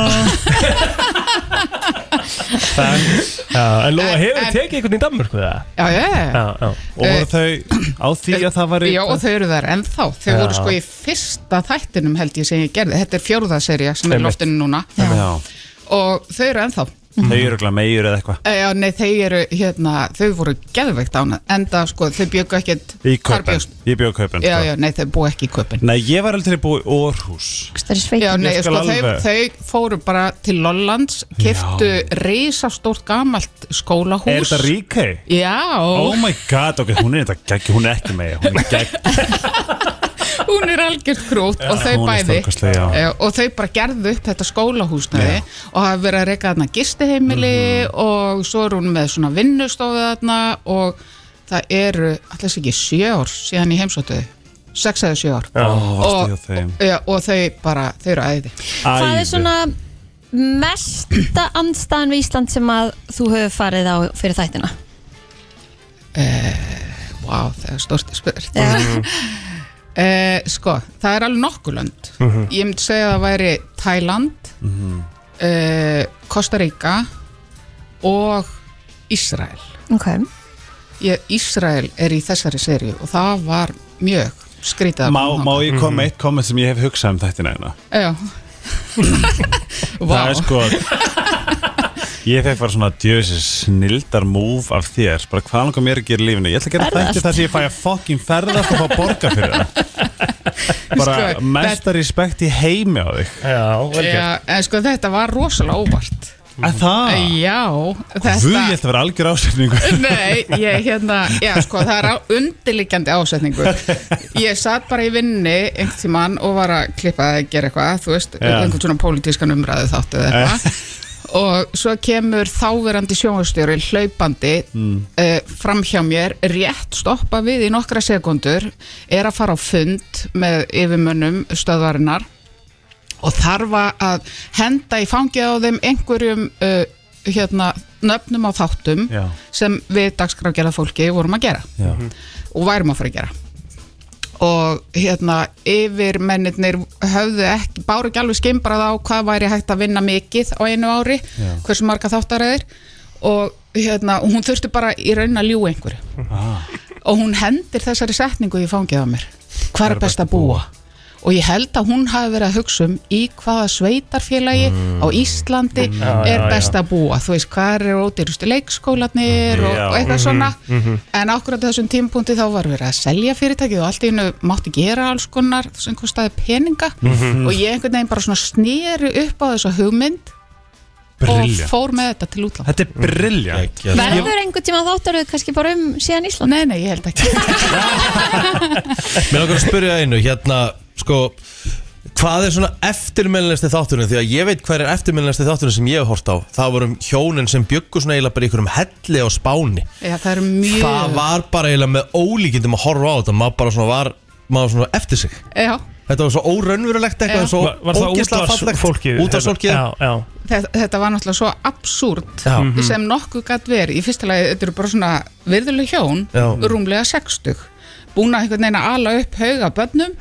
[SPEAKER 3] Já, en Lóa,
[SPEAKER 9] En-
[SPEAKER 3] hefur
[SPEAKER 9] en-
[SPEAKER 3] tekið einhvern í Danmörku það?
[SPEAKER 9] Já, já. Eh,
[SPEAKER 3] Já, já.
[SPEAKER 4] Og voru þau á því að það var í
[SPEAKER 9] Já, og þau eru þar ennþá Þau
[SPEAKER 3] Já.
[SPEAKER 9] voru sko í fyrsta þættinum held ég sem ég gerði Þetta er fjórða serja sem er
[SPEAKER 3] Einmitt.
[SPEAKER 9] loftinu núna
[SPEAKER 4] Já,
[SPEAKER 9] Og þau eru ennþá
[SPEAKER 4] Þau eru örugglega meir eða eitthvað
[SPEAKER 9] Eh, Já, nei, þau eru hérna, þau voru geðveikt ánað, enda sko, þau bjöggu ekkert
[SPEAKER 4] Í
[SPEAKER 9] hvar
[SPEAKER 4] köpun,
[SPEAKER 9] bjóst-
[SPEAKER 4] ég bjóð köpun
[SPEAKER 9] Já, já, nei, þau búi ekki í köpun
[SPEAKER 4] Nei, ég var alveg til að búa í Orhus
[SPEAKER 2] Það er sveit
[SPEAKER 9] Já, nei,
[SPEAKER 4] Ég skal
[SPEAKER 9] sko, þau,
[SPEAKER 4] alveg-
[SPEAKER 9] þau fóru bara til Lollands, keftu reisastórt gamalt skólahús
[SPEAKER 4] Er þetta ríkau?
[SPEAKER 9] Já,
[SPEAKER 4] Oh my god, ok, hún er þetta gegg, hún er ekki meir Hún er gegg,
[SPEAKER 9] hún er algjört krútt og þau
[SPEAKER 4] hún er
[SPEAKER 9] bæði
[SPEAKER 4] stórkostleg, já.
[SPEAKER 9] Eh, og þau bara gerðu upp þetta skólahúsnaði og hafa verið að reyka þarna gistiheimili
[SPEAKER 4] Mhm.
[SPEAKER 9] og svo er hún með svona vinnustofu þarna og það eru alltaf ekki sjö ár síðan ég heimsóttu þau. sex eða sjö ár
[SPEAKER 4] ó, varstu
[SPEAKER 9] og,
[SPEAKER 4] hjá þeim
[SPEAKER 9] og, ja, og þau bara, þau eru æði
[SPEAKER 2] Hvað er
[SPEAKER 4] Æði.
[SPEAKER 2] svona mesta andstæðan við Ísland sem að þú hefur farið á fyrir þættina?
[SPEAKER 9] Eh, Vá, það er stórt spurt
[SPEAKER 2] Já.
[SPEAKER 9] Eh, sko, það er alveg nokkulönd
[SPEAKER 4] Mhm.
[SPEAKER 9] Ég myndi segja að það væri Tæland eh, Costa Rica og Ísrael
[SPEAKER 2] Ok,
[SPEAKER 9] ég, Ísrael er í þessari serju og það var mjög skrítið að
[SPEAKER 4] Má,
[SPEAKER 9] koma
[SPEAKER 4] má
[SPEAKER 9] þangað.
[SPEAKER 4] ég koma með eitt komment sem ég hef hugsað um þættina hérna?
[SPEAKER 9] Já
[SPEAKER 4] Það
[SPEAKER 9] Vá,
[SPEAKER 4] er sko Ég fekk bara svona djöfisir snildar múf af þér Bara hvað langar mér að gera í lífinu Ég ætla að gera
[SPEAKER 2] Ferðast.
[SPEAKER 4] þætti þar sem ég fæ að fucking ferðast og fá borga fyrir það Bara
[SPEAKER 9] Sko,
[SPEAKER 4] mesta respekt í heimi á þig
[SPEAKER 3] Já, vel gert.
[SPEAKER 9] já, en sko þetta var rosalega óvart
[SPEAKER 4] En það
[SPEAKER 9] Já, þetta Um-
[SPEAKER 4] Guð, ég ætla að vera algjör ásefningu
[SPEAKER 9] Nei, ég hérna, já sko, það er á, undirliggjandi ásetningur Ég satt bara í vinni einhvern tímann og var að klippa eða gera eitthvað, þú veist,
[SPEAKER 4] Já.
[SPEAKER 9] einhvern svona pólitískan umræðu þáttu eða eitthvað Og svo kemur þáverandi sjónastjóri hlaupandi mm. fram hjá mér, rétt stoppa við í nokkra sekundur, er að fara á fund með yfirmönnum stöðvarinnar og þarf að henda í fangið á þeim einhverjum uh, hérna, nöfnum á þáttum
[SPEAKER 4] Já.
[SPEAKER 9] sem við dagskráfgerða fólki vorum að gera
[SPEAKER 4] Já.
[SPEAKER 9] og værum að fara að gera og hérna yfir mennirnir höfðu ekki, báru ekki alveg skimbrað á hvað væri hægt að vinna mikið á einu ári,
[SPEAKER 4] Já.
[SPEAKER 9] hversu marga þáttaræðir og hérna og hún þurfti bara í raun að ljúga einhverju
[SPEAKER 4] Ah.
[SPEAKER 9] og hún hendir þessari setningu í fangið á mér, hvað er best að búa og ég held að hún hafi verið að hugsa um í hvaða sveitarfélagi á Íslandi er
[SPEAKER 3] já,
[SPEAKER 9] best að búa þú veist, hvað eru ódýrustu
[SPEAKER 1] Mm.
[SPEAKER 9] leikskólanir og,
[SPEAKER 4] Já. Mhm.
[SPEAKER 9] og eitthvað
[SPEAKER 1] Mhm.
[SPEAKER 9] svona en akkurat á þessum tímpunkti þá var verið að selja fyrirtækið og allt í hennu mátti gera alls konar sem kostaði peninga
[SPEAKER 1] Mhm.
[SPEAKER 9] og ég einhvern veginn bara svona snýri upp á þessa hugmynd og
[SPEAKER 4] Brilja
[SPEAKER 9] fór með þetta til útlanda
[SPEAKER 4] Þetta er brilja
[SPEAKER 2] verður einhvern tíma þáttaröð kannski bara um síðan Ísland?
[SPEAKER 9] Nei, nei, ég held ekki
[SPEAKER 1] Mér langar að spyrja einu, hérna, sko Hvað er svona eftirmælinasti þátturinn? Því að ég veit hver er eftirmælinasti þátturinn sem ég hef hort á Það vorum hjónin sem byggu svona eiginlega bara í einhverjum helli á Spáni
[SPEAKER 9] Já, það er mjög
[SPEAKER 1] Það var bara eiginlega með ólíkindum að horfa á þetta Maður bara svona var, maður svona eftir sig
[SPEAKER 9] Já,
[SPEAKER 1] Þetta var svo óraunverulegt eitthvað
[SPEAKER 9] Já.
[SPEAKER 1] en svo
[SPEAKER 3] Var, var það
[SPEAKER 1] ógeðslega fallegt.
[SPEAKER 3] útvarsfólkið?
[SPEAKER 1] Útvarpsfólkið.
[SPEAKER 3] Já, já
[SPEAKER 9] þetta, þetta var náttúrulega svo absúrt
[SPEAKER 1] Já.
[SPEAKER 9] sem nokkuð gætt verið í fyrsta lagi, þetta eru bara svona virðuleg hjón
[SPEAKER 1] Já.
[SPEAKER 9] rúmlega 60 búin að einhvern veginn að ala upp hauga bönnum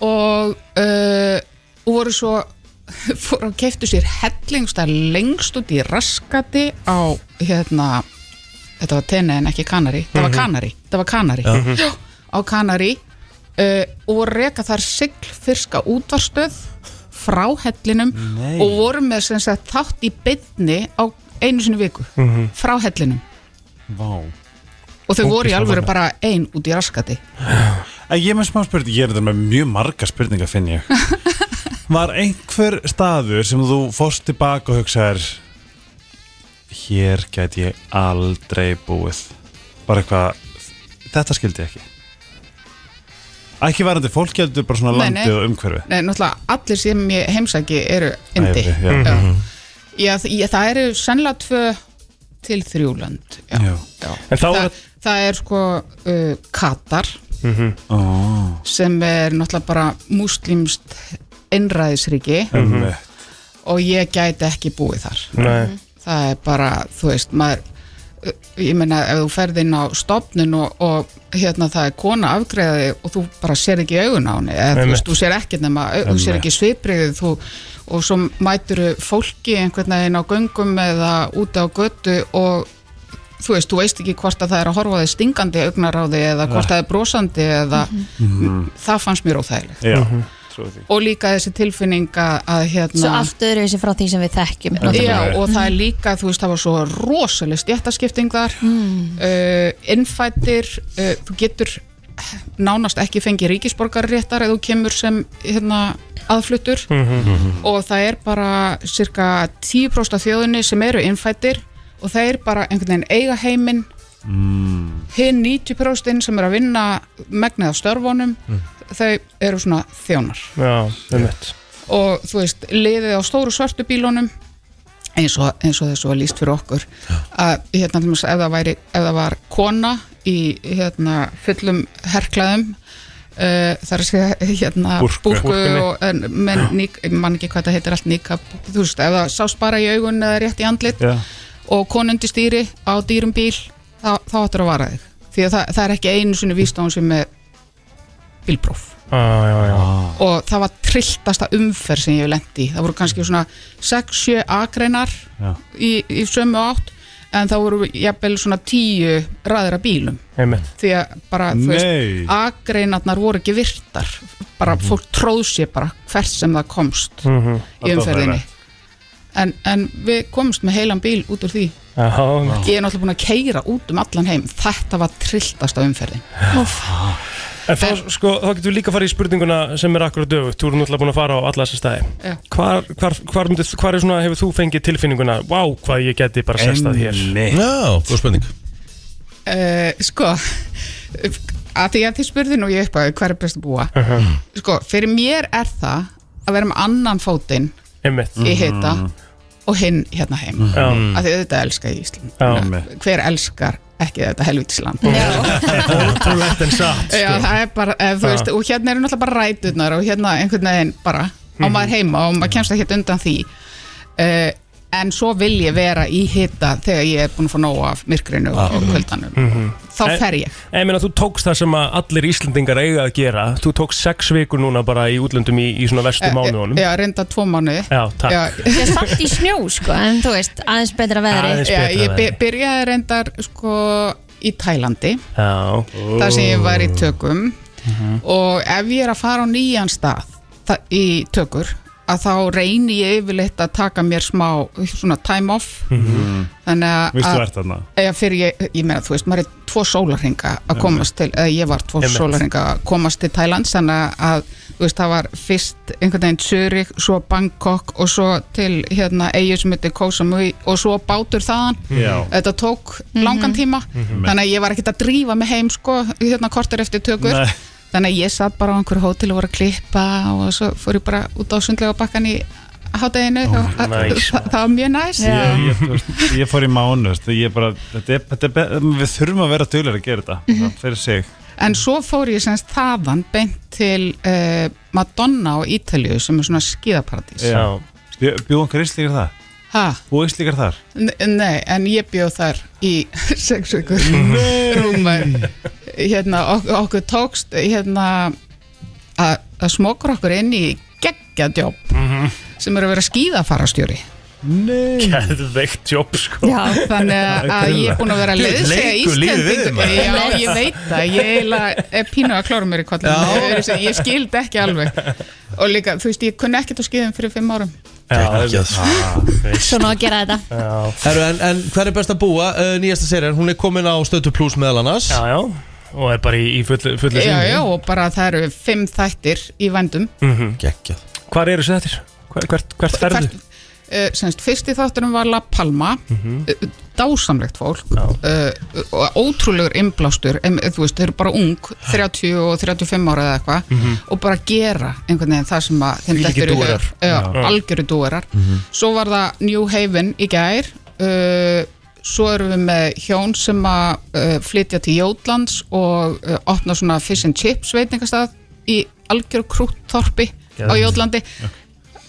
[SPEAKER 9] og uh, voru svo fóru og keiftu sér hellingst að lengst út í raskati á hérna þetta var tenni en ekki kanari
[SPEAKER 1] Mhm.
[SPEAKER 9] það var kanari, það var kanari Já, á kanari uh, og voru að reka þar siglfyrska útvarstöð frá hellinum
[SPEAKER 4] Nei.
[SPEAKER 9] og voru með sem sagt, þátt í bytni á einu sinni viku
[SPEAKER 3] Mhm.
[SPEAKER 9] frá hellinum
[SPEAKER 4] Vá
[SPEAKER 9] og þau voru í alvöru bara ein út í raskati
[SPEAKER 4] En Ég er með smá spurning, ég er þetta með mjög marga spurningar finn ég Var einhver staður sem þú fórst tilbaka og hugsaðir Hér gæti ég aldrei búið Bara eitthvað, þetta skildi ég ekki Ekki varandi fólk heldur bara svona
[SPEAKER 9] Nei, nei.
[SPEAKER 4] landið og umhverfi
[SPEAKER 9] Nei, náttúrulega allir sem ég heimsæki eru indi
[SPEAKER 4] Æfri, já.
[SPEAKER 9] Já.
[SPEAKER 3] Mhm.
[SPEAKER 9] Já, þ- ég- það eru sennilega tvö til þrjúland já.
[SPEAKER 4] Já.
[SPEAKER 9] Já.
[SPEAKER 3] En þá
[SPEAKER 9] Það,
[SPEAKER 3] er-
[SPEAKER 9] það er sko uh, Katar
[SPEAKER 4] Ó,
[SPEAKER 9] sem er náttúrulega bara múslimst einræðisríki
[SPEAKER 4] einmitt.
[SPEAKER 9] og ég gæti ekki búið þar
[SPEAKER 3] Nei,
[SPEAKER 9] það er bara, þú veist, maður ég meina ef þú ferð inn á stopnun og, og hérna það er kona afgreðaði og þú bara sér ekki augun á henni eða þú
[SPEAKER 3] Einmitt.
[SPEAKER 9] veist, þú sér ekki nema au- þú sér
[SPEAKER 4] Einmitt.
[SPEAKER 9] ekki svipriðið þú, og svo mætur fólki einhvern veginn á göngum eða úti á götu og þú veist, þú veist ekki hvort að það er að horfa á þig Mhm. stingandi augnar á þig eða hvort að það er brosandi eða það fannst mér óþægilegt
[SPEAKER 4] Já.
[SPEAKER 3] svo því
[SPEAKER 9] og líka þessi tilfinning að, að hérna
[SPEAKER 2] Svo allt öðru þessi frá því sem við þekkjum
[SPEAKER 9] Já, og það er líka, þú veist, það var svo rosalega stjættaskipting þar mm.
[SPEAKER 2] Hmm.
[SPEAKER 9] innfættir uh, þú getur nánast ekki fengið ríkisborgarréttar eða þú kemur sem hérna, aðfluttur og það er bara cirka 10% af þjóðinni sem eru innfættir og það er bara einhvern veginn eiga heiminn
[SPEAKER 4] Mhm.
[SPEAKER 9] hinn 90% sem eru að vinna megnið af störfunum þau eru svona þjónar
[SPEAKER 3] Já, um þetta
[SPEAKER 9] og þú veist, liðið á stóru svörtu bílunum eins og, eins og þessu var líst fyrir okkur að hérna, til dæmis, ef, það væri, ef það var kona í hérna, fullum herklaðum uh, þar að segja hérna,
[SPEAKER 3] Búrku.
[SPEAKER 9] búrku
[SPEAKER 3] Búrkunni.
[SPEAKER 9] og en, men, ník, ég man ekki hvað það heitir allt nikab þú veist, ef það sást bara í augun eða rétt í andlit
[SPEAKER 4] Já.
[SPEAKER 9] og konundi stýri á dýrum bíl þá, þá áttur að vara þig því að það, það er ekki einu sinni víst á hún sem er bílpróf
[SPEAKER 3] Já, já, já
[SPEAKER 9] og það var trilltasta umferð sem ég hef lent í það voru kannski svona 6-7 akreinar
[SPEAKER 4] Já.
[SPEAKER 9] í, í sömu átt en það voru jafnvel svona 10 ræðir af bílum
[SPEAKER 3] Einmitt.
[SPEAKER 9] því að bara, þú
[SPEAKER 4] Nei.
[SPEAKER 9] veist, agreinarnar voru ekki virtar bara fólk tróð sér bara hvert sem það komst Mhm. í umferðinni en, en við komst með heilan bíl út úr því
[SPEAKER 3] Já, einmitt.
[SPEAKER 9] ég er náttúrulega búin að keira út um allan heim þetta var trilltasta umferðin
[SPEAKER 3] En þá, sko, þá getum við líka farið í spurninguna sem er akkurat döfugt, þú eru náttúrulega búin að fara á alla þessa staði
[SPEAKER 9] Já.
[SPEAKER 3] hvar, hvar, hvar, myndi, hvar er svona, hefur þú fengið tilfinninguna Vá, hvað ég geti bara sest að hér
[SPEAKER 4] Einmitt.
[SPEAKER 1] Já, góð spurning
[SPEAKER 9] Uh, sko að því að þið spurði nú ég upp að hver er best að búa sko, fyrir mér er það að vera með annan fótinn
[SPEAKER 3] Einmitt,
[SPEAKER 9] í heita og hinn hérna heim mm
[SPEAKER 3] já,
[SPEAKER 9] að því auðvitað elska ég Ísland
[SPEAKER 3] Já.
[SPEAKER 9] Ná, hver elskar ekki þetta helvítisland
[SPEAKER 3] ótrúlegt en satt sko.
[SPEAKER 9] Já, það er bara, eð, þú
[SPEAKER 3] Já.
[SPEAKER 9] veist, og hérna eru náttúrulega bara ræturnar og hérna einhvern veginn bara
[SPEAKER 3] Mhm.
[SPEAKER 9] á maður heima og maður kemst ekki undan því uh, en svo vil ég vera í hita þegar ég er búin að fá nóg af myrkrinu um og kvöldanum þá
[SPEAKER 3] Mhm. En-
[SPEAKER 9] fer ég
[SPEAKER 3] En ég meina, þú tókst það sem að allir Íslendingar eiga að gera Þú tókst sex vikur núna bara í útlöndum í, í svona vestu mánuðunum
[SPEAKER 9] Eh, Já, reynda tvo mánuði
[SPEAKER 3] Já, takk
[SPEAKER 9] Já,
[SPEAKER 2] Ég er samt í snjó sko En þú veist, aðeins betra veðri
[SPEAKER 3] Aðeins.
[SPEAKER 9] já,
[SPEAKER 3] betra
[SPEAKER 9] ég
[SPEAKER 3] veðri.
[SPEAKER 9] by- byrjaði reyndar sko í Tælandi
[SPEAKER 3] Já,
[SPEAKER 9] þar sem ég var í tökum og ef ég er að fara á nýjan stað þa- í tökur að þá reyni ég yfirleitt að taka mér smá svona time off
[SPEAKER 4] Mm.
[SPEAKER 9] þannig að-
[SPEAKER 4] Mhm. Veistu
[SPEAKER 9] að
[SPEAKER 4] þú ert þarna?
[SPEAKER 9] Já, fyrir ég, ég meina, þú veist, maður er tvo sólarhinga að komast til, eða ég var tvo
[SPEAKER 3] Einmitt.
[SPEAKER 9] sólarhinga að komast til Thailand þannig að, þú veist, það var fyrst einhvern veginn Zurich, svo Bangkok og svo til, hérna, eigu sem heitir Koh Samui og svo bátur þaðan
[SPEAKER 4] Já.
[SPEAKER 9] þetta tók langan tíma
[SPEAKER 3] Mhm.
[SPEAKER 9] þannig að ég var ekkert að drífa mig heim, sko hérna kortur eftir tökur
[SPEAKER 4] Nei.
[SPEAKER 9] þannig að ég satt bara á einhverju hótel og var að klippa og svo fór ég bara út á sundlega bakkan í hátæginu oh,
[SPEAKER 3] nice.
[SPEAKER 9] það, það var mjög næs
[SPEAKER 4] Ég, ég, þú veist, ég fór í mánu veist, ég bara, þetta er, þetta er, be- við þurfum að vera duglega að gera þetta
[SPEAKER 9] Mhm.
[SPEAKER 4] það fyrir sig
[SPEAKER 9] En svo fór ég semst þaðan beint til uh, Madonna á Ítalíu sem er svona skíðaparadís.
[SPEAKER 3] já,
[SPEAKER 4] bjóðum okkar íslíkar það
[SPEAKER 9] Ha,
[SPEAKER 4] og íslíkar þar
[SPEAKER 9] N- nei, en ég bjóð þar í sex vikur rúmar. Hérna, ok okkur tókst hérna að að smokra okkur inn í geggjadjóp sem eru að vera skíðafarastjóri.
[SPEAKER 3] geðveikt jobb, sko
[SPEAKER 2] Já,
[SPEAKER 9] Þannig að- að ég er búin að vera að leiðsega
[SPEAKER 1] leikur lífið við þig,
[SPEAKER 9] Íslandingur.
[SPEAKER 1] maður.
[SPEAKER 9] Já, ég veit það, ég eiginlega er pínu að klára mér í kollinu. Ég skildi ekki alveg. Og líka, þú veist, ég kunni ekkert á skýðum fyrir fimm árum.
[SPEAKER 3] Já,
[SPEAKER 2] svona að gera þetta
[SPEAKER 1] Heru, en, en hver er best að búa? Uh, nýjasta serien, hún er komin á Stötu Plus meðal annars
[SPEAKER 3] já, já Og er bara í, í fullu, fullu
[SPEAKER 9] Já,
[SPEAKER 3] sinni.
[SPEAKER 9] já, og bara það eru fimm þættir í vændum.
[SPEAKER 3] Mhm.
[SPEAKER 1] Gekkjað
[SPEAKER 3] Hvar eru þessi þettir? Hvert, hvert ferðu?
[SPEAKER 9] Hvert- eh, Semst, fyrsti þátturum var La Palma,
[SPEAKER 3] Mhm.
[SPEAKER 9] eh, dásamlegt fólk eh, og ótrúlegur innblástur, em, þú veist, þau eru bara ung, 30 og 35 ára eða eitthvað
[SPEAKER 4] Mhm.
[SPEAKER 9] og bara gera einhvern veginn það sem að þeim
[SPEAKER 3] Þvílíkir
[SPEAKER 9] dettur í hug.
[SPEAKER 3] dúerar.
[SPEAKER 9] Já, algjöru dúerar. Svo var það New Haven í gær, uh, svo erum við með hjón sem að uh, flytja til Jótlands og uh, opna svona fish and chips veitingastað í algjöru krútþorpi á
[SPEAKER 3] Geðveikt.
[SPEAKER 9] Jótlandi.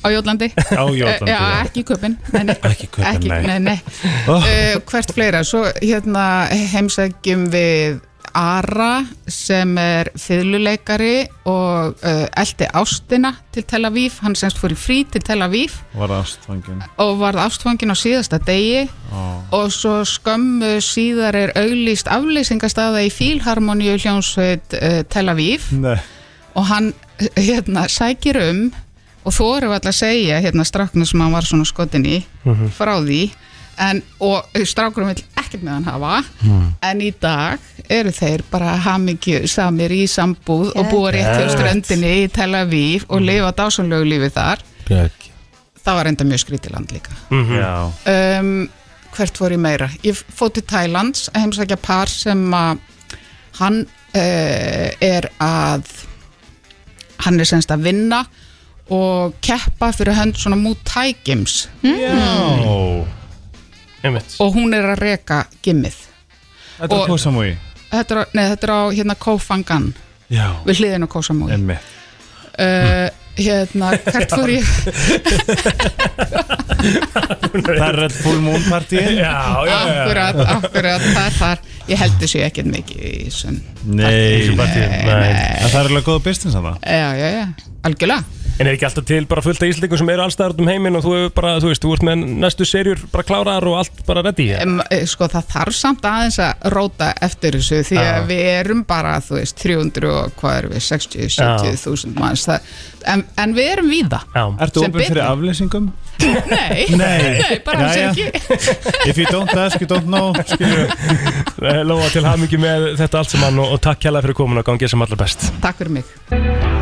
[SPEAKER 9] Á Jótlandi Eh,
[SPEAKER 4] á Jótlandi
[SPEAKER 9] Já, ekki í köpinn nei, nei.
[SPEAKER 4] Ekki í Köben,
[SPEAKER 9] Ekki-
[SPEAKER 4] nei.
[SPEAKER 9] nei, nei. Eh, Hvert fleira, svo hérna heimsækjum við Ara sem er fyðluleikari og uh, eldi ástina til Tel Aviv, hann semst fór í frí til Tel Aviv
[SPEAKER 4] var ástfangin
[SPEAKER 9] og varð ástfangin á síðasta degi og svo skömmu síðar er auglýst aflýsingastaða í Fílharmoníu hljónsveit uh, Tel eh, Aviv
[SPEAKER 4] Nei.
[SPEAKER 9] og hann hérna, sækir um og þú eru alltaf að segja hérna stráknu sem hann var svona skotin í frá því en, og strákurum vill ekkert með hann hafa
[SPEAKER 4] Mhm.
[SPEAKER 9] en í dag eru þeir bara hamingju samir í sambúð og búa rétt hjá ströndinni í Tel Aviv og lifa dásanlegu lífi þar
[SPEAKER 1] Gekk.
[SPEAKER 9] það var enda mjög skrítið land líka
[SPEAKER 3] Mhm.
[SPEAKER 4] Já,
[SPEAKER 9] um, hvert fór ég meira ég fór til Thailands að heimsækja par sem að hann uh, er að hann er semst að vinna og keppa fyrir hönd svona Muay Thai Gims
[SPEAKER 1] Hmm?
[SPEAKER 3] einmitt
[SPEAKER 9] og hún er að reka gimmið
[SPEAKER 4] þetta
[SPEAKER 9] Og-
[SPEAKER 4] er kosamúi
[SPEAKER 9] þetta er, á- nei, þetta er á hérna Koh Phangan
[SPEAKER 4] Já,
[SPEAKER 9] við hliðinu Koh Samui
[SPEAKER 4] emmi
[SPEAKER 9] uh, hérna, hvert fór ég
[SPEAKER 4] Það er Red Full Moon Party
[SPEAKER 3] Já, já, já, já
[SPEAKER 9] akkurat, akkurat, það er þar ég held þessu ekkert mikið í þessum
[SPEAKER 4] Nei,
[SPEAKER 3] Þessu partíi, nei.
[SPEAKER 4] En það er alveg góða business að það
[SPEAKER 9] já, já, já, algjörlega
[SPEAKER 3] En er ekki alltaf til bara fullt af íslendingum sem eru allstaðar út um heiminn og þú hefur bara, þú veist, þú ert með næstu serjur bara klárar og allt bara ready
[SPEAKER 9] Em, eh, sko það þarf samt aðeins að róta eftir þessu því að við erum bara þú veist 300 og hvað erum við 60, 70 þúsund manns það, en, en við erum víða
[SPEAKER 3] Já,
[SPEAKER 4] Ertu
[SPEAKER 9] Sem
[SPEAKER 4] opið fyrir
[SPEAKER 9] betur.
[SPEAKER 4] aflýsingum?
[SPEAKER 9] nei,
[SPEAKER 4] Nei.
[SPEAKER 9] bara
[SPEAKER 4] Jæja.
[SPEAKER 9] alls ekki
[SPEAKER 4] If you don't ask, you don't know skilur.
[SPEAKER 3] Eh, Lóa til hamingi með þetta allt saman og, og takk hella fyrir komin og gangið sem allar best
[SPEAKER 9] takk fyrir mig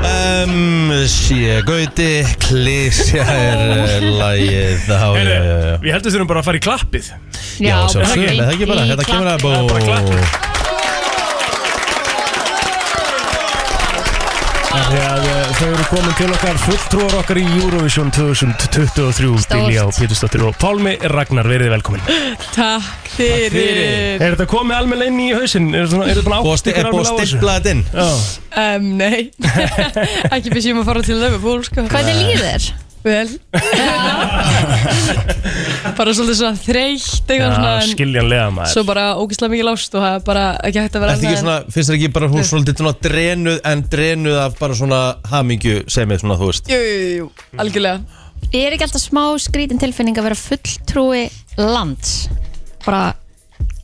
[SPEAKER 1] Um, sé, Gauti, klísja er uh, lagið Já, já, já, já.
[SPEAKER 3] Við heldum þurfum bara að fara í klappið
[SPEAKER 1] Já,
[SPEAKER 2] bara
[SPEAKER 1] svo sögum
[SPEAKER 2] beint
[SPEAKER 1] við það ekki bara,
[SPEAKER 2] í
[SPEAKER 1] þetta kemur
[SPEAKER 2] klapp.
[SPEAKER 1] að bó
[SPEAKER 3] Af því að eh, þau eru komin til okkar fulltrúar okkar í Eurovision 2023
[SPEAKER 2] Stórt.
[SPEAKER 3] Dilja og Pétursdóttir og Pálmi Ragnar, verið velkomin Er
[SPEAKER 10] Takk fyrir
[SPEAKER 3] þetta komið almenna inn í hausinn? Er þetta er þetta búin að
[SPEAKER 1] Búið að
[SPEAKER 3] átta
[SPEAKER 1] sti- er
[SPEAKER 3] ykkur
[SPEAKER 1] búið að
[SPEAKER 3] almennilega á þessu?
[SPEAKER 1] stimpla þetta inn
[SPEAKER 3] Já,
[SPEAKER 10] um, Nei, ekki fyrir sem að fara til Liverpool sko.
[SPEAKER 2] Hvernig líður þér?
[SPEAKER 10] Vel Bara svolítið svona þreytt
[SPEAKER 3] Já,
[SPEAKER 10] eitthvað svona en
[SPEAKER 3] skiljanlega maður
[SPEAKER 10] Svo bara ógislega mikið lást og það er bara ekki hægt að vera
[SPEAKER 1] Ertu ekki
[SPEAKER 10] annað en-
[SPEAKER 1] svona, finnst þér ekki bara hún svolítið svona drenuð en drenuð af bara svona hamingju semið svona, þú veist
[SPEAKER 10] Jú, jú, jú, jú, algjörlega
[SPEAKER 2] Ég er ekki alltaf smá skrítin tilfinning að vera fulltrúi lands bara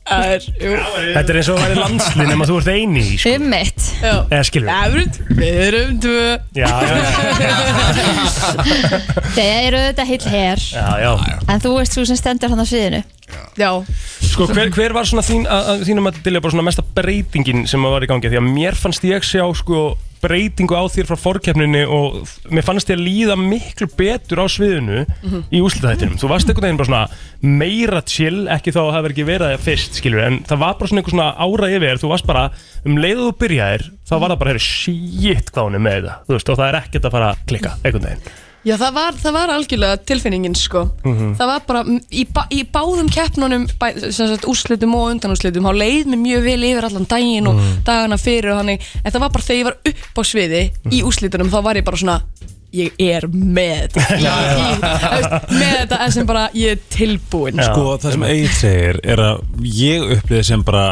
[SPEAKER 10] Það er, jú,
[SPEAKER 3] Þetta er eins og að vera landslið nema þú ert eini í, sko.
[SPEAKER 2] um mitt
[SPEAKER 10] já
[SPEAKER 3] Eða skilur
[SPEAKER 10] Það er, við erum Um tvö
[SPEAKER 3] Já, já,
[SPEAKER 2] Þeir eru auðvitað heill her
[SPEAKER 3] já, já
[SPEAKER 2] en þú veist þú sem stendur hann á sviðinu
[SPEAKER 10] Já,
[SPEAKER 3] Sko, hver, hver var svona þín, að, að þínum að Dilja bara svona mesta breytingin sem að var í gangi? Því að mér fannst ég sjá, sko, breytingu á þér frá fórkeppninni og þ- mér fannst ég líða miklu betur á sviðinu
[SPEAKER 10] Mhm.
[SPEAKER 3] í úslitaðættinum. Þú varst einhvern veginn bara svona meira chill, ekki þá að hafa ekki verið það fyrst, skilur, en það var bara svona einhver svona ára yfir, þér. þú varst bara, um leið og þú byrjaðir, þá var það bara, heyrðu, shit hvað hún er með þetta, þú veist, og það er ekkert að fara að klikka, einhvern veginn.
[SPEAKER 10] Já, það var, það var algjörlega tilfinningin, sko.
[SPEAKER 11] Mhm.
[SPEAKER 10] Það var bara, mm, í, bá, í báðum keppnunum, bæ, sem sagt, úrslitum og undanúrslitum, þá leið mér mjög vel yfir allan daginn og
[SPEAKER 3] Mm.
[SPEAKER 10] dagana fyrir og hannig, en það var bara þegar ég var upp á sviði í
[SPEAKER 3] Mm.
[SPEAKER 10] úrslitunum, þá var ég bara svona, ég er með þetta, ég er í, þú veist, með þetta, en sem bara, ég er tilbúin.
[SPEAKER 3] Já. Mm-hmm.
[SPEAKER 4] Sko, það
[SPEAKER 10] Um
[SPEAKER 4] sem Egil segir er að ég upplýði sem bara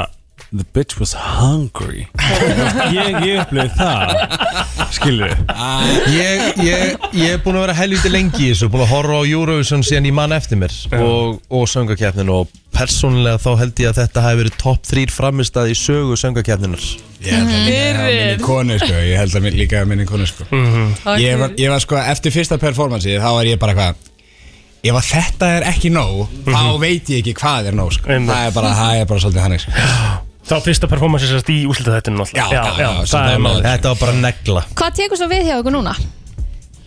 [SPEAKER 4] The bitch was hungry Ég, ég upplýði það Skilur
[SPEAKER 1] ég, ég, ég er búin að vera helviti lengi í þessu búin að horfa á Eurovision síðan ég man eftir mér og, og söngakefnin og persónulega þá held ég að þetta hafi verið topp 3 framistað í sögu söngakefninar
[SPEAKER 11] Ég held að minni- að minni konu sko Ég held að minni, líka að minni konu sko
[SPEAKER 3] Mhm.
[SPEAKER 11] ég, var, ég var sko eftir fyrsta performansi Þá var ég bara hvað Ef að þetta er ekki nóg Þá veit ég ekki hvað er nóg sko
[SPEAKER 3] Mhm. Einmitt.
[SPEAKER 11] Það er bara, það er bara svolítið hann sko.
[SPEAKER 3] Þá fyrsta performance sérst í úslitaðættinum alltaf.
[SPEAKER 11] Já, já, já, sem
[SPEAKER 3] það
[SPEAKER 11] það
[SPEAKER 3] er
[SPEAKER 11] er
[SPEAKER 3] málið.
[SPEAKER 1] þetta var bara negla
[SPEAKER 2] Hvað tekur svo við hjá ykkur núna?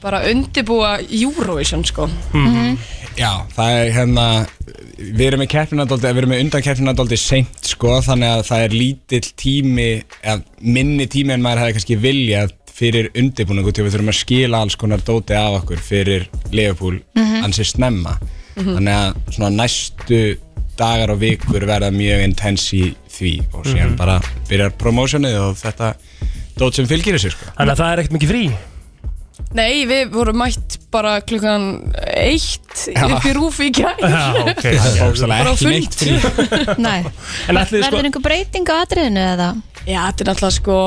[SPEAKER 10] Bara undirbúa Eurovision, sko.
[SPEAKER 11] Já, það er hérna Við erum með keppinadóldi Við erum með undan keppinadóldi seint sko Þannig að það er lítill tími eða, Minni tími en maður hefði kannski viljað Fyrir undirbúningu til við þurfum að skila alls konar dóti af okkur fyrir Leopold ansi snemma
[SPEAKER 10] Mhm.
[SPEAKER 11] Mm-hmm. Þannig að svona næstu dagar og vikur verða mjög intens í því og síðan bara byrjar promotionið og þetta dót sem fylgir þessu sko
[SPEAKER 3] Þannig að það er ekkert mikið frí.
[SPEAKER 10] Nei, við vorum mætt bara klukkan eitt upp í rúfi í gær.
[SPEAKER 3] Já, ok,
[SPEAKER 11] Það er
[SPEAKER 10] Bara á
[SPEAKER 11] bókstæðlega ekki neitt
[SPEAKER 10] fund.
[SPEAKER 11] frí
[SPEAKER 2] Nei,
[SPEAKER 3] En ætliði sko
[SPEAKER 2] verður einhver breyting á atriðinu eða?
[SPEAKER 10] Já, þetta er náttúrulega sko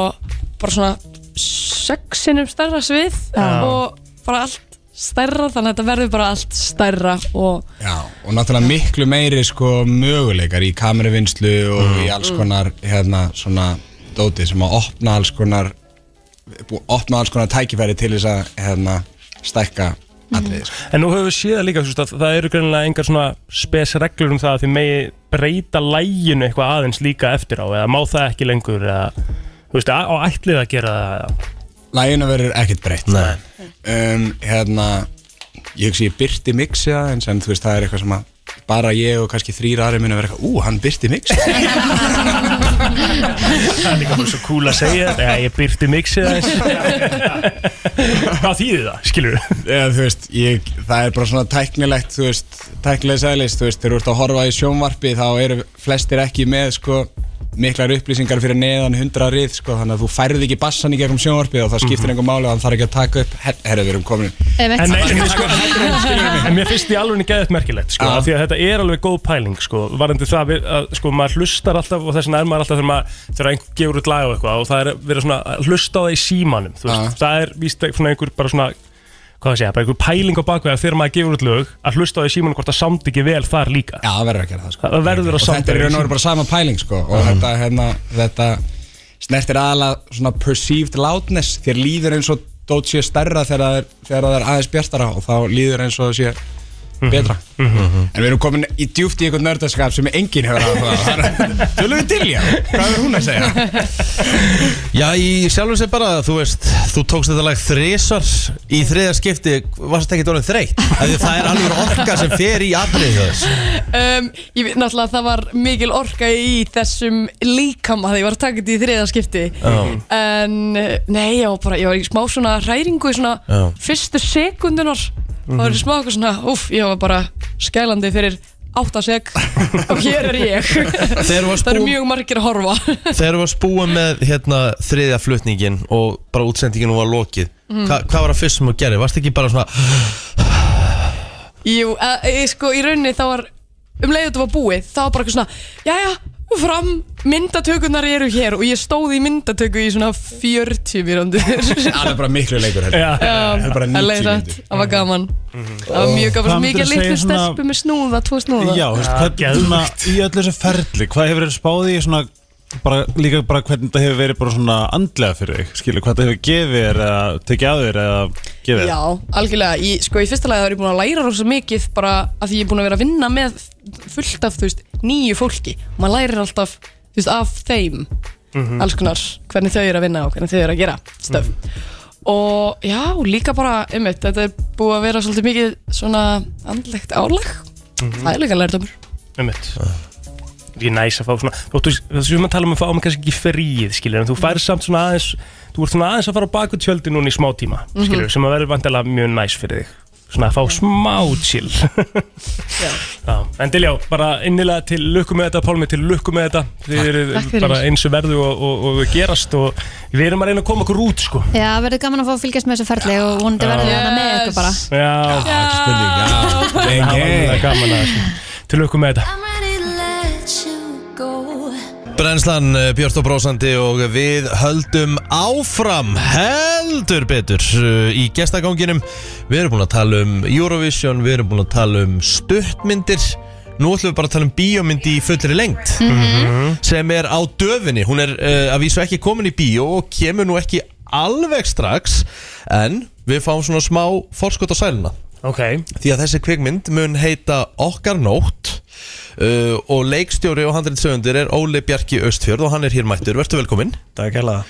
[SPEAKER 10] bara svona sexinum stærra svið og bara allt stærra þannig að þetta verður bara allt stærra og
[SPEAKER 11] Já, og náttúrulega miklu meiri sko möguleikar í kameravinnslu og í alls konar hérna svona dóti sem að opna alls konar búið að opna alls konar tækifæri til þess að hérna, stækka atriðis
[SPEAKER 3] En nú höfum við séð það líka, þú veist, að það eru greinilega engar svona spesreglur um það að þið megi breyta læginu eitthvað aðeins líka eftir á eða má það ekki lengur eða, þú veist, á ætlið að gera það
[SPEAKER 11] Læginu verður ekkert breytt um, Hérna Ég hugsi ég byrti mixi aðeins En þú veist það er eitthvað sem að bara ég og kannski þrýra aðri minna vera eitthvað Ú, hann byrti mixi
[SPEAKER 3] Það er líka bara svo cool að segja þetta Eða ég byrti mixið aðeins Hvað þýðir það, skilur við?
[SPEAKER 11] Eða, þú veist, ég, það er bara svona tæknilegt, þú veist, tæknileg sælis, þú veist, þegar þú ert að horfa í sjónvarpi þá eru flestir ekki með, sko, miklar upplýsingar fyrir neðan hundra rið, sko, þannig að þú færði ekki bassan í gegnum sjónvarpið og það skiptir mm
[SPEAKER 3] Mhm.
[SPEAKER 11] -hmm. máli og hann þarf ekki að taka upp, her herra, við erum komin.
[SPEAKER 3] En, nei, en, sko, en mér finnst því alveg geðið merkilegt sko, af því að þetta er alveg góð pæling sko, varandi það við- að sko, maður hlustar alltaf og þess vegna er maður alltaf þegar maður þegar einhver gefur út lag og eitthvað og það er verið svona að hlusta á það í símanum þú veist, það er víst svona einhver bara svona hvað það segja, bara einhver pæling á bakvega þegar maður gefur út lög að hlusta á það í símanum hvort það samt ekki vel þar líka
[SPEAKER 11] Já, það verður að gera það sko
[SPEAKER 3] Það
[SPEAKER 11] og
[SPEAKER 3] verður að samt
[SPEAKER 11] þetta er í raun og veru bara sama pæling sko og þetta, hérna, þetta snertir aðalega svona perceived loudness þér líður eins og dót sé stærra þegar það er, þegar það er aðeins bjartara og þá líður eins og það sé betra en við erum komin í djúft í einhvern nördaskap sem enginn hefur að tölum við til já, hvað er hún að segja
[SPEAKER 1] Já, í sjálfum sér bara, þú veist, þú tókst þetta lag þrisar í þriða skipti, varst ekki dólið þreytt? Af því Það er alveg orka sem fer í atrið þess.
[SPEAKER 10] um, ég, veit náttúrulega það var mikil orka í þessum líkama þegar ég var að taka þetta í þriða skipti
[SPEAKER 1] Já.
[SPEAKER 10] en eh, nei, ég var bara ég var í smá svona hræringu í svona
[SPEAKER 1] Já.
[SPEAKER 10] fyrstu sekundunar það var smá eitthvað svona, úff, ég var bara skælandi fyrir áttasek og hér er ég
[SPEAKER 1] Þegar þú varst
[SPEAKER 10] það eru
[SPEAKER 1] búin-
[SPEAKER 10] mjög margir að horfa
[SPEAKER 1] Þegar þú varst búin með hérna, þriðja flutningin og bara útsendingin var lokið,
[SPEAKER 10] Mm.
[SPEAKER 1] hva, hvað var það fyrst sem þú gerði? Varst ekki bara svona,
[SPEAKER 10] Jú, e, e, sko í rauninni þá var um leiðu þetta var búið, þá var bara eitthvað svona jæja, fram, myndatökunar eru hér og ég stóð í myndatöku í svona 40 mínúndur
[SPEAKER 11] það er bara miklu leikur heldur.
[SPEAKER 10] Já,
[SPEAKER 11] það er bara 90
[SPEAKER 10] leiðrætt,
[SPEAKER 11] myndir
[SPEAKER 10] það var gaman Það var mjög gaman,
[SPEAKER 4] Mhm. Hvað
[SPEAKER 10] svo mikið
[SPEAKER 4] myndirðu
[SPEAKER 10] litlu
[SPEAKER 4] segja svona-
[SPEAKER 10] stelpu með snúða, tvo snúða
[SPEAKER 4] Já, þú veist, hvað, svona, í öllu þessu ferli Hvað hefur þér spáð í svona bara, líka bara hvernig þetta hefur verið bara svona andlega fyrir þig, skilu, hvað þetta hefur gefið þér eða tekið að þér eða gefið þér
[SPEAKER 10] Já, algjörlega, í, sko í fyrsta lagi var ég búin að læra rosa mikið bara að því ég er búin að vera að vinna með fullt af, þú veist, nýju fólki og maður lærir alltaf, þú veist, af þeim
[SPEAKER 8] Mhm.
[SPEAKER 10] alls konar, hvernig þau eru að vinna og hvernig þau eru að gera stöf og já, líka bara, einmitt, þetta er búið að vera svolítið mikið svona andlegt álag það er líka lærdómur
[SPEAKER 3] Einmitt. Ég er næs að fá svona og þú veist, þessum við tala um að fá mig kannski ekki fríð skilur, en þú fær samt svona aðeins þú ert svona aðeins að fara á baku tjöldi núna í smá tíma
[SPEAKER 10] Mhm.
[SPEAKER 3] skilur, sem að verður vantilega mjög næs fyrir þig svona að fá smá chill Já, en til já, bara innilega til lukku með þetta Pálmi, til lukku með þetta þið
[SPEAKER 2] Takk
[SPEAKER 3] eru
[SPEAKER 2] fyrir.
[SPEAKER 3] bara eins og verðu og, og, og gerast og við erum að reyna að koma okkur út sko
[SPEAKER 2] Já, verður gaman að fá að fylgjast með þessu ferli og vonandi verður
[SPEAKER 3] Já.
[SPEAKER 2] hana með ykkur bara
[SPEAKER 3] Já, já ekki spurning, já Það var mjög gaman að þessu Til lukku með þetta
[SPEAKER 1] Brennslan eh, Björt og Brósandi og við höldum áfram heldur betur eh, í gestaganginum. Við erum búin að tala um Eurovision, við erum búin að tala um stuttmyndir. Nú ætlum við bara að tala um bíómyndi í fullri lengt
[SPEAKER 12] Mhm.
[SPEAKER 1] sem er á döfinni. Hún er uh, að vísu ekki komin í bíó og kemur nú ekki alveg strax en við fáum svona smá forskot á sæluna.
[SPEAKER 3] Ok
[SPEAKER 1] Því að þessi kvikmynd mun heita Okkar nótt uh, og leikstjóri og handriðsöfundir er Óli Bjarki Östfjörð og hann er hér mættur. Vertu velkominn.
[SPEAKER 7] Takk hella.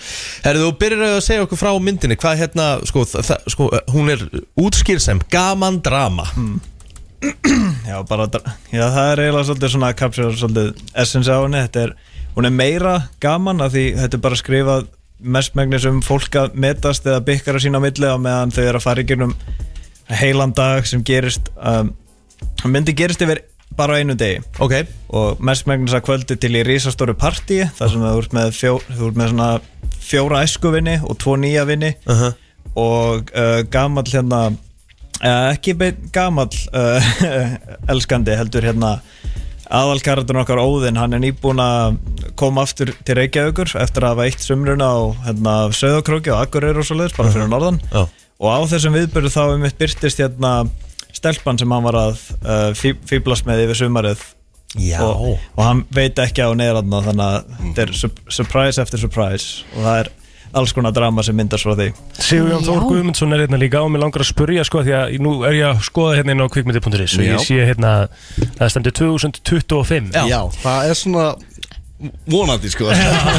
[SPEAKER 1] Herðu, þú byrjar að segja okkur frá myndinni. Hvað hérna, sko, þa- þa- sko uh, hún er útskýr sem gaman drama.
[SPEAKER 7] Já, bara, já, það er eiginlega svolítið svona að kapsja svolítið essence á henni þetta er, hún er meira gaman að því þetta er bara skrifað mestmægnis um fólk að metast eða bykkar að sína á milli á meðan þau eru að fara í gegnum heilan dag sem gerist um, myndi gerist yfir bara á einu degi
[SPEAKER 1] okay.
[SPEAKER 7] og mestmægnis að kvöldi til í risastóru partí þar sem þú ert með, fjó, þú ert með svona fjóra æskuvinni og tvo nýja vinni
[SPEAKER 1] -huh.
[SPEAKER 7] og uh, gamall hérna uh, ekki beinn gamall uh, elskandi heldur hérna aðalkaratun okkar Óðinn, hann er nýbúin að koma aftur til Reykjavíkur eftir að hafa eitt sumruna á hérna, Söðokróki og Akureyri og svoleiðis, bara fyrir norðan
[SPEAKER 1] Já.
[SPEAKER 7] og á þessum viðbyrðu þá um mitt byrtist hérna stelpan sem hann var að uh, fí- fíblast með yfir sumarið
[SPEAKER 1] Já.
[SPEAKER 7] og, og hann veit ekki að hún er aðna þannig að þetta er sup surprise eftir surprise og það er alls konar drama sem myndast frá því
[SPEAKER 3] Sigurjón Þór Guðmundsson er hérna líka og mér langar að spurja sko því að nú er ég að skoða hérna inn á kvikmyndi.is og
[SPEAKER 13] Já.
[SPEAKER 3] ég sé hérna að það stendur 2025
[SPEAKER 13] Já. það er svona vonandi sko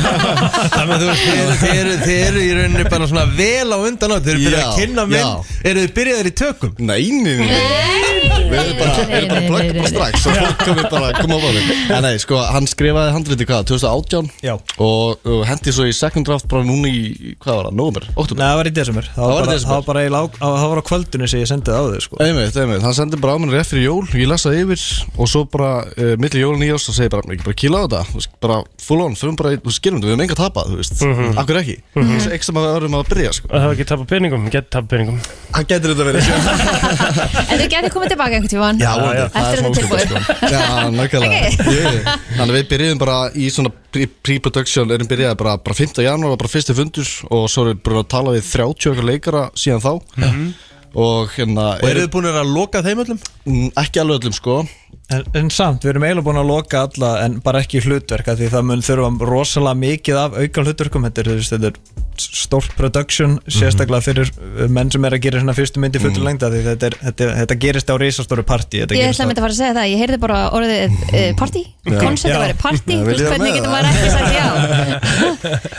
[SPEAKER 1] Þannig að þú veist, þið eru- þið eru, þið eru í rauninni bara svona vel á undan á Þið eru byrjað að
[SPEAKER 13] Já,
[SPEAKER 1] kynna mynd, eru þið byrjaðir í tökum?
[SPEAKER 13] Nei, nei, nei, nei Við erum bara, við erum bara að plugga bara strax og fólk komið bara að koma á báðum En nei, sko, hann skrifaði handriti hvað, 2018
[SPEAKER 7] Já.
[SPEAKER 13] og, og hendi svo í second draft bara núna í, hvað var það, november, oktober
[SPEAKER 7] Nei, það var í desember Það var,
[SPEAKER 13] í
[SPEAKER 7] bara,
[SPEAKER 13] desember.
[SPEAKER 7] það var bara eiginlega á, á, það var á kvöldunni sem ég sendið á þau sko.
[SPEAKER 13] Einmitt, einmitt, hann sendi bara á mér rétt fyrir jól, ég lasa yfir og svo bara uh, millir jól og nýjárs og segi bara, ekki bara kýla á þetta, þú veist, bara full on, fyrir bara, í- þú veist, skilum þetta, við erum enga að tapa, þú veist,
[SPEAKER 3] Mhm.
[SPEAKER 13] akkur ekki, mm
[SPEAKER 3] Mhm.
[SPEAKER 13] -hmm. þessu ekki sem að við erum að byrja, sko.
[SPEAKER 3] Að það var ekki tapa peningum, gett tapa peningum
[SPEAKER 13] Hann getur þetta verið
[SPEAKER 2] En þau getur komið tilbaka einhvern tímann
[SPEAKER 13] Já, vonandi. Það er
[SPEAKER 2] Eftir
[SPEAKER 13] smá
[SPEAKER 2] þetta
[SPEAKER 13] útskýrt,
[SPEAKER 2] tilbúið
[SPEAKER 13] sko. Já, nákvæmlega
[SPEAKER 2] Ok.
[SPEAKER 13] Jú, jú. Þannig að við byrjuðum bara í svona pre- pre-production erum byrjaði bara, bara 5. janúar var bara fyrsti fundur og svo erum við búin að tala við 30 okkar leikara síðan þá og hérna
[SPEAKER 1] Mhm. Og eru þið búin að loka þeim öllum?
[SPEAKER 13] Ekki alveg öllum sko
[SPEAKER 7] en, en samt, við erum eiginlega búin að loka alla en bara ekki hlutverk af því það mun þurfa rosalega mikið af auka hlutverkum þetta er, þú veist, þetta er stórt production
[SPEAKER 2] Mhm.
[SPEAKER 7] sérstaklega fyrir uh, menn sem er að gera svona fyrstu myndi fullur mm. lengda því þetta, er, þetta, þetta gerist á risastóru partí þetta
[SPEAKER 2] Ég
[SPEAKER 7] gerist
[SPEAKER 2] ætla að mynda að fara að segja það, ég heyrði bara orðið uh, party,
[SPEAKER 7] Já.
[SPEAKER 2] konceptið
[SPEAKER 7] Já.
[SPEAKER 2] væri party,
[SPEAKER 7] Já,
[SPEAKER 2] þú
[SPEAKER 7] viljið
[SPEAKER 2] veist
[SPEAKER 7] vera
[SPEAKER 2] hvernig
[SPEAKER 7] með
[SPEAKER 2] getur
[SPEAKER 7] það?
[SPEAKER 2] maður ekki sagt já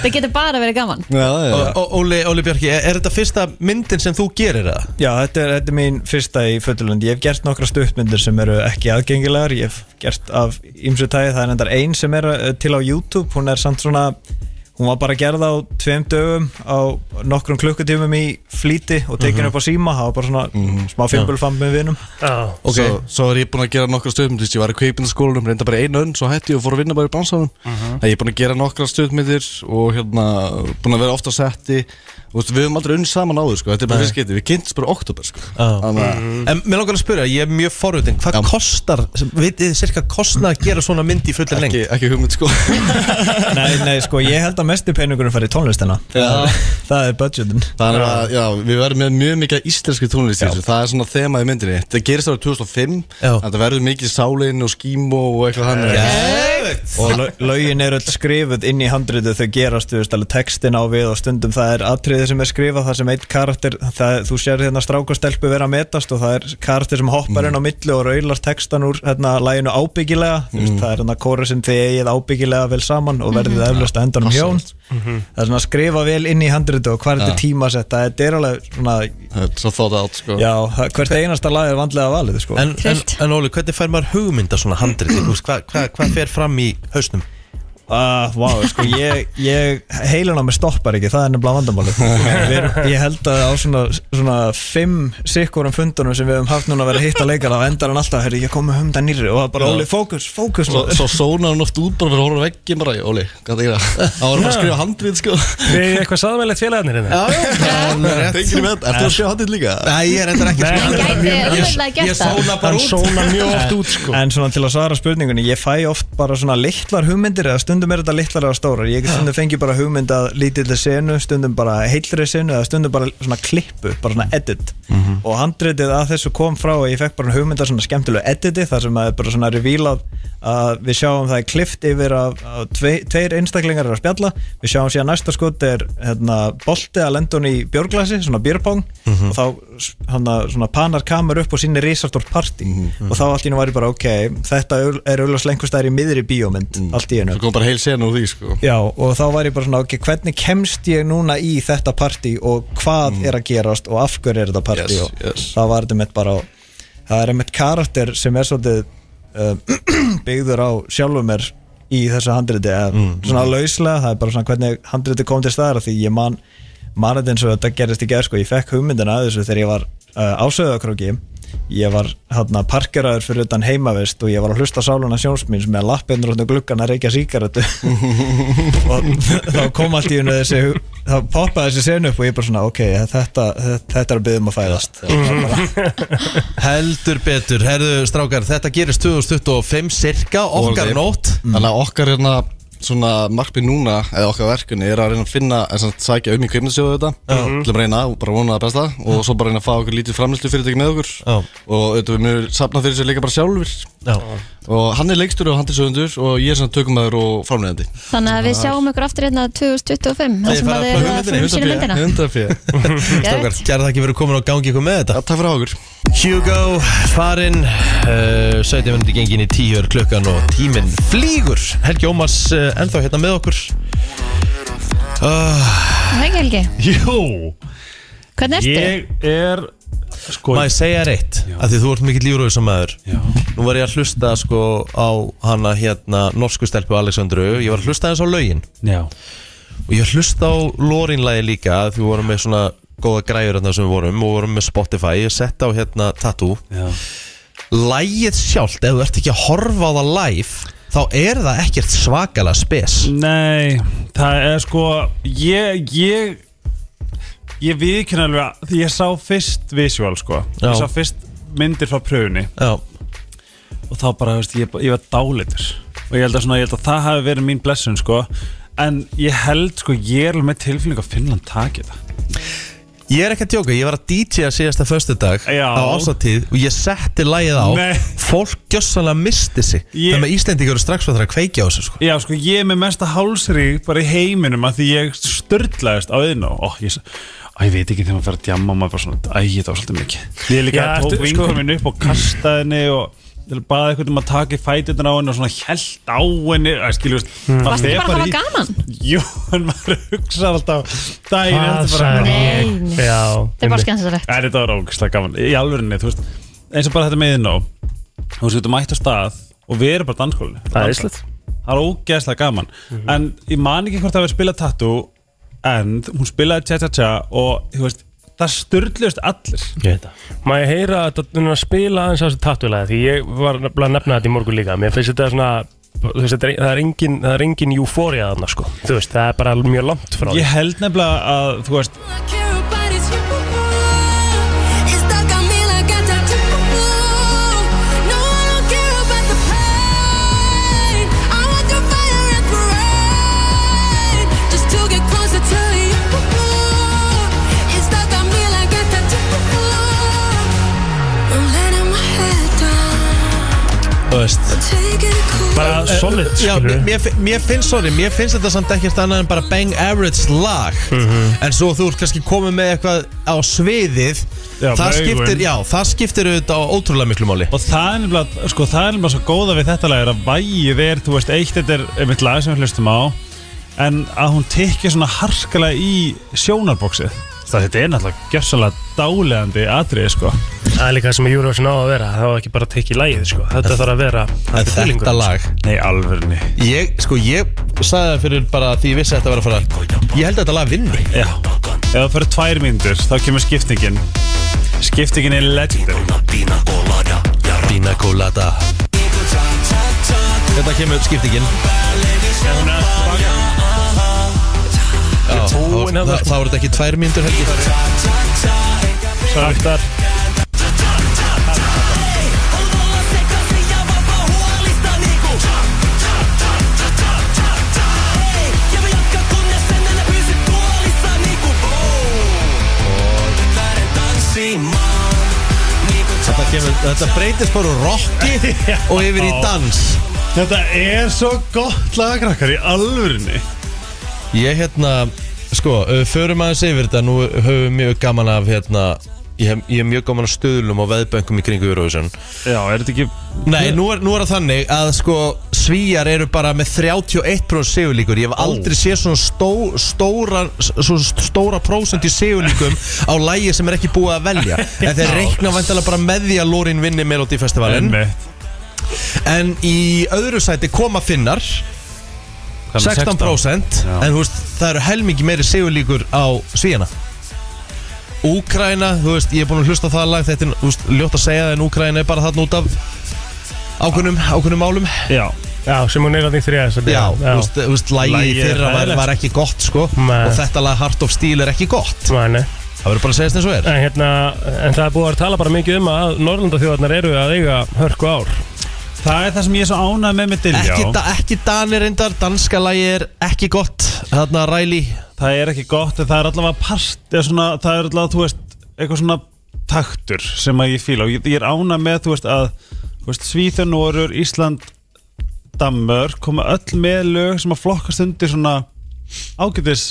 [SPEAKER 2] Það getur bara verið gaman
[SPEAKER 13] já,
[SPEAKER 1] já. Óli, Óli Björki, er, er þetta fyrsta myndin sem þú gerir það?
[SPEAKER 7] Já, þetta er, þetta er mín fyrsta í fötulund Ég hef gert nokkra stuttmyndir sem eru ekki aðgengilegar Ég hef gert af ymsu tæði Það er endar ein sem er eh, til á YouTube Hún er samt svona Hún var bara gerð á tveim dögum á nokkrum klukkutímum í flýti og tekin
[SPEAKER 13] Mhm.
[SPEAKER 7] upp á síma, það var bara svona
[SPEAKER 1] Mhm.
[SPEAKER 7] smá fimbulfamb með vinum
[SPEAKER 13] Ok, svo, svo er ég búin að gera nokkra stöðmyndir Ég var í kveipindaskólanum, reynda bara einu önn Svo hætti ég og fór að vinna bara í bransanum uh
[SPEAKER 7] Mhm.
[SPEAKER 13] Ég er búin að gera nokkra stöðmyndir Og hérna, búin að vera ofta setti Og veistu, við höfum aldrei unn saman áður sko Þetta er bara
[SPEAKER 1] Nei. Mhm.
[SPEAKER 13] fyrst getið, við kynntum bara oktober sko Þannig að-
[SPEAKER 1] En mér langar að spyrja, ég er mjög forutinn Hvað kostar, vitið þið cirka kostnað að gera svona mynd í fullin lengt?
[SPEAKER 13] Ekki, ekki hugmynd sko
[SPEAKER 7] Nei, nei, sko, ég held að mestu peningurinn fari í tónlistina
[SPEAKER 13] Já.
[SPEAKER 7] Það er budgetin
[SPEAKER 13] Þannig að, já, við verðum með mjög mikið íslenski tónlist í þessu, það er svona þema í myndinni Það gerist árið 2005,
[SPEAKER 1] já.
[SPEAKER 13] þetta verður mikið sálinn og skímó og eitthvað hann
[SPEAKER 7] og lö- lögin er öll skrifuð inn í handriðu þau gerast, þú veist, alveg textin á við og stundum það er atriði sem er skrifað það sem eitt karakter, það, þú sér hérna strákastelpu vera að metast og það er karakter sem hoppar
[SPEAKER 13] Mm.
[SPEAKER 7] inn á milli og raulast textan úr hérna læginu ábyggilega, þú veist,
[SPEAKER 13] Mm.
[SPEAKER 7] það er hérna kóru sem þið eigið ábyggilega vel saman og verðið
[SPEAKER 13] Mhm.
[SPEAKER 7] mm. eflust að endanum
[SPEAKER 13] Passa
[SPEAKER 7] hjón
[SPEAKER 13] Mhm.
[SPEAKER 7] það er svona að skrifa vel inn í handriðu og hvað er
[SPEAKER 13] Ja.
[SPEAKER 7] þetta tímasetta, þetta er alveg svona,
[SPEAKER 13] Svo þótt átt sko
[SPEAKER 7] já, það- hvert einasta lag er vandlega valið, sko
[SPEAKER 1] En, en, en Óli, hvernig fær maður hugmynda svona handrið? Hvað hva, hva fer fram í hausnum?
[SPEAKER 7] Ah, vá, sko, ég, ég heilin á mig stoppar ekki, það er nefnilega vandamálið Við erum- Ég held að á svona, svona fimm sikkurum fundunum sem við höfum haft núna að vera að hitta leikara og endar hann alltaf, herri, ég kom með humda nýri og það er bara,
[SPEAKER 13] Já.
[SPEAKER 7] Óli, fókus, fókus
[SPEAKER 13] Svo, svo sónar hann oft út bara fyrir að horfa á vegginn bara, Óli, hvað það gera? Það var bara um að skrifa handrið sko
[SPEAKER 3] Við erum eitthvað saðmælið félagarnir hérna
[SPEAKER 13] Já, já Tengir með þetta, ertu að skrifa handrið líka?
[SPEAKER 1] Nei, ég er reyndar ekki
[SPEAKER 3] Nei,
[SPEAKER 13] skrifa
[SPEAKER 3] hann-
[SPEAKER 2] auðveldlega gert það.
[SPEAKER 13] handrið
[SPEAKER 3] hann- Hann sónar mjög oft út sko
[SPEAKER 7] En svona til að svara spurningunni, ég fæ oft bara svona litlar hugmyndir eða stundum er þetta litlar eða stórar Ég stundum fengi bara hugmynd að lítilli senu, stundum bara heilri senu eða stundum bara svona klippu, bara svona edit
[SPEAKER 13] Mhm.
[SPEAKER 7] Og handritið að þessu kom frá að ég fekk bara hugmynd að svona skemmtilegu editi þar sem að er bara svona revílað að við sjáum það er klift yfir að, að tve, tveir einstaklingar eru að spjalla Við sjáum síðan næsta skot er hérna, bolti að lenda hún í björglasi, svona björpong
[SPEAKER 13] Mhm.
[SPEAKER 7] og þá s- hana, svona, panar kamur upp og sínir risastort partí
[SPEAKER 13] Mhm.
[SPEAKER 7] og þá allt í hennu var ég bara ok þetta er- er auðvitað slengustæðir í miðri bíómynd allt í hennu
[SPEAKER 13] Mhm. Svo kom bara heil sena úr því sko
[SPEAKER 7] Já, og þá var ég bara svona, ok, hvernig kemst ég núna í þetta partí og hvað er að gerast og af hverju er þetta partí
[SPEAKER 13] Mm. Yes,
[SPEAKER 7] og það var þetta mitt bara á, það er mitt karakter sem er svolítið um, byggður á sjálfum mér í þessu handriti eða
[SPEAKER 13] Mm,
[SPEAKER 7] svona lauslega, það er bara svona hvernig handriti kom til staðar af því ég man man þetta eins og þetta gerist í gerð sko, ég fekk hugmyndina að þessu þegar ég var uh, ásöðakróki ég var hérna parkeraður fyrir utan heimavist og ég var að hlusta á sáluna sjónsmins með lappinur og gluggan að reykja síkaretu og þá kom allt í hennu þessi þá poppaði þessi senu upp og ég bara svona ok, þetta, þetta er að byggja um að fæðast
[SPEAKER 1] Mhm. Heldur betur, herðu strákar, þetta gerist 2025 cirka, okkar
[SPEAKER 13] Orðið.
[SPEAKER 1] nótt
[SPEAKER 13] Þannig að okkar hérna svona markmið núna eða okkar verkunni er að reyna að finna en samt sækja um í kveimnisjóðu þetta
[SPEAKER 1] Já.
[SPEAKER 13] til að reyna og bara vona það besta og svo bara reyna að fá okkur lítið framlýslu fyrirtæki með okkur
[SPEAKER 1] Já.
[SPEAKER 13] og auðvitað við mjög sapna fyrir sér líka bara sjálfur
[SPEAKER 12] og hann er leikstur og hann er sögundur og ég er svona tökumæður og framlegandi
[SPEAKER 2] Þannig að við sjáum ykkur aftur hérna 2025 þar sem að þið eru að frumsýna myndina
[SPEAKER 1] Hm?
[SPEAKER 12] 100
[SPEAKER 1] Strákar, kæra þakki fyrir komin og gangi ykkur með þetta
[SPEAKER 12] Takk fyrir águr
[SPEAKER 1] Hugo, farinn uh, 17 minúti gengin í 10 er klukkan og tíminn flýgur Helgi Ómas uh, ennþá hérna með okkur uh,
[SPEAKER 2] Hæ, Helgi,
[SPEAKER 1] Jú
[SPEAKER 2] hvernig ertu?
[SPEAKER 1] er sko, Má ég segja reitt að því þú ert mikill lífröðsam maður já. Nú var ég að hlusta sko á hana hérna norsku stelpu Aleksandru Ég var að hlusta aðeins á lögin
[SPEAKER 4] Já.
[SPEAKER 1] Og ég var að hlusta á Lorinlægi líka því við vorum með svona góða græjur þarna sem við vorum og vorum með Spotify, ég sett á hérna Tattoo
[SPEAKER 4] Já.
[SPEAKER 1] Lægið sjálft, ef þú ert ekki að horfa á það live þá er það ekkert svakalega spes
[SPEAKER 4] Nei, það er sko Ég Ég, ég viðkynna alveg að Því ég sá fyrst visual sko
[SPEAKER 1] Já.
[SPEAKER 4] Ég sá fyrst myndir frá pröfunni
[SPEAKER 1] Já.
[SPEAKER 4] Og þá bara, þú veist, ég, ég var dálitur Og ég held að, svona, ég held að það hafi verið mín blessun sko En ég held sko Ég er alveg með tilfinning að Finnland taki það
[SPEAKER 1] Ég er ekki að tjóka, ég var að DJ-a síðasta föstudag
[SPEAKER 4] Já.
[SPEAKER 1] á ásatíð og ég setti lægið á
[SPEAKER 4] Nei.
[SPEAKER 1] fólk gjössanlega misti sig
[SPEAKER 4] Ég-
[SPEAKER 1] þannig að Íslendingar eru strax að það að kveikja á þessu sko.
[SPEAKER 4] Já, sko, ég er með mesta hálsri bara í heiminum að því ég störtlaðist á auðinu og ég, s- Æ, ég veit ekki þegar maður fer að djamma maður bara svona, æ, þetta var svolítið mikið Ég líka
[SPEAKER 3] Já,
[SPEAKER 4] tók
[SPEAKER 3] ertu-
[SPEAKER 4] vingur
[SPEAKER 3] sko-
[SPEAKER 4] minn upp og kastaði henni og baði eitthvað um að taka í fætutin á henni og svona held á henni að skilju, veist,
[SPEAKER 3] Hmm.
[SPEAKER 4] maður
[SPEAKER 2] Varstu
[SPEAKER 4] fer
[SPEAKER 2] ekki bara að
[SPEAKER 4] í-
[SPEAKER 2] hafa gaman?
[SPEAKER 4] Jú, en maður hugsa alltaf daginn
[SPEAKER 3] Hvað
[SPEAKER 4] eftir bara
[SPEAKER 3] sagði ég?
[SPEAKER 2] Nei.
[SPEAKER 4] Já,
[SPEAKER 2] Þetta er bara skemmtilegt.
[SPEAKER 4] Æ, Þetta var ógislega gaman, í alvörinni, þú veist eins og bara þetta með innó þú veist, við getum mætt á stað og við erum bara danskólinni
[SPEAKER 3] Það er Mhm. íslenskt.
[SPEAKER 4] Það er ógeðslega gaman En ég man ekki hvort það verið spilað tattoo En hún spilaði tja-tja-tja Og þú veist, það styrluðist allir
[SPEAKER 1] Ég veit
[SPEAKER 3] það Má ég heyra að þetta er að spila aðeins á þessu tattulega Því ég var nefnilega að nefna þetta í morgun líka Mér finnst þetta svona þú veist, þetta er- Það er engin, það er engin eufória þarna sko Þú veist, það er bara mjög langt frá því
[SPEAKER 4] Ég held nefnilega að, þú veist
[SPEAKER 1] Þú veist
[SPEAKER 3] Bara solid,
[SPEAKER 1] Eh, Já,
[SPEAKER 3] skilurðu.
[SPEAKER 1] mér, fi- mér finnst, sorry, mér finnst þetta samt ekkert annað en bara bang average lag
[SPEAKER 4] Mhm.
[SPEAKER 1] en svo þú ert kannski komið með eitthvað á sviðið
[SPEAKER 4] Já,
[SPEAKER 1] það,
[SPEAKER 4] með augun.
[SPEAKER 1] skiptir, já, það skiptir auðvitað á ótrúlega miklu máli
[SPEAKER 4] Og það er nefnilega, sko, það er nefnilega svo góða við þetta lag er að vægið er, þú veist, eitt þetta er einmitt lag sem við hlustum á en að hún tekja svona harkalega í sjónarbóksið Það þetta er náttúrulega gjörsalega dálegandi atriði, sko
[SPEAKER 3] Það er líka það sem Eurovision á að vera Það var ekki bara að tekið lægið sko Þetta þarf að vera
[SPEAKER 1] En þetta lag
[SPEAKER 4] Nei, alvörni
[SPEAKER 1] Ég, sko, ég sagði það fyrir bara því ég vissi að þetta var að fara Ég held að þetta lag vinni
[SPEAKER 4] Já, ef það fyrir tvær mínútur þá kemur skiptingin Skiptingin er legendary Bína gólada
[SPEAKER 1] Bína gólada Þetta kemur skiptingin Já, þá
[SPEAKER 3] búin að
[SPEAKER 1] þá-
[SPEAKER 3] það,
[SPEAKER 1] þá voru þetta ekki tvær mínútur helgi
[SPEAKER 3] Svartar
[SPEAKER 1] Þetta, kemur, þetta breytist bara úr rocki og yfir í dans
[SPEAKER 4] Þetta er svo gott lagakrakkar í alvörinni
[SPEAKER 1] Ég hérna, sko, uh, förum aðeins yfir þetta Nú höfum við mjög gaman af hérna Ég hef, ég hef mjög gaman af stöðlum og veðböngum í kringu Eurovision
[SPEAKER 4] Já, er þetta ekki
[SPEAKER 1] Nei, nú er, nú er það þannig að sko svíjar eru bara með 31% sigurlíkur Ég hef aldrei séð svona stó, stóra, svona stóra prósent í sigurlíkum á lægi sem er ekki búið að velja En þeir reikna vantilega bara með því að Lorin vinni Melody Festivalin
[SPEAKER 4] Einmitt.
[SPEAKER 1] En í öðru sæti koma finnar
[SPEAKER 4] Hvað með
[SPEAKER 1] 16%,
[SPEAKER 4] 16%? Já.
[SPEAKER 1] En þú veist, það eru helmingi meiri sigurlíkur á svíjana Úkraina, þú veist, ég er búin að hlusta á það lag Þetta er, þú veist, ljótt að segja það En Úkraina er bara þarna út af ákveðnum, ákveðnum málum
[SPEAKER 4] Já
[SPEAKER 3] Já, sem hún er að því þrjá
[SPEAKER 1] Já, þú veist, þú veist, lagið í
[SPEAKER 3] Lagið er
[SPEAKER 1] fyrra var,
[SPEAKER 3] hræðilegt.
[SPEAKER 1] var ekki gott, sko
[SPEAKER 3] Nei.
[SPEAKER 1] Og þetta lag Heart of Steel er ekki gott
[SPEAKER 3] Nei, nei
[SPEAKER 1] Það verður bara að segja þess eins og er
[SPEAKER 3] En, hérna, en það er búið að tala bara mikið um að Norrlandaþjóðarnar eru að eiga hörku ár
[SPEAKER 4] Það er það sem ég er svo ánað með með Diljá
[SPEAKER 1] Ekki, da, ekki danir reyndar, danska lagi er ekki gott Þarna ræli
[SPEAKER 4] Það er ekki gott en það er allavega part eða svona, það er allavega, þú veist, eitthvað svona taktur sem að ég fíla og ég, ég er ánað með, þú veist, að þú Svíþjón, Norur, Ísland Dammör koma öll með lög sem að flokkast undir svona ágætis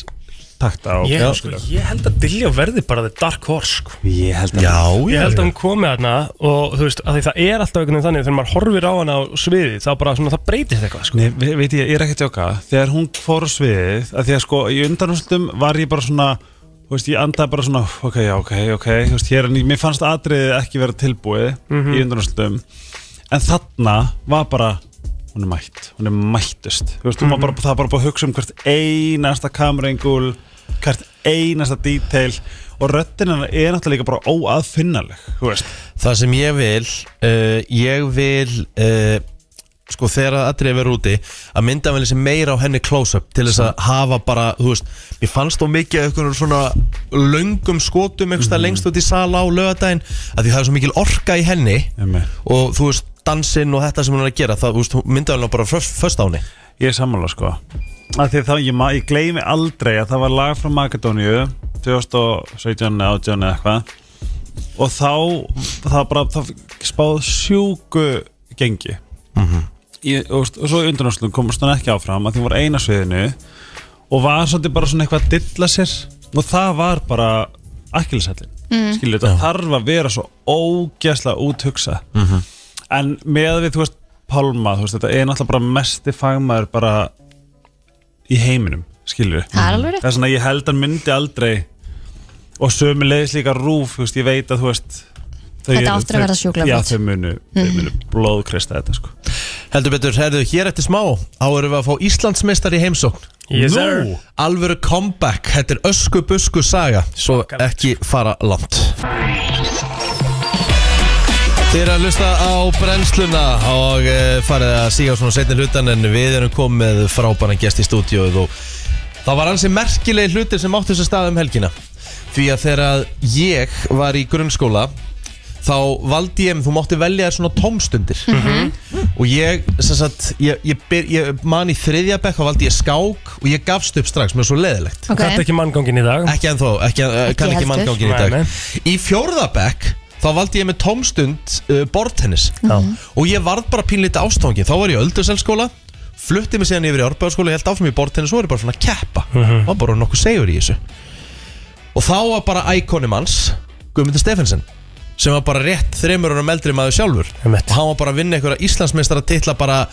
[SPEAKER 4] takta og
[SPEAKER 3] Ég, sko, ég held að Dilljá verði bara The Dark Horse sko.
[SPEAKER 4] Ég held að
[SPEAKER 3] Ég held að hún komi þarna og þú veist, að því það er alltaf einhvern veginn þannig þegar maður horfir á hana á sviði þá bara svona það breytist eitthvað sko.
[SPEAKER 4] Nei, ve- veit ég, ég er ekki að tjóka Þegar hún fór á sviðið að Því að sko, í undanústum var ég bara svona Þú veist, ég andaði bara svona Ok, já, ok, ok Þú veist, hér, er ný- mér fannst atriðið ekki vera tilbúið
[SPEAKER 3] Mhm.
[SPEAKER 4] Í undanústum En þarna var bara Hún er mætt, hún er mættust Þú veist,
[SPEAKER 3] Mhm.
[SPEAKER 4] mm -hmm. bara, það var bara búið að hugsa um hvert einasta kamerengul Hvert einasta detail Og röddin hennar er náttúrulega líka bara óaðfinnaleg Þú veist
[SPEAKER 1] Það sem ég vil uh, Ég vil uh, Sko þegar að atrið verður úti Að mynda vel þessi meira á henni close-up Til þess að hafa bara, þú veist Mér fannst þó mikið af einhvern svona Löngum skotum, einhvers
[SPEAKER 4] Mhm.
[SPEAKER 1] það lengst út í sala á lögadaginn Að því það er svo mikil orka í henni Og þú veist, dansinn og þetta sem hún er að gera Það, þú veist, mynda vel bara föst á henni
[SPEAKER 4] Ég er sammála sko að því þá ég, ma- ég gleymi aldrei að það var lag frá Makedóníu 2017 eða 18 eða eitthvað og þá það bara það spáð sjúku gengi
[SPEAKER 11] Mhm.
[SPEAKER 4] ég, og, og svo í undanúslum komst hún ekki áfram að því hún var eina sviðinu og var svolítið bara svona eitthvað að dilla sér og það var bara akkilsællin
[SPEAKER 2] Mm.
[SPEAKER 3] Mhm.
[SPEAKER 4] skilur þetta þarf að vera svo ógeðslega úthugsa
[SPEAKER 3] Mhm.
[SPEAKER 4] en með við þú veist Pálma, þú veist þetta er náttúrulega bara mesti fagmaður bara í heiminum skilur
[SPEAKER 2] Það er alveg rétt.
[SPEAKER 4] það er svona ég held að myndi aldrei og sömu leiðis líka rúf þú veist ég veit að þú veist þau
[SPEAKER 2] Þetta
[SPEAKER 4] eru-
[SPEAKER 2] áttur að
[SPEAKER 4] þau-
[SPEAKER 2] verða Mm. sjúklega
[SPEAKER 4] já
[SPEAKER 2] flott.
[SPEAKER 4] þau munu, þau munu blóðkrista þetta sko
[SPEAKER 1] Heldur betur, herðu, hér eftir smá Þá erum við að fá Íslandsmeistar í heimsókn
[SPEAKER 4] Yes, sir.
[SPEAKER 1] Nú, Alvöru comeback, þetta er ösku busku saga Svo ekki fara langt Þið eru að lusta á brennsluna og eh, farið að síga á svona setni hlutan en við erum komið frábæran gest í stúdíóið og það var ansi merkileg hlutir sem áttu þessu stað um helgina því að þegar að ég var í grunnskóla þá valdi ég, þú mátti velja þér svona tómstundir og ég, sem sagt, ég, ég, byr, ég man í þriðja bekk þá valdi ég skák og ég gafst upp strax, mér er svo leðilegt
[SPEAKER 3] Ok. Þetta er ekki manngangin í dag
[SPEAKER 1] Ekki ennþá, ekki, eh, ekki kann ekki
[SPEAKER 3] heldur.
[SPEAKER 1] manngangin í dag
[SPEAKER 3] Nei,
[SPEAKER 1] Í fjórðabekk þá valdi ég með tómstund uh, bortennis og ég varð bara pínleita ástofangin þá var ég öldurselskóla flutti mig síðan yfir í orðbæðarskóla ég held áfram í bortennis og var ég bara svona að keppa
[SPEAKER 3] Mhm.
[SPEAKER 1] var bara nokkuð segur í þessu og þá var bara íkonum hans Guðmundur Stefensen sem var bara rétt þreymur og meldri maður sjálfur og hann var bara að vinna einhverja Íslandsmeistar að titla bara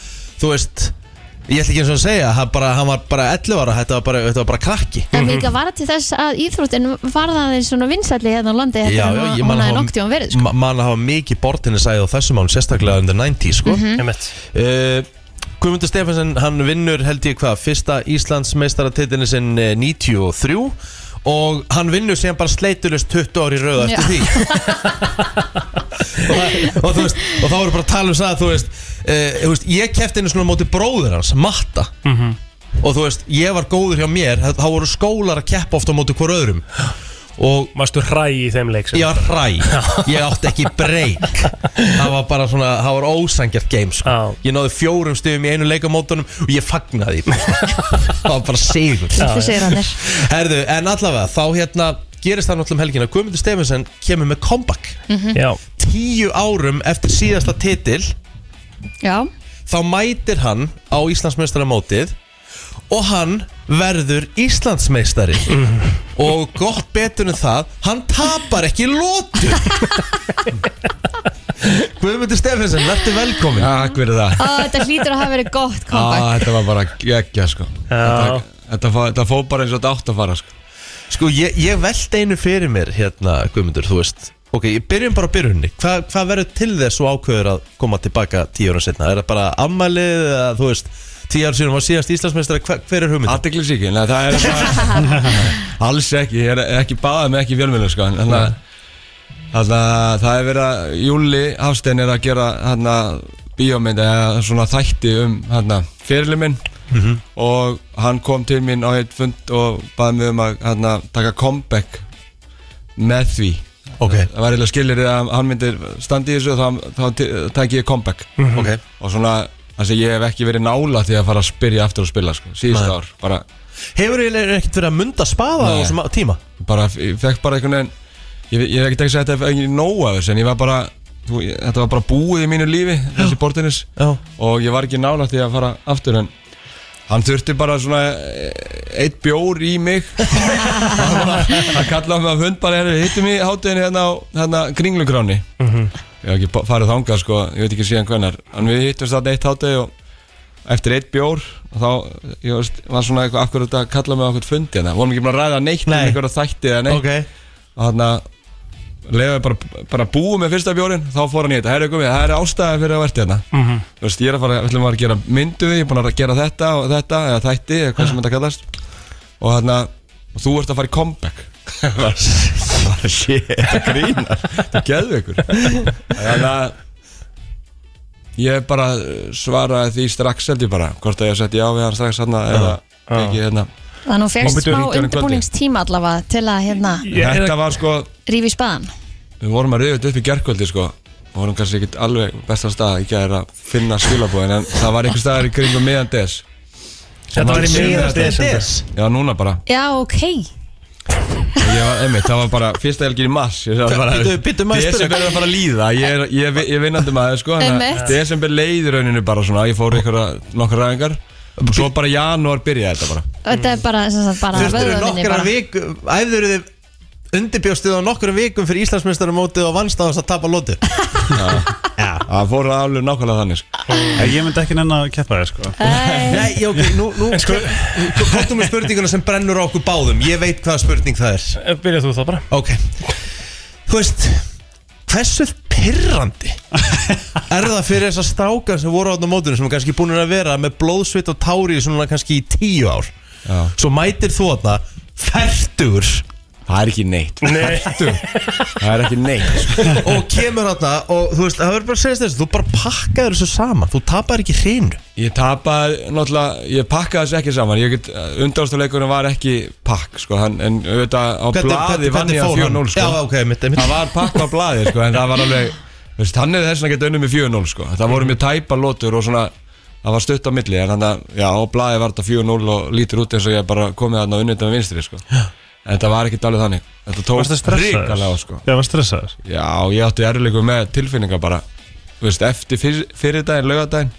[SPEAKER 1] þú veist ég ætla ekki eins og að segja hann, bara, hann var bara 11 ára þetta var bara, þetta var bara krakki
[SPEAKER 2] En líka var til þess að íþróttin var það þeir svona vinsalli hérna á landi
[SPEAKER 1] Já,
[SPEAKER 2] heldur
[SPEAKER 1] já,
[SPEAKER 2] en
[SPEAKER 1] ég
[SPEAKER 2] hún-
[SPEAKER 1] man
[SPEAKER 2] hún
[SPEAKER 1] að
[SPEAKER 2] hafði
[SPEAKER 1] hafa-
[SPEAKER 2] nokk tíma verið sko.
[SPEAKER 1] sko. mann að hafa mikið bortinni sæði á þessum án sérstaklega under 90 sko.
[SPEAKER 2] Mhm.
[SPEAKER 1] mm -hmm. Guðmundur Stefansson hann vinnur held ég hvað fyrsta Íslands meistaratitinni sinn eh, 93 og hann vinnur sem bara sleitulust 20 ári rauð eftir
[SPEAKER 2] Já.
[SPEAKER 1] því og, þú veist, og þá voru bara að tala um það þú veist, uh, þú veist ég kefti einu svona á móti bróður hans, Matta og þú veist, ég var góður hjá mér þá- þá voru skólar að keppa ofta á móti hver öðrum og
[SPEAKER 3] varstu hræ í þeim leik sem
[SPEAKER 1] ég var hræ, ég átti ekki breyk það var bara svona, það var ósangjart game sko. ég náði fjórum stöðum í einu leikamótunum og ég fagnaði því, sko. það var bara sigur
[SPEAKER 2] Litlu sigrarnir.
[SPEAKER 1] herðu, en allavega, þá hérna gerist það náttúrulega um helgina, Guðmundur Stefansson kemur með comeback
[SPEAKER 2] Mhm.
[SPEAKER 3] Já.
[SPEAKER 1] tíu árum eftir síðasta titil
[SPEAKER 2] Já,
[SPEAKER 1] þá mætir hann á Íslandsmeistaramótið og hann verður Íslandsmeistari og gott betur en það hann tapar ekki lótu Guðmundur Stefensen, verður velkomin
[SPEAKER 11] Takk fyrir það
[SPEAKER 2] Ó, þetta hlýtur að hafa verið gott comeback
[SPEAKER 11] Á, þetta var bara geggja sko Þetta, þetta, fó- þetta fór bara eins og þetta átt að fara sko
[SPEAKER 1] Sko, ég, ég veld einu fyrir mér hérna, Guðmundur, þú veist Ok, ég byrjum bara á byrjunni Hva, Hvað verður til þess og ákveður að koma tilbaka tíu ára setna? Er það bara ammælið eða þú veist tíu ára síðan var síðast Íslandsmeistari hver, hver er hugmyndin?
[SPEAKER 11] Athyglisíkin, það er Alls ekki, ég er ekki baðað með ekki fjölmjölu sko en Þannig að þannig að það er verið að Júli Hafstein er að gera hann að bíómynd eða svona þætti um hann að fyrirli minn
[SPEAKER 14] Mhm.
[SPEAKER 11] og hann kom til mín á eitt fund og baði mig um að hann að taka comeback með því
[SPEAKER 1] okay.
[SPEAKER 11] það var eiginlega skilir að hann myndir standa í þessu og þá, þá te- tæki ég comeback
[SPEAKER 1] Mhm. Ok.
[SPEAKER 11] og svona það sem ég hef ekki verið nála því að fara að spyrja aftur og spila sko, síðust
[SPEAKER 1] Nei.
[SPEAKER 11] ár bara
[SPEAKER 1] Hefur eiginlega ekkert verið að mynda spaða á
[SPEAKER 11] Nei.
[SPEAKER 1] þessum á- tíma?
[SPEAKER 11] bara, ég fekk bara einhvern veginn ég, ég hef ekki tekst að þetta er ekki nóg af þessu en ég var bara
[SPEAKER 12] þú, ég- þetta var bara búið í mínu lífi þessi bortinnis og ég var ekki nálægt í að fara aftur en hann þurfti bara svona eh, eitt bjór í mig hann kallaði mig að hund bara "Heyrðu, hittum í hátíðinni hérna á hérna, kringlugráni
[SPEAKER 14] Mhm.
[SPEAKER 12] ég hef ekki ba- farið þangað sko, ég veit ekki síðan hvernar en við hittumst þarna eitt hátegi og eftir eitt bjór og þá ég veist, var svona eitthvað af hverju þetta kallaði mig á okkur fundi hérna, vorum ekki búin að ræða neitt um einhverja þætti eða neitt okay. og þarna leiðum við bara, bara búið með fyrsta bjórin þá fór hann í þetta, herri komið, það er ástæði fyrir að verði hérna
[SPEAKER 14] Mhm.
[SPEAKER 12] þú veist, ég er að fara, við ætlum að gera myndu við, ég er búin að gera þetta og þetta eða þætti, eða hvað sem þetta kallast og þarna, og þú ert að fara í comeback bara shit þetta grínar, þetta geðu ykkur þannig að ég bara eh, svaraði því strax held ég bara, hvort að ég sett já við hann strax hann eða ekki hérna
[SPEAKER 2] Þannig að þú
[SPEAKER 12] Og
[SPEAKER 2] fegst
[SPEAKER 12] byrjuðu
[SPEAKER 2] smá
[SPEAKER 12] að hringja honum í kvöldi.
[SPEAKER 2] undirbúningstíma allavega til að hérna
[SPEAKER 12] þetta var sko,
[SPEAKER 2] rífi í spaðan
[SPEAKER 12] við vorum að reyða þetta upp í gerkvöldi sko og vorum kannski ekkit alveg besta stað ekki að finna skilabóðin en það var einhver staðar í kringum miðan des
[SPEAKER 3] Þetta var í miðjan des?
[SPEAKER 12] Já, núna bara
[SPEAKER 2] Já, ok
[SPEAKER 12] Ég var, einmitt, það var bara fyrsta helgin í mars Ég sagði bara,
[SPEAKER 1] Bíddu, bíddu, má ég spyrja?
[SPEAKER 12] Desember er að fara að líða Ég er, ég, er- ég er vinnandi maður, sko þannig
[SPEAKER 1] Einmitt.
[SPEAKER 12] að Desember leið í rauninu bara svona Ég fór ykkur nokkur ræðingar Svo bara í janúar byrjaði þetta bara
[SPEAKER 2] Þetta er bara, sem sagt, bara
[SPEAKER 1] Þurftur
[SPEAKER 2] vöðvavinni
[SPEAKER 1] nokkra
[SPEAKER 2] bara.
[SPEAKER 1] vik Æfður þið undirbjóstuð á nokkrum vikum fyrir Íslandsmeistaramótið og vannst á þess að tapa lótu
[SPEAKER 12] Það fór það alveg nákvæmlega þannig sko.
[SPEAKER 4] Ég myndi ekki nenn að keppa þér sko
[SPEAKER 1] Nei, já, ok, nú, nú sko, Kvartum við spurninguna sem brennur á okkur báðum Ég veit hvaða spurning það er
[SPEAKER 3] Byrjað Eh, þú það bara
[SPEAKER 1] Ok Þú veist, hversu pirrandi er það fyrir þessar strákar sem voru átna á mótunum sem er kannski búin að vera með blóðsvit og tári svona kannski í tíu ár
[SPEAKER 12] Já.
[SPEAKER 1] Svo mætir þú átna færtur
[SPEAKER 12] Það er ekki neitt
[SPEAKER 1] Nei.
[SPEAKER 12] Það er ekki neitt
[SPEAKER 1] og kemur átna og þú veist, það verður bara að segja þess þú bara pakkaður þessu saman, þú tapar ekki hreinu
[SPEAKER 12] Ég tapaði náttúrulega, ég pakkaði þessu ekki saman Ég get, undáðstuleikurinn var ekki pakk sko, hann, En auðvitað á
[SPEAKER 1] Hvernig-
[SPEAKER 12] blaði vann ég að
[SPEAKER 1] hvernig- hvernig fór hann?
[SPEAKER 12] 4-0 sko.
[SPEAKER 1] Já, ok, mitt, mitt.
[SPEAKER 12] Það var pakk á blaði sko, En það var alveg, þú veist, hann er þess að geta unnum í 4-0 sko. Það voru mjög tæpa lótur og svona Það var stutt á milli En þannig að, já, á blaði var þetta 4-0 Og lítir út eins og ég bara komið þarna og unnið þetta með vinstri sko. En þetta var ekkert alveg þannig Þetta tók
[SPEAKER 4] Varstu stressaður?
[SPEAKER 12] hrikalega á, sko.
[SPEAKER 4] Já, var stressaður
[SPEAKER 12] Já, ég átti erfilegu með tilfinningar bara Þú veist, eftir fyrir, fyrir daginn, laugadaginn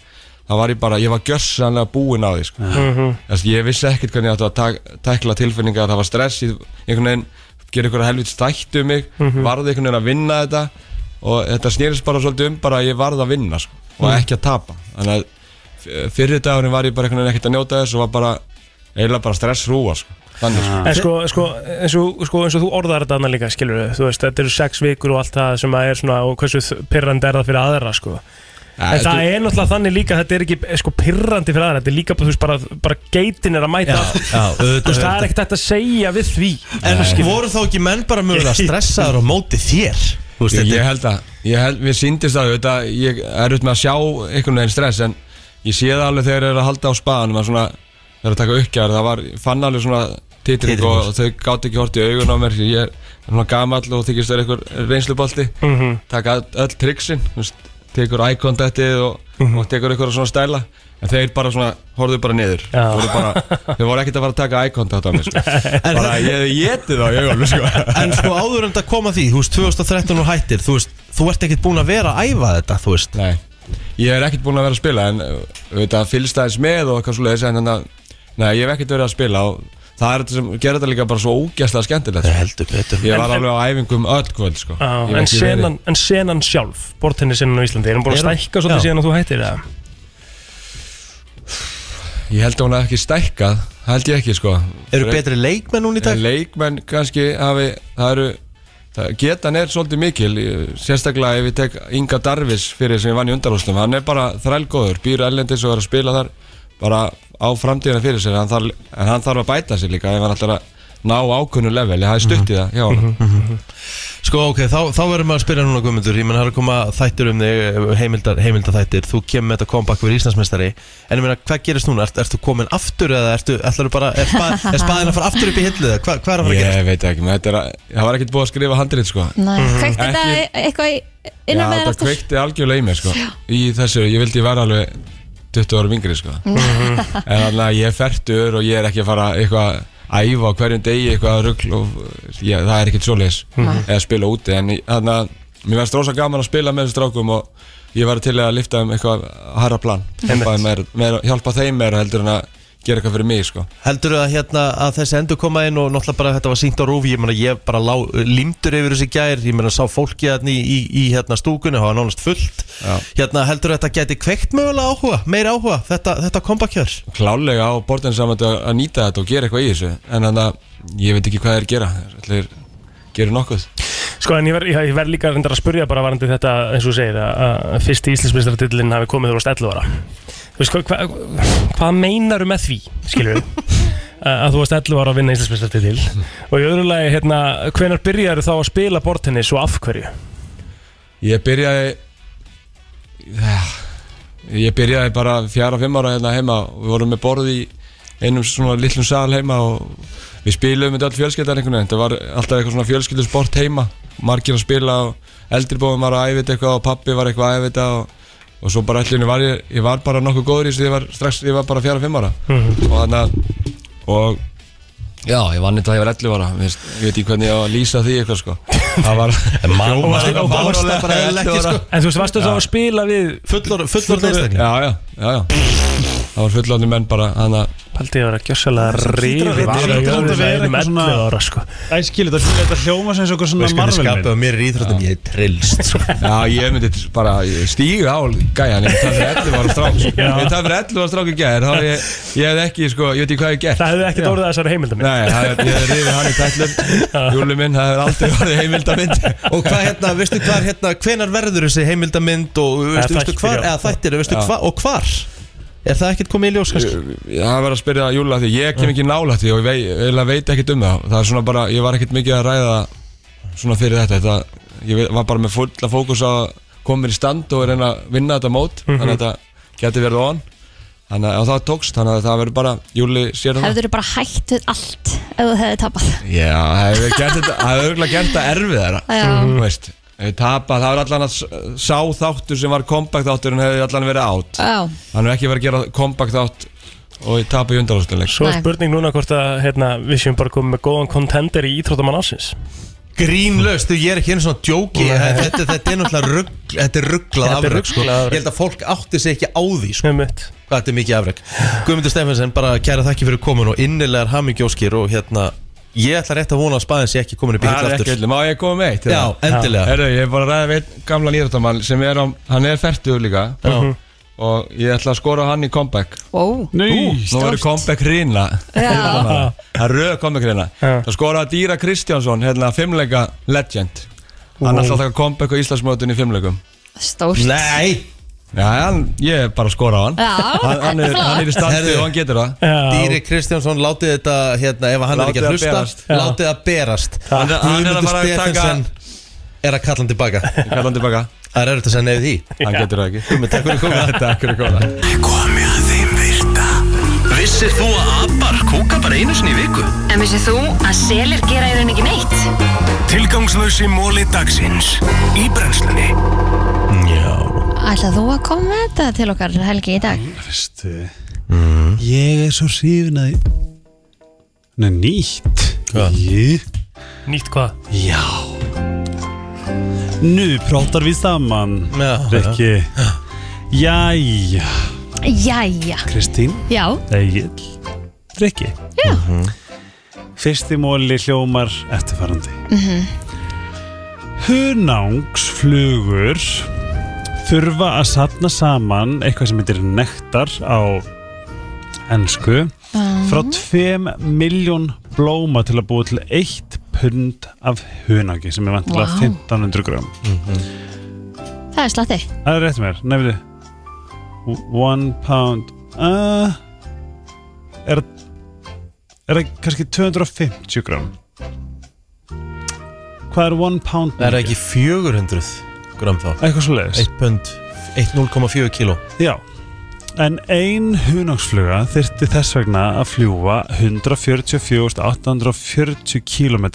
[SPEAKER 12] Það var ég bara, ég var gjössanlega búinn á því sko.
[SPEAKER 3] Mhm.
[SPEAKER 12] Þess, Ég vissi ekkert hvernig ég átti að tak, tekla tilfinningar Það var stress, ég, einhvern veginn Gerði einhverja helvits þætti um mig
[SPEAKER 3] Mhm.
[SPEAKER 12] Varði einhvern veginn að vinna þetta Og þetta snýrist bara svolítið um bara að ég varð að vinna sko, Og
[SPEAKER 3] Mhm.
[SPEAKER 12] ekki að tapa Þannig að f- fyrir dagurinn var ég bara einhvern veginn ekkert að njóta þess Og var bara, eiginlega bara stress rúa sko. Þannig sko.
[SPEAKER 3] En sko, sko, eins, og, sko, eins og þú orðar þetta annað líka, skilur við, þú veist, þetta eru sex vikur og allt það sem að er svona, og hversu pyrrandi er það fyrir aðra, sko. en
[SPEAKER 12] þetta-
[SPEAKER 3] það er náttúrulega þannig líka, þetta er ekki eh, sko pyrrandi fyrir aðra, þetta er líka, bara, þú veist, bara, bara geitin er að mæta.
[SPEAKER 1] Já, já, auðvitað,
[SPEAKER 3] Þú veist, það
[SPEAKER 1] auðvitað.
[SPEAKER 3] er ekkert hægt að segja við því.
[SPEAKER 1] En sko,
[SPEAKER 3] Skilur við.
[SPEAKER 1] voru þá ekki menn bara mögulega stressaður á móti þér? Þú
[SPEAKER 12] Ég,
[SPEAKER 1] þetta
[SPEAKER 12] ég
[SPEAKER 1] er-
[SPEAKER 12] held að, ég held, við síndist að þetta, ég er út með að sjá einhvern veginn stress en ég sé það alveg þegar þeir eru að halda á spaðanum að svona, þeir eru að taka uppgjæður, það var, ég fann alveg svona titring og, og þau gátt ekki hort í augun á mér, ég er svona gamall og þykist þeir einhver reynslubolti,
[SPEAKER 3] Mhm.
[SPEAKER 12] taka öll- öll triksin, þú veist, tekur eye contactið og,
[SPEAKER 3] Mhm.
[SPEAKER 12] og tekur einhverja svona stæla, en þeir bara svona, horfðu bara niður,
[SPEAKER 3] Já.
[SPEAKER 12] þeir voru, bara, þeir voru ekkert að fara að taka eye contact á mér, sko. bara ég hefði getið þá í augunum, sko.
[SPEAKER 1] En sko áður en þetta kom að því, þú veist, 2013 og hættir Þú veist, þú ert ekkert búin að vera að æfa þetta, þú veist
[SPEAKER 12] Nei, ég er ekkert búin að vera að spila en uh, auðvitað fylgst aðeins með og eitthvað svoleiðis en þannig að, nei, ég hef ekkert verið að spila og það er þetta sem gerir þetta líka bara svo ógæslega skemmtilegt Það
[SPEAKER 1] heldur betur
[SPEAKER 12] Ég
[SPEAKER 3] En-
[SPEAKER 12] var
[SPEAKER 3] en-
[SPEAKER 12] alveg á æfingum öll kvöld, sko
[SPEAKER 3] Já,
[SPEAKER 12] Ég hef
[SPEAKER 3] en,
[SPEAKER 12] ekki verið-
[SPEAKER 3] senan, en senan sjálf, bortennisinnan á Íslandi, er hún búin að
[SPEAKER 12] Er hún-
[SPEAKER 3] stækka svolítið
[SPEAKER 12] Já.
[SPEAKER 3] síðan að þú hættir það?
[SPEAKER 12] Ég held að hún hef ekki stækkað, það held ég ekki sko
[SPEAKER 1] Eru betri leikmenn hún í dag?
[SPEAKER 12] Leikmenn kannski hafi, það eru það, Getan er svolítið mikil ég- Sérstaklega ef ég tek Inga Darvis fyrir sem ég vann í undarhústum Hann er bara þrælgóður, býr erlendis og er að spila þar Bara á framtíðina fyrir sér hann þarf, En hann þarf að bæta sér líka ef hann ætlar að ná ákunnu level Ég hafði stutt í það, já mm
[SPEAKER 1] Sko, ok, þá, þá verðum við að spyrja núna Guðmundur Ég menn, það er að koma þættir um þig, heimildar, heimildar þættir Þú kemur með þetta comeback fyrir Íslandsmeistari En ég meina, hvað gerist núna? Ert, ertu komin aftur eða ertu, ætlarðu bara, er, spa, er spaðin að fara aftur upp í hillið? eða Hvað, hvað er að fara að
[SPEAKER 12] Ég veit ekki, menn þetta er að, það var ekkert búið að skrifa handrið sko
[SPEAKER 2] Nei, kveikti
[SPEAKER 12] Ekki-
[SPEAKER 2] þetta eitthvað í-
[SPEAKER 12] Já,
[SPEAKER 2] innan með þér
[SPEAKER 12] þetta
[SPEAKER 2] aftur?
[SPEAKER 12] kveikti algjörlega í mér sko Í þessu, ég vildi vera alveg 20 ára yngri sko
[SPEAKER 2] Mhm.
[SPEAKER 12] En þannig að ég er færtur og ég er ekki að fara eitthvað að æfa á hverjum degi eitthvað rugl og ég, það er ekkert svoleiðis
[SPEAKER 3] Mhm.
[SPEAKER 12] eða spila úti en þannig að Mér finnst rosa gaman að spila með þessu strákum og ég var til að lifta um eitthvað harra plan hjálpa, meir, meir, hjálpa þeim meira heldur en að gera eitthvað fyrir mig sko.
[SPEAKER 1] Heldur að, hérna, að þessi endur koma inn og náttúrulega bara þetta var sínt á rúfi, ég meina ég bara lá, limtur yfir þessi gær, ég meina sá fólki hérna í, í, í hérna stúkunni, það var nánast fullt Já. hérna heldur að þetta geti kveikt mögulega áhuga, meira áhuga, þetta, þetta kombakjör
[SPEAKER 12] Klálega á bortin saman að, að nýta þetta og gera eitthvað í þessu en þannig að ég veit ekki hvað þeir gera þeir gera nokkuð
[SPEAKER 3] Sko en ég verð ég verð líka reyndar að spurja bara varandi þetta eins og þú segir að að fyrsti Íslandsmeistartillin hafi komið úr 11 ára Þú veist, hvað hva, hva meinaru með því, skilur við? að þú varst 11 ára að vinna Íslandsmeistartill og í öðru lagi, hérna, hvenar byrjar þá að spila bortennis og af hverju?
[SPEAKER 12] Ég byrjaði Ah, Ég byrjaði bara fjara, fimm ára hérna heima og við vorum með borð í einum svona lillum sal heima og við spilum þetta öll fjölskyldan einhvern veginn, þetta var alltaf eitthvað svona fjölskyldusport heima, margir að spila og eldri bóðum var að æfa þetta eitthvað og pappi var eitthvað að æfa þetta og, og svo bara allir var ég, ég var bara nokkuð góður í þessu, ég var strax, ég var bara fjara, fimm ára
[SPEAKER 3] Mhm.
[SPEAKER 12] og þannig að og já, ég vann þetta að ég var 11 ára, Mér finnst- ég veit ekki hvernig ég á að lýsa því eitthvað sko það var Hljómar-
[SPEAKER 1] Man- man-
[SPEAKER 12] hljómar-
[SPEAKER 1] man-
[SPEAKER 12] hljómar-
[SPEAKER 1] bara eðlilegt,
[SPEAKER 12] hljómar-
[SPEAKER 1] sko.
[SPEAKER 3] En þú veist, varstu þá
[SPEAKER 12] Já.
[SPEAKER 3] að spila við
[SPEAKER 1] fullor,
[SPEAKER 12] Fullorðnir- Já, já, já, já Það var fullorðin menn bara hana...
[SPEAKER 3] Paldi var að gjössalega rifið ára sko
[SPEAKER 4] Æ, skilur, þetta þetta hljóma sem eitthvað svona marvelmynd
[SPEAKER 1] mér í íþróttum, ég er trillst sko.
[SPEAKER 12] Já, ég myndi bara stíga á gæjan Ég tafði fyrir 11 ára strák sko.
[SPEAKER 3] Já.
[SPEAKER 12] Ég tafði fyrir 11 ára strák í gæjar Þá hef ég, ég hef ekki, sko, ég veit ekki hvað ég hef gert
[SPEAKER 3] Það hefði ekkert
[SPEAKER 12] Já.
[SPEAKER 3] orðið að þessari heimildamind
[SPEAKER 12] Nei, það hef- ég hef rifið hann í tætlum Júli minn, það hefur aldrei orðið heimildamind
[SPEAKER 1] og hvað hérna, veistu hvað er hérna hvenar verður þessi heimildamind og veistu,
[SPEAKER 12] Eða
[SPEAKER 1] veistu
[SPEAKER 12] þættir,
[SPEAKER 1] hvar,
[SPEAKER 12] já.
[SPEAKER 1] eða þættir, veistu
[SPEAKER 12] Já.
[SPEAKER 1] hvað og hvar er það ekkert komið í ljós kannski?
[SPEAKER 12] Það var að spyrja Júli að því Ég kem ekki nálægt því og ég vei, eiginlega veit ekkert um það Það er svona bara, ég var ekkert mikið að ræða Svona fyrir þetta, þetta Ég ve- var bara með fulla fókus á að koma mér í stand og reyna að vinna þetta mót
[SPEAKER 3] Mhm.
[SPEAKER 12] Þannig að þetta geti verið on Þannig að og það tókst, þannig að það verður bara Júli sér það
[SPEAKER 2] Hefur þú bara hætt við allt ef þú hefði tapað
[SPEAKER 12] Já, það hefur gert þetta, það hefur örugglega gert það erfið
[SPEAKER 2] Já.
[SPEAKER 12] þeirra Þú veist, ef við tapa, það var allan að s- sá þáttur sem var comeback þáttur en hefði allan verið átt
[SPEAKER 2] Já.
[SPEAKER 12] Hann hefur ekki verið að gera comeback þátt og ég tapa í undanústinleik
[SPEAKER 3] Svo er spurning núna hvort að hérna, við séum bara komið með góðan kontender í Íþróttamann ásins
[SPEAKER 1] Grínlaust, þú, ég er ekki einu svona djóki
[SPEAKER 3] Nei.
[SPEAKER 1] þetta, þetta er náttúrulega rugg, þetta er rugglað
[SPEAKER 3] Þetta er
[SPEAKER 1] afreg sko.
[SPEAKER 3] rugglað afrek.
[SPEAKER 1] Ég held að fólk átti sig ekki á því sko. Hvað þetta er mikið afreg Guðmundur Stefansson, bara kæra þakki fyrir komin og innilegar hamingjóskir og hérna Ég ætla rétt að vona að spaðin sé ekki komin upp í
[SPEAKER 12] Það er
[SPEAKER 1] hill
[SPEAKER 12] ekki
[SPEAKER 1] aftur
[SPEAKER 12] öllum, má ég koma með eitt?
[SPEAKER 1] Já, endilega.
[SPEAKER 12] Herru, ég er bara að ræða við einn gamlan íþróttamann sem er, á, hann er færtugur líka
[SPEAKER 1] Já.
[SPEAKER 12] og ég ætla að skora á hann í comeback
[SPEAKER 2] Ó,
[SPEAKER 12] Nú, Nú verður comeback rýna
[SPEAKER 2] Já.
[SPEAKER 12] Það er röð comeback rýna Það skoraði Dýra Kristjánsson, hérna fimmleika legend Hann
[SPEAKER 2] Ó.
[SPEAKER 12] ætla að taka comeback á Íslandsmótun í fimmleikum
[SPEAKER 2] stórt
[SPEAKER 1] Nei
[SPEAKER 12] Já, hann, ég er bara að skora á hann
[SPEAKER 2] Já,
[SPEAKER 12] hann, hann, er,
[SPEAKER 2] flott.
[SPEAKER 12] hann er í standi
[SPEAKER 1] Herðu,
[SPEAKER 12] og hann getur það
[SPEAKER 1] Dýri Kristjánsson, látið þetta hérna, ef hann
[SPEAKER 12] Látið
[SPEAKER 1] er ekki
[SPEAKER 12] það
[SPEAKER 1] að
[SPEAKER 12] berast.
[SPEAKER 1] hlusta
[SPEAKER 12] Já.
[SPEAKER 1] Látið að berast
[SPEAKER 12] Hann er- hann er að fara að taka-
[SPEAKER 1] Stefansson er að kalla hann tilbaka Kalla
[SPEAKER 12] hann tilbaka
[SPEAKER 1] Það er erfitt að segja nefið því
[SPEAKER 12] Hann getur það ekki
[SPEAKER 1] Gummi, Takk fyrir komuna
[SPEAKER 12] Takk fyrir komuna
[SPEAKER 5] Komið að þeim virta Vissir þú að abar kúka bara einu sinni í viku?
[SPEAKER 14] En vissið þú að selir gera í raun ekki neitt?
[SPEAKER 5] Tilgangslösi móli dagsins Í brennslunni
[SPEAKER 1] Já
[SPEAKER 2] Ætlað þú að koma með þetta til okkar helgi í dag?
[SPEAKER 4] Veistu mm. Ég er svo hrifin að Nei, nýtt Hvað?
[SPEAKER 3] Nýtt hvað?
[SPEAKER 4] Já Nú pratar við saman
[SPEAKER 1] Já
[SPEAKER 4] Rikki Jæja
[SPEAKER 2] Jæja
[SPEAKER 4] Kristín
[SPEAKER 2] Já,
[SPEAKER 4] Egil Rikki
[SPEAKER 2] Já
[SPEAKER 4] Fyrsti móli hljómar eftirfarandi
[SPEAKER 2] mhm
[SPEAKER 4] Hunángsflugur þurfa að sapna saman eitthvað sem heitir nektar á ennsku frá 2 miljón blóma til að búa til 1 pund af hunangi sem er vantilega
[SPEAKER 2] Vá.
[SPEAKER 4] 1500 gram
[SPEAKER 2] Það er slatti
[SPEAKER 4] Það er rétt mér, nefnir One pound uh, Er Er það kannski 250 gram Hvað er one pound
[SPEAKER 1] Það er ekki 400 gram þá
[SPEAKER 4] Eitthvað svo leiðis
[SPEAKER 1] 1 pund 1,04 kíló
[SPEAKER 4] Já En ein hunangsfluga þyrfti þess vegna að fljúa 144.840 km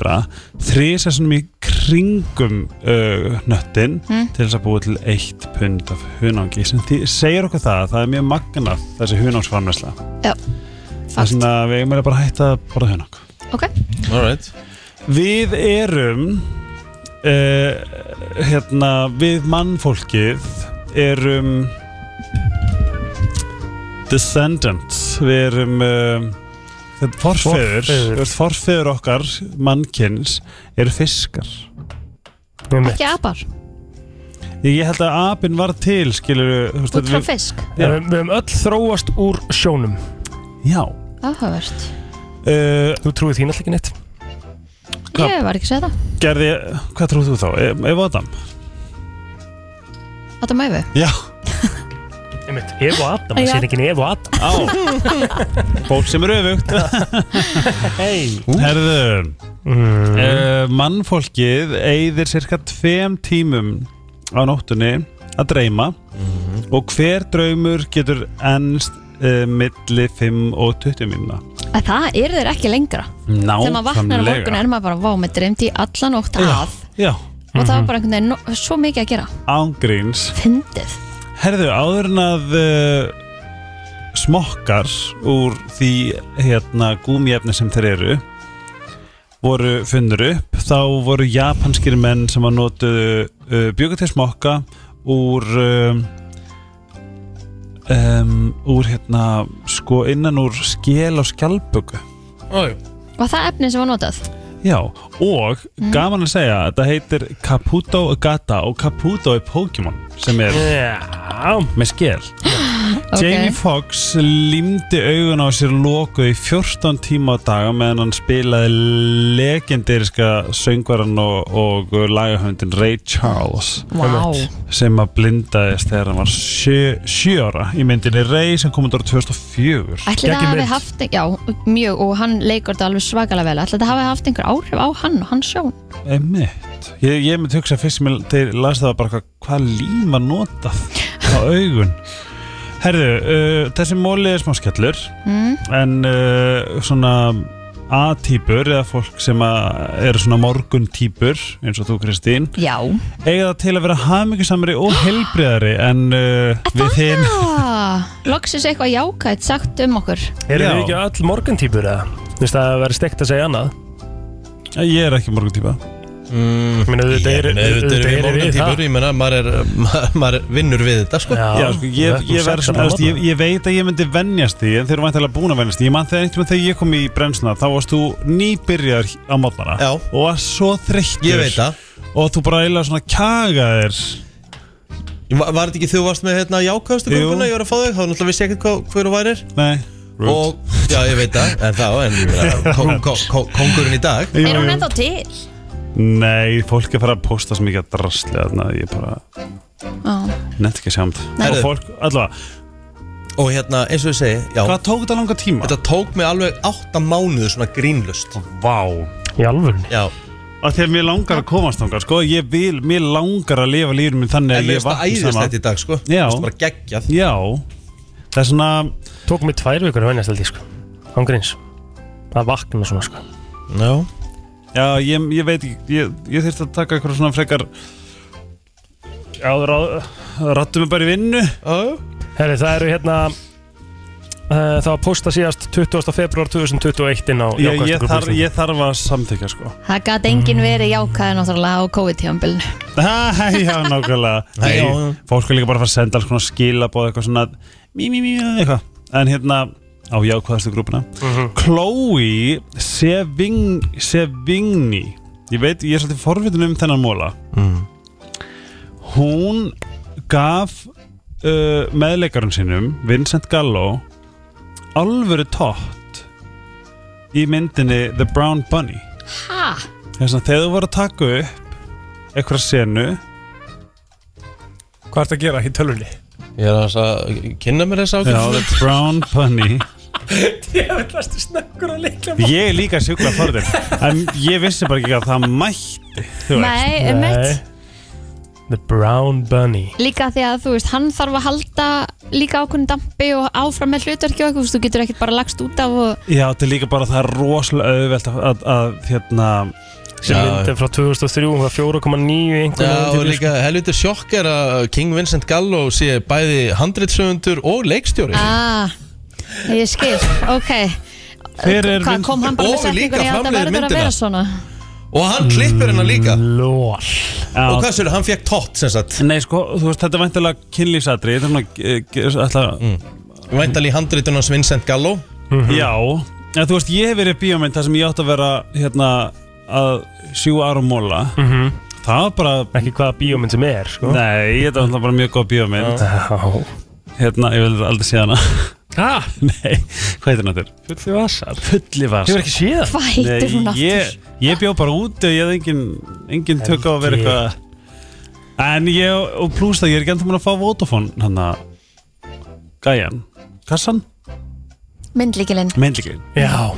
[SPEAKER 4] þrísessum í kringum uh, nöttin
[SPEAKER 3] Mm.
[SPEAKER 4] til þess að búa til 1 pund af hunangi sem því segir okkur það að það er mjög magnað þessi hunangsframnesla
[SPEAKER 2] Já,
[SPEAKER 4] Þess vegna við eigum eiginlega bara að hætta að borða hunang
[SPEAKER 2] ok
[SPEAKER 1] Alright
[SPEAKER 4] Við erum uh, hérna, við mannfólkið erum descendants við erum uh, forfeður,
[SPEAKER 3] Forfeður.
[SPEAKER 4] forfeður. forfeður okkar mannkins eru fiskar
[SPEAKER 2] Ekki apar
[SPEAKER 4] ég held að apinn var til skilur
[SPEAKER 2] Út frá fisk.
[SPEAKER 3] Við við höfum öll þróast úr sjónum Eh,
[SPEAKER 4] Já
[SPEAKER 2] Áhugavert
[SPEAKER 4] Þú
[SPEAKER 3] trúið þín alltaf ekki neitt
[SPEAKER 4] Hvað?
[SPEAKER 2] Ég var ekki að segja það
[SPEAKER 4] Gerði, hvað trúðu þú þá? E- Ef Adam?
[SPEAKER 2] Þetta mæfi
[SPEAKER 4] Já
[SPEAKER 3] Einmitt, Ef og Adam, það
[SPEAKER 2] Já.
[SPEAKER 3] séð ekki Ef og Adam
[SPEAKER 4] Á, fólk sem er öfugt
[SPEAKER 3] Hei
[SPEAKER 4] Herðu mm. Mannfólkið eyðir cirka tveim tímum á nóttunni að dreyma og hver draumur getur ennst uh, milli 5 og 20 mínuna
[SPEAKER 2] En það eru þeir ekki lengra Þegar maður vaknar á morgun er maður bara Vá, með dreymdi í alla nótt að
[SPEAKER 4] Já. Já, Mhm.
[SPEAKER 2] Og það var bara einhvern veginn no- svo mikið að gera
[SPEAKER 4] ángríns
[SPEAKER 2] Fyndið
[SPEAKER 4] Herðu, áður en að uh, smokkar úr því hérna gúmiefni sem þeir eru voru funnur upp þá voru japanskir menn sem að notuðu uh, bjögur til smokka úr um, um, úr hérna sko innan úr skél á skjálpöku
[SPEAKER 2] Og það efni sem var notað
[SPEAKER 4] Já, og
[SPEAKER 2] Mm.
[SPEAKER 4] gaman að segja þetta heitir Caputo Gata og Caputo er Pokémon sem er með skél Jamie Foxx límdi augun á sér lokuð í 14 tíma á daga meðan hann spilaði legendiriska söngvaran og, og lagahöndin Ray Charles
[SPEAKER 3] Vá.
[SPEAKER 4] sem að blindaðist þegar hann var 7 ára í myndinni Ray sem kom út ára 2004
[SPEAKER 2] Ætli það hafi haft, já, mjög Og hann leikur þetta alveg svakalega vel Ætli það hafi haft einhver áhrif á hann og hans sjón
[SPEAKER 4] Einmitt. Ég, ég myndi hugsa fyrst sem ég þeir las það bara hvað, hvað líma notað á augun. Herðu, uh, þessi móli er smá skellur
[SPEAKER 2] Mm.
[SPEAKER 4] en uh, svona A-týpur eða fólk sem að eru svona morgun-týpur eins og þú Kristín
[SPEAKER 2] Já
[SPEAKER 4] eiga það til að vera hafmyggjusamri og helbriðari en uh, við þinn
[SPEAKER 2] ah, Loksins eitthvað jákætt sagt um okkur
[SPEAKER 3] Erum við ekki öll morgantýpur eða? Þú veist að það verður steikt að segja annað
[SPEAKER 4] Ég er ekki morguntýpa
[SPEAKER 3] mm, Minna auðvitað
[SPEAKER 1] Ég
[SPEAKER 3] eru
[SPEAKER 1] meina, auðvitað erum við morgun típur, ég meina, maður er, ma- maður er vinnur við þetta, sko.
[SPEAKER 4] Já, sko, ég, ég, verð svona, veist, ég, ég veit að ég myndi vennjast því en þeir eru vantilega búin að vennjast því ég man þegar einhvern veginn þegar ég kom í bremsuna þá varst þú nýbyrjar á mótnara Já. og varst svo þreyttur
[SPEAKER 1] Ég veit það.
[SPEAKER 4] og þú bara eiginlega svona kagaðir
[SPEAKER 1] Var var þetta ekki þú varst með hérna jákvæðustu
[SPEAKER 4] Jú.
[SPEAKER 1] gunguna ég var að fá þau, þá náttúrulega vissi ég ekkert hvað- hver þú værir.
[SPEAKER 4] Nei.
[SPEAKER 1] Og, já, ég veit það, en það, en ég meina, kó- kó- kó- kóngurinn í dag.
[SPEAKER 2] Er hún ennþá til?
[SPEAKER 4] Nei, fólk er bara að posta svo mikið að drasli þarna, ég bara
[SPEAKER 2] Ah.
[SPEAKER 4] nefnt ekki að sjá um það og
[SPEAKER 1] Herðu.
[SPEAKER 4] fólk allavega
[SPEAKER 1] Og hérna, eins og ég segi, já. Hvað
[SPEAKER 4] tók þetta langa tíma?
[SPEAKER 1] Þetta tók mig alveg 8 mánuður svona grínlust.
[SPEAKER 4] Vá.
[SPEAKER 3] Í alvörn?
[SPEAKER 1] Já.
[SPEAKER 4] að því að mér langar að komast þangar sko, ég vil, mér langar að lifa lífinu minn þannig
[SPEAKER 1] En
[SPEAKER 4] að ég
[SPEAKER 1] mér finnst það
[SPEAKER 4] vakna saman
[SPEAKER 1] æðislegt í dag, sko.
[SPEAKER 4] Já.
[SPEAKER 1] Mér finnst bara geggjað.
[SPEAKER 4] Já, það er svona
[SPEAKER 3] Tók mig tvær vikur að venjast held ég sko Ángríns Að vakna svona sko
[SPEAKER 1] Já
[SPEAKER 4] Já, ég, ég veit ekki Ég, ég þurfti að taka eitthvað svona frekar Já, þú rattum mig bara í vinnu
[SPEAKER 3] Herri, það eru hérna uh, Það var posta síðast 20. februar 2021 inn á
[SPEAKER 4] ég, ég,
[SPEAKER 3] jákvæðasta
[SPEAKER 4] þarf,
[SPEAKER 3] klubblistinn.
[SPEAKER 4] ég þarf að samþykja sko
[SPEAKER 2] Það gat enginn verið jákæði náttúrulega á COVID-tjámbilinu
[SPEAKER 4] Æ, Já, nákvæmlega Nei, Fólk er líka bara að fara að senda alls konar skilabóð eitthvað svona mí, mí, mí, eitthvað En hérna á jákvæðastu grúpuna Chloe Seving, Sevigny Ég veit, ég er svolítið forvitin um þennan móla
[SPEAKER 1] Mm.
[SPEAKER 4] Hún gaf uh, meðleikarinn sínum Vincent Gallo alvöru tótt í myndinni The Brown Bunny
[SPEAKER 2] Ha?
[SPEAKER 4] Þess að þegar þú voru að taka upp eitthvað senu
[SPEAKER 3] Hvað ert að gera í tölvunni?
[SPEAKER 1] Ég er aðeins að kynna mér
[SPEAKER 4] Já,
[SPEAKER 1] þess ákveð.
[SPEAKER 4] The Brown Bunny
[SPEAKER 3] Ég veit lastu snöggur að leikla
[SPEAKER 4] Ég er líka sjúkla forðin En ég vissi bara ekki að það mætti þú veist.
[SPEAKER 2] Nei, um einmitt.
[SPEAKER 3] The Brown Bunny
[SPEAKER 2] Líka því að þú veist, hann þarf að halda líka ákveðin dampi og áfram með hlutverki og eitthvað, þú veist, þú getur ekkert bara lagst út af og
[SPEAKER 4] Já, þetta er líka bara það er rosalega auðvelt að, að, að hérna
[SPEAKER 3] Sem myndin frá 2003, hún var 4,9 einhvern
[SPEAKER 1] Já, og
[SPEAKER 3] veginn,
[SPEAKER 1] líka helviti sjokk er að King Vincent Gallo sé bæði handritsöfundur og leikstjóri.
[SPEAKER 2] ah, ég skil, ok.
[SPEAKER 1] Hver
[SPEAKER 2] Hvað
[SPEAKER 1] er Vincent-
[SPEAKER 2] kom hann bara
[SPEAKER 1] Og
[SPEAKER 2] með setningunni
[SPEAKER 1] líka
[SPEAKER 2] að þetta
[SPEAKER 1] framleiðir
[SPEAKER 2] verður að
[SPEAKER 1] myndina.
[SPEAKER 2] vera svona?
[SPEAKER 1] Og hann klippir hennar líka
[SPEAKER 3] Lól
[SPEAKER 1] Og hvað sér, hann fekk tótt sem sagt
[SPEAKER 4] Nei, sko, þú veist, þetta er væntalega kynlýsatri Þetta er svona, eh, ge- ætla
[SPEAKER 1] Væntalega Mm. í handritunum hans Vincent Gallo
[SPEAKER 4] Mhm. Já, en þú veist, ég hef verið í bíómynd þar sem ég átt að vera, hérna, að sjúa ára móla
[SPEAKER 3] Mhm.
[SPEAKER 4] Það var bara
[SPEAKER 3] Ekki hvaða bíómynd sem er, sko
[SPEAKER 4] Nei, þetta var bara mjög góð bíómynd
[SPEAKER 3] Já.
[SPEAKER 4] Hérna, ég vil aldrei sé hana
[SPEAKER 3] Ha?
[SPEAKER 4] Nei, hvað heitir hann þetta?
[SPEAKER 3] Fulli vasar
[SPEAKER 4] Fulli vasar
[SPEAKER 3] Hefur ekki séð hann? Hvað heitir
[SPEAKER 4] Nei,
[SPEAKER 3] hún aftur?
[SPEAKER 4] Ég, ég bjó bara úti og ég hafði engin, engin tök á að vera
[SPEAKER 3] Helgi.
[SPEAKER 4] eitthvað En ég, og pluss það, ég er ekki ennþá mér að fá Vodafone hann að Gæjan, kassan,
[SPEAKER 2] myndlíkilinn
[SPEAKER 4] myndlíkin
[SPEAKER 3] Já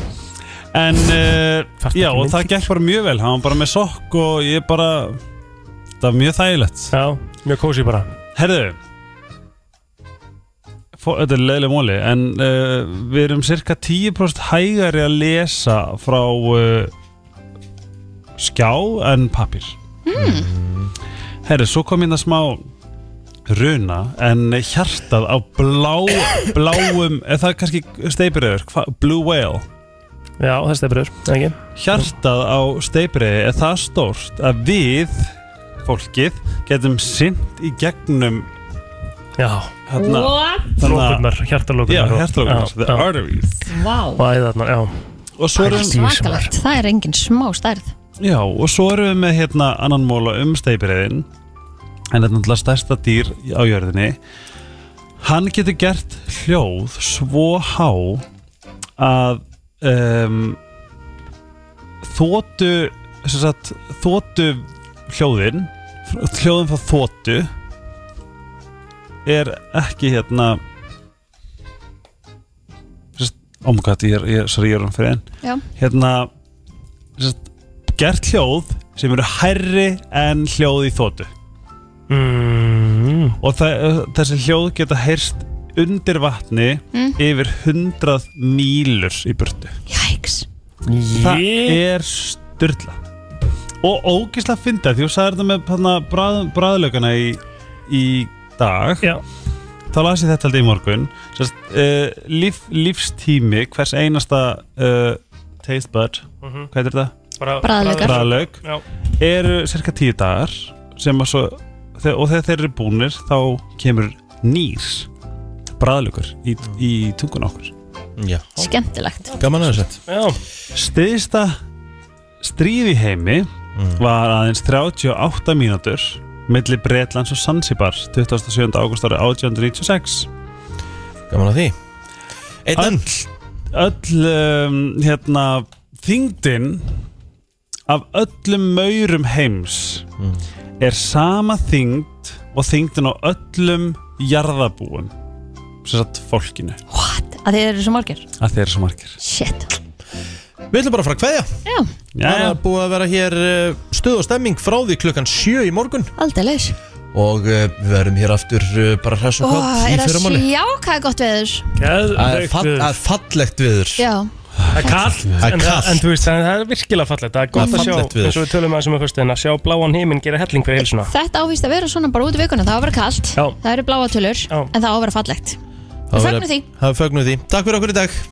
[SPEAKER 4] En, uh,
[SPEAKER 3] Þarftu
[SPEAKER 4] já,
[SPEAKER 3] ekki
[SPEAKER 4] og það gekk bara mjög vel Hann var bara með sokk og ég bara Það var mjög þægilegt
[SPEAKER 3] Já, mjög kósi bara
[SPEAKER 4] Herðu fó- Þetta er leiðileg móli En uh, við erum cirka 10% hægari að lesa frá uh, skjá en pappir mm.
[SPEAKER 3] Hmm.
[SPEAKER 4] Herru, svo kom hérna smá runa en hjartað á blá, bláum eða það er kannski steipiröður, blue whale
[SPEAKER 3] Já, það er steipiröður, ekki
[SPEAKER 4] Hjartað á steipiröði er það stórt að við fólkið getum sint í gegnum
[SPEAKER 3] Já hérna,
[SPEAKER 4] Þarna-
[SPEAKER 3] Lókurnar,
[SPEAKER 4] Já,
[SPEAKER 3] hjartalókurnar
[SPEAKER 4] hjartalókurnar, the arteries
[SPEAKER 2] Vá,
[SPEAKER 3] Og æðarnar, já
[SPEAKER 4] Og svo erum-
[SPEAKER 2] svakalegt, það er engin smá stærð
[SPEAKER 4] Já, og svo erum við með hérna annan móla um steipireyðin en þetta er náttúrulega stærsta dýr á jörðinni hann getur gert hljóð svo há að um, þóttu sem sagt, þóttu hljóðin hljóðin frá þóttu er ekki hérna omgat, oh ég er, ég, sorry, ég er um fyrir
[SPEAKER 2] Já.
[SPEAKER 4] enn hérna sest, gert hljóð sem eru hærri en hljóð í þóttu
[SPEAKER 3] mm.
[SPEAKER 4] og það, þessi hljóð geta heyrst undir vatni
[SPEAKER 2] Mm.
[SPEAKER 4] yfir 100 mílur í burtu
[SPEAKER 2] Jæks
[SPEAKER 4] það
[SPEAKER 3] Ég-
[SPEAKER 4] er styrla og ógislega fynda því þú sagði þetta með hana, brað, bræðlaugana í, í dag
[SPEAKER 3] Já.
[SPEAKER 4] þá las ég þetta aldrei í morgun Sest, uh, líf, lífstími hvers einasta uh, taste bud
[SPEAKER 3] Mhm.
[SPEAKER 4] hvað er þetta?
[SPEAKER 3] Bra- Bragðlaugar.
[SPEAKER 4] Bragðlaug
[SPEAKER 3] Já.
[SPEAKER 4] eru cirka tíu dagar sem að svo þe- og þegar þeir eru búnir þá kemur nýr bræðlaugur í,
[SPEAKER 3] Mm.
[SPEAKER 4] í tungun okkur
[SPEAKER 1] Já.
[SPEAKER 2] Skemmtilegt
[SPEAKER 1] Gaman að þessu
[SPEAKER 4] Stiðsta stríð í heimi
[SPEAKER 1] Mm.
[SPEAKER 4] var aðeins 38 mínútur milli Bretlands og Sansibar 27. ágúst árið 1896
[SPEAKER 1] Gaman að því
[SPEAKER 4] Öll, öll um, hérna, þingdin af öllum maurum heims
[SPEAKER 1] Mm.
[SPEAKER 4] er sama þingd og þingdin á öllum jarðabúum sem sagt fólkinu
[SPEAKER 2] What? Að þið eru svo margir
[SPEAKER 4] að þeir eru svo margir
[SPEAKER 2] Shit
[SPEAKER 1] Við ætlum bara að fara að kveðja
[SPEAKER 2] Já,
[SPEAKER 1] Það er búið að vera hér eh, stuð og stemming frá því klukkan 7 í morgun
[SPEAKER 2] aldrei leis
[SPEAKER 1] Og eh, við verum hér aftur eh, bara hress
[SPEAKER 2] Ó,
[SPEAKER 1] og kvátt í
[SPEAKER 2] er að
[SPEAKER 1] fyrramáli
[SPEAKER 2] sjá hvað er gott veður
[SPEAKER 1] Það er fall- það er fallegt viður
[SPEAKER 2] Já,
[SPEAKER 3] Það er kallt
[SPEAKER 1] Það er
[SPEAKER 3] en,
[SPEAKER 1] kalt.
[SPEAKER 3] en þú veist, en það er virkilega fallegt Það er
[SPEAKER 1] Það
[SPEAKER 3] gott
[SPEAKER 1] er
[SPEAKER 3] að sjá,
[SPEAKER 1] fallegt veður.
[SPEAKER 3] eins og við tölum aðeins um að fyrstu En að sjá bláan heiminn gera helling fyrir heilsuna
[SPEAKER 2] þetta ávist að vera svona bara út í vikuna Það á að vera kalt,
[SPEAKER 3] Já.
[SPEAKER 2] það eru bláatölur En það á að vera fallegt
[SPEAKER 1] Það
[SPEAKER 2] Við
[SPEAKER 1] verður-
[SPEAKER 2] fögnum því
[SPEAKER 1] Það er fögnuð því Takk fyrir okkur í dag